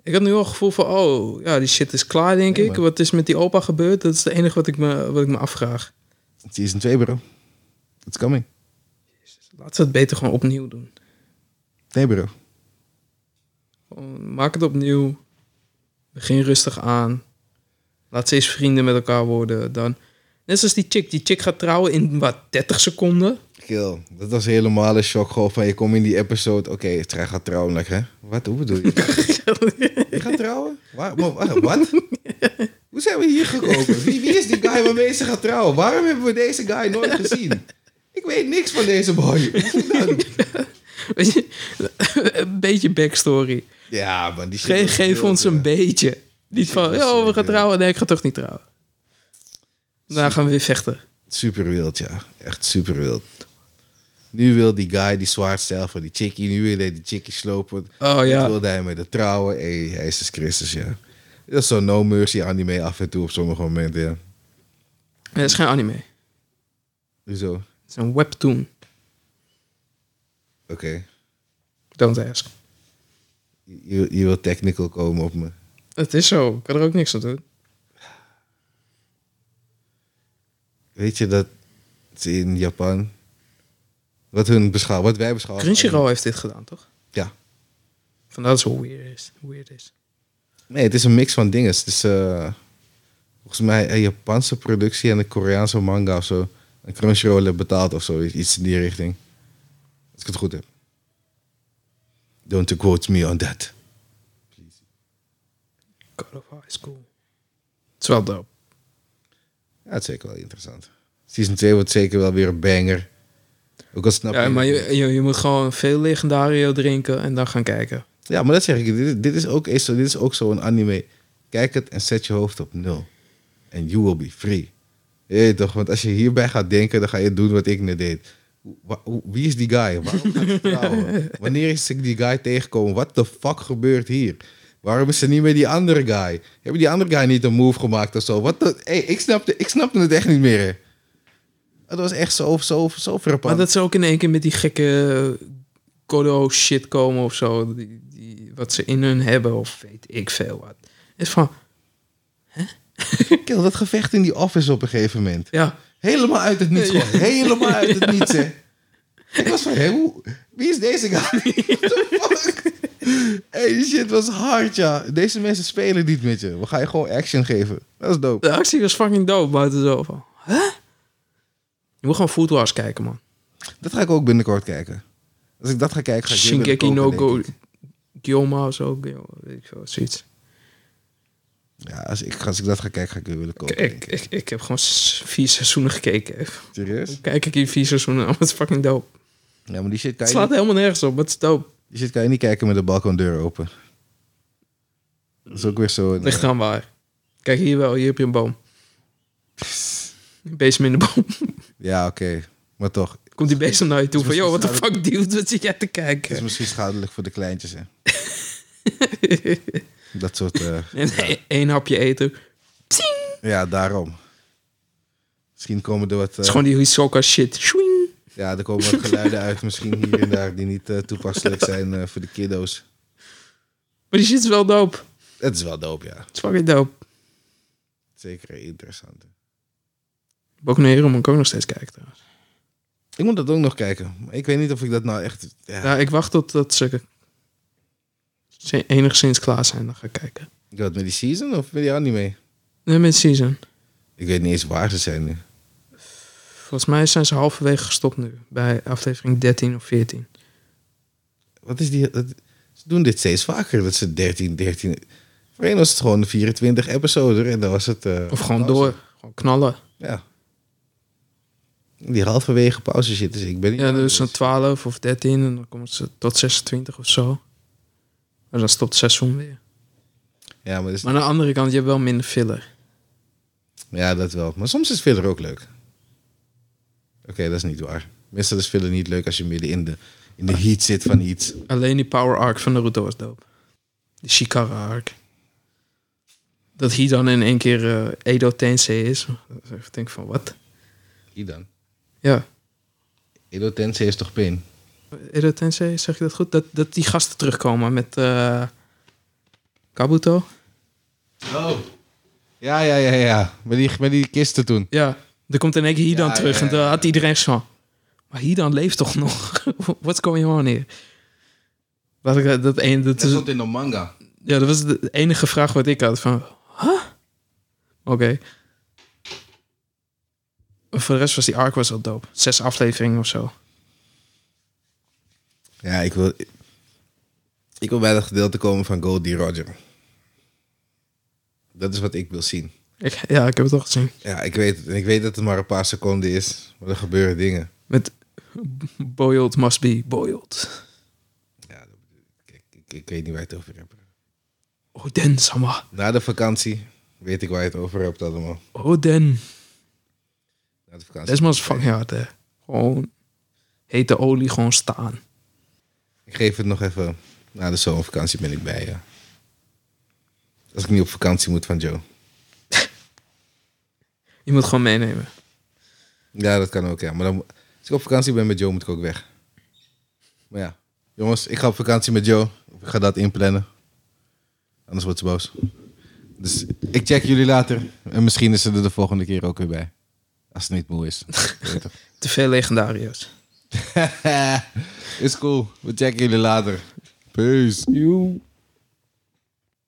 Ik had nu al het gevoel van... Oh, ja, die shit is klaar, denk Ja, ik. maar- Wat is met die opa gebeurd? Dat is het enige wat ik me, wat ik me afvraag. Season 2, bro. It's coming. Laten ze het beter gewoon opnieuw doen. Nee, bro. Gewoon, maak het opnieuw. Begin rustig aan. Laat ze eens vrienden met elkaar worden. Dan... Net zoals die chick. Die chick gaat trouwen in, wat, 30 seconden? Kill. Dat was helemaal een shock. Gewoon van je komt in die episode. Oké, het hij gaat trouwen. Like, hè? Wat? Hoe bedoel je? je gaat trouwen? Waar, maar waar- wat? Hoe zijn we hier gekomen? Wie, wie is die guy waarmee ze gaat trouwen? Waarom hebben we deze guy nooit gezien? Ik weet niks van deze boy. Weet je, een beetje backstory. Ja, man. Die shit Ge- was geef wild, ons een ja. beetje. Niet van, was oh, we wild, gaan ja. trouwen. Nee, ik ga toch niet trouwen. Daarna gaan we weer vechten. Super wild, ja. Echt super wild. Nu wil die guy die zwaardstijl van die chickie. Nu wil hij die chickie slopen. Oh Nu ja, wilde hij met de trouwen. Hey, Jezus Christus, ja. Dat is zo'n no mercy anime af en toe op sommige momenten, ja. dat is geen anime. Het Hoezo? Oké. is een webtoon. Don't ask. Je, je wil technical komen op me. Het is zo. Ik kan er ook niks aan doen. Weet je dat ze in Japan... Wat hun beschouwen, wat wij beschouwen... Crunchyroll heeft dit gedaan, toch? Ja. Vandaar dat het zo weird is. Weird is. Nee, het is een mix van dingen. Het is eh, volgens mij een Japanse productie en een Koreaanse manga of zo. En Crunchyroll heeft betaald of zo. Iets in die richting. Als ik het goed heb. Don't quote me on that. God of High School. Het is wel dope. Ja, het is zeker wel interessant. Season 2 wordt zeker wel weer een banger. Ook al snap Ja, je- maar je, je, je moet gewoon veel legendario drinken en dan gaan kijken. Ja, maar dat zeg ik. Dit, dit is ook is zo- dit is ook zo'n anime. Kijk het en zet je hoofd op nul. En you will be free. Je weet toch? Want als je hierbij gaat denken, dan ga je doen wat ik net deed. Wa- hoe- Wie is die guy? Waarom gaat hij trouwen? Wanneer is ik die guy tegengekomen? What the fuck gebeurt hier? Waarom is er niet meer die andere guy? Hebben die andere guy niet een move gemaakt of zo? Wat de... hey, ik, snapte, ik snapte het echt niet meer. hè. Het was echt zo, zo, zo Maar verpand. dat ze ook in één keer met die gekke Kodo shit komen of zo. Die, die, wat ze in hun hebben of weet ik veel wat. Het is van, Kill, dat gevecht in die office op een gegeven moment. ja, Helemaal uit het niets. gewoon. Helemaal uit het niets, hè. Ik was van, hé, hoe- wie is deze guy? What the fuck? Hey, die shit was hard, ja. Deze mensen spelen niet met je. We gaan je gewoon action geven. Dat is dope. de actie was fucking dope buiten zo van. Hè? Je moet gewoon Food Wars kijken, man. Dat ga ik ook binnenkort kijken. Als ik dat ga kijken, ga ik weer Shinkeki willen no kopen, Go, denk ik. Gyoma of zo, Gyoma, weet ik veel, zoiets. Ja, als ik, als ik dat ga kijken, ga ik weer willen kopen. denk Ik, ik. ik, ik heb gewoon s- vier seizoenen gekeken. Serieus? Kijk ik in vier seizoenen, oh, het is fucking dope. Ja, maar die shit, kan Het je slaat niet, helemaal nergens op, maar het is dope. die shit kan je niet kijken met de balkondeur open. Dat is ook weer zo... een- Ligt aan waar. Kijk, hier wel. Hier heb je een boom. Een bezem in de boom. Ja, oké. Maar toch, Komt die bezem naar je toe van... Misschien Yo, what the staat fuck, dude? Wat zit jij te het is kijken? misschien schadelijk voor de kleintjes, hè. Dat soort... eh, En één hapje eten. Het Ja, daarom. Misschien komen er wat, eh, is gewoon die Hisoka shit. Swing. ja, er komen wat geluiden uit, misschien hier en daar, die niet eh, toepasselijk zijn eh, voor de kiddo's. Maar die shit is wel dope. Het Het is wel dope, ja. is fucking dope. Zeker interessant. Boku no Hero moet ik ook nog steeds kijken trouwens. Ik moet dat ook nog kijken. maar Ik weet niet of ik dat nou echt... Ja, Ja, ik wacht tot dat ze... ze enigszins klaar zijn. Dan ga ik kijken. Wat, met die season of met die anime? Nee, met season. Ik weet niet eens waar ze zijn nu. Volgens mij zijn ze halverwege gestopt nu. Bij aflevering 13 of 14. Wat is die... dat- ze doen dit steeds vaker, dat ze 13, 13... Voorheen was het gewoon 24 episoden en dan was het... eh, Of gewoon pauze. door. Gewoon knallen. Ja. Die halverwege pauze zitten, dus ik ben niet... Ja, bang dus voor zo'n 12 of 13 en dan komen ze tot 26 of zo. En dan stopt het seizoen weer. Ja, maar dat is Maar aan de andere kant, je hebt wel minder filler. Ja, dat wel. Maar soms is filler ook leuk. Oké, dat is niet waar. Meestal is filler niet leuk als je midden in de, in de heat zit van iets. Alleen die power arc van Naruto is dope. De Shikara arc. Dat hij dan in één keer eh, Edo Tensei is. Ik denk van, wat? Idan. Ja, Edo Tensei is toch pijn? Edo Tensei, zeg je dat goed? Dat, dat die gasten terugkomen met eh, Kabuto. Oh. Ja, ja, ja, ja. Met die, met die kisten toen. Ja, er komt in één keer Hidan Ja, terug. ja, ja. En dan had iedereen zo van... Maar Hidan leeft toch nog? What's going on here? Dat, ik, dat, een, dat, is, in de manga. ja, dat was de enige vraag wat ik had. Van, huh? Oké. Voor de rest was die arc was al dope. Zes afleveringen of zo. Ja, ik wil... Ik wil bij dat gedeelte komen van Goldie Roger. Dat is wat ik wil zien. Ik, ja, ik heb het al gezien. Ja, ik weet het. En ik weet dat het maar een paar seconden is. Maar er gebeuren dingen. Met boiled must be boiled. Ja, dat bedoel ik. ik, ik, ik weet niet waar je het over hebt. Oden, sama. Na de vakantie weet ik waar je het over hebt allemaal. Oden. Na de vakantie. Desmond is fucking hard, hè. Gewoon hete olie, gewoon staan. Ik geef het nog even. Na de zomervakantie ben ik bij je. Als ik niet op vakantie moet van Joe. Je moet gewoon meenemen. Ja, dat kan ook, ja. Maar dan, als ik op vakantie ben met Joe, moet ik ook weg. Maar ja, jongens, ik ga op vakantie met Joe. Ik ga dat inplannen. Anders wordt ze boos. Dus ik check jullie later. En misschien is ze er de volgende keer ook weer bij. Als het niet moe is. Weet toch? Te veel legendario's. is cool. We checken jullie later. Peace. You.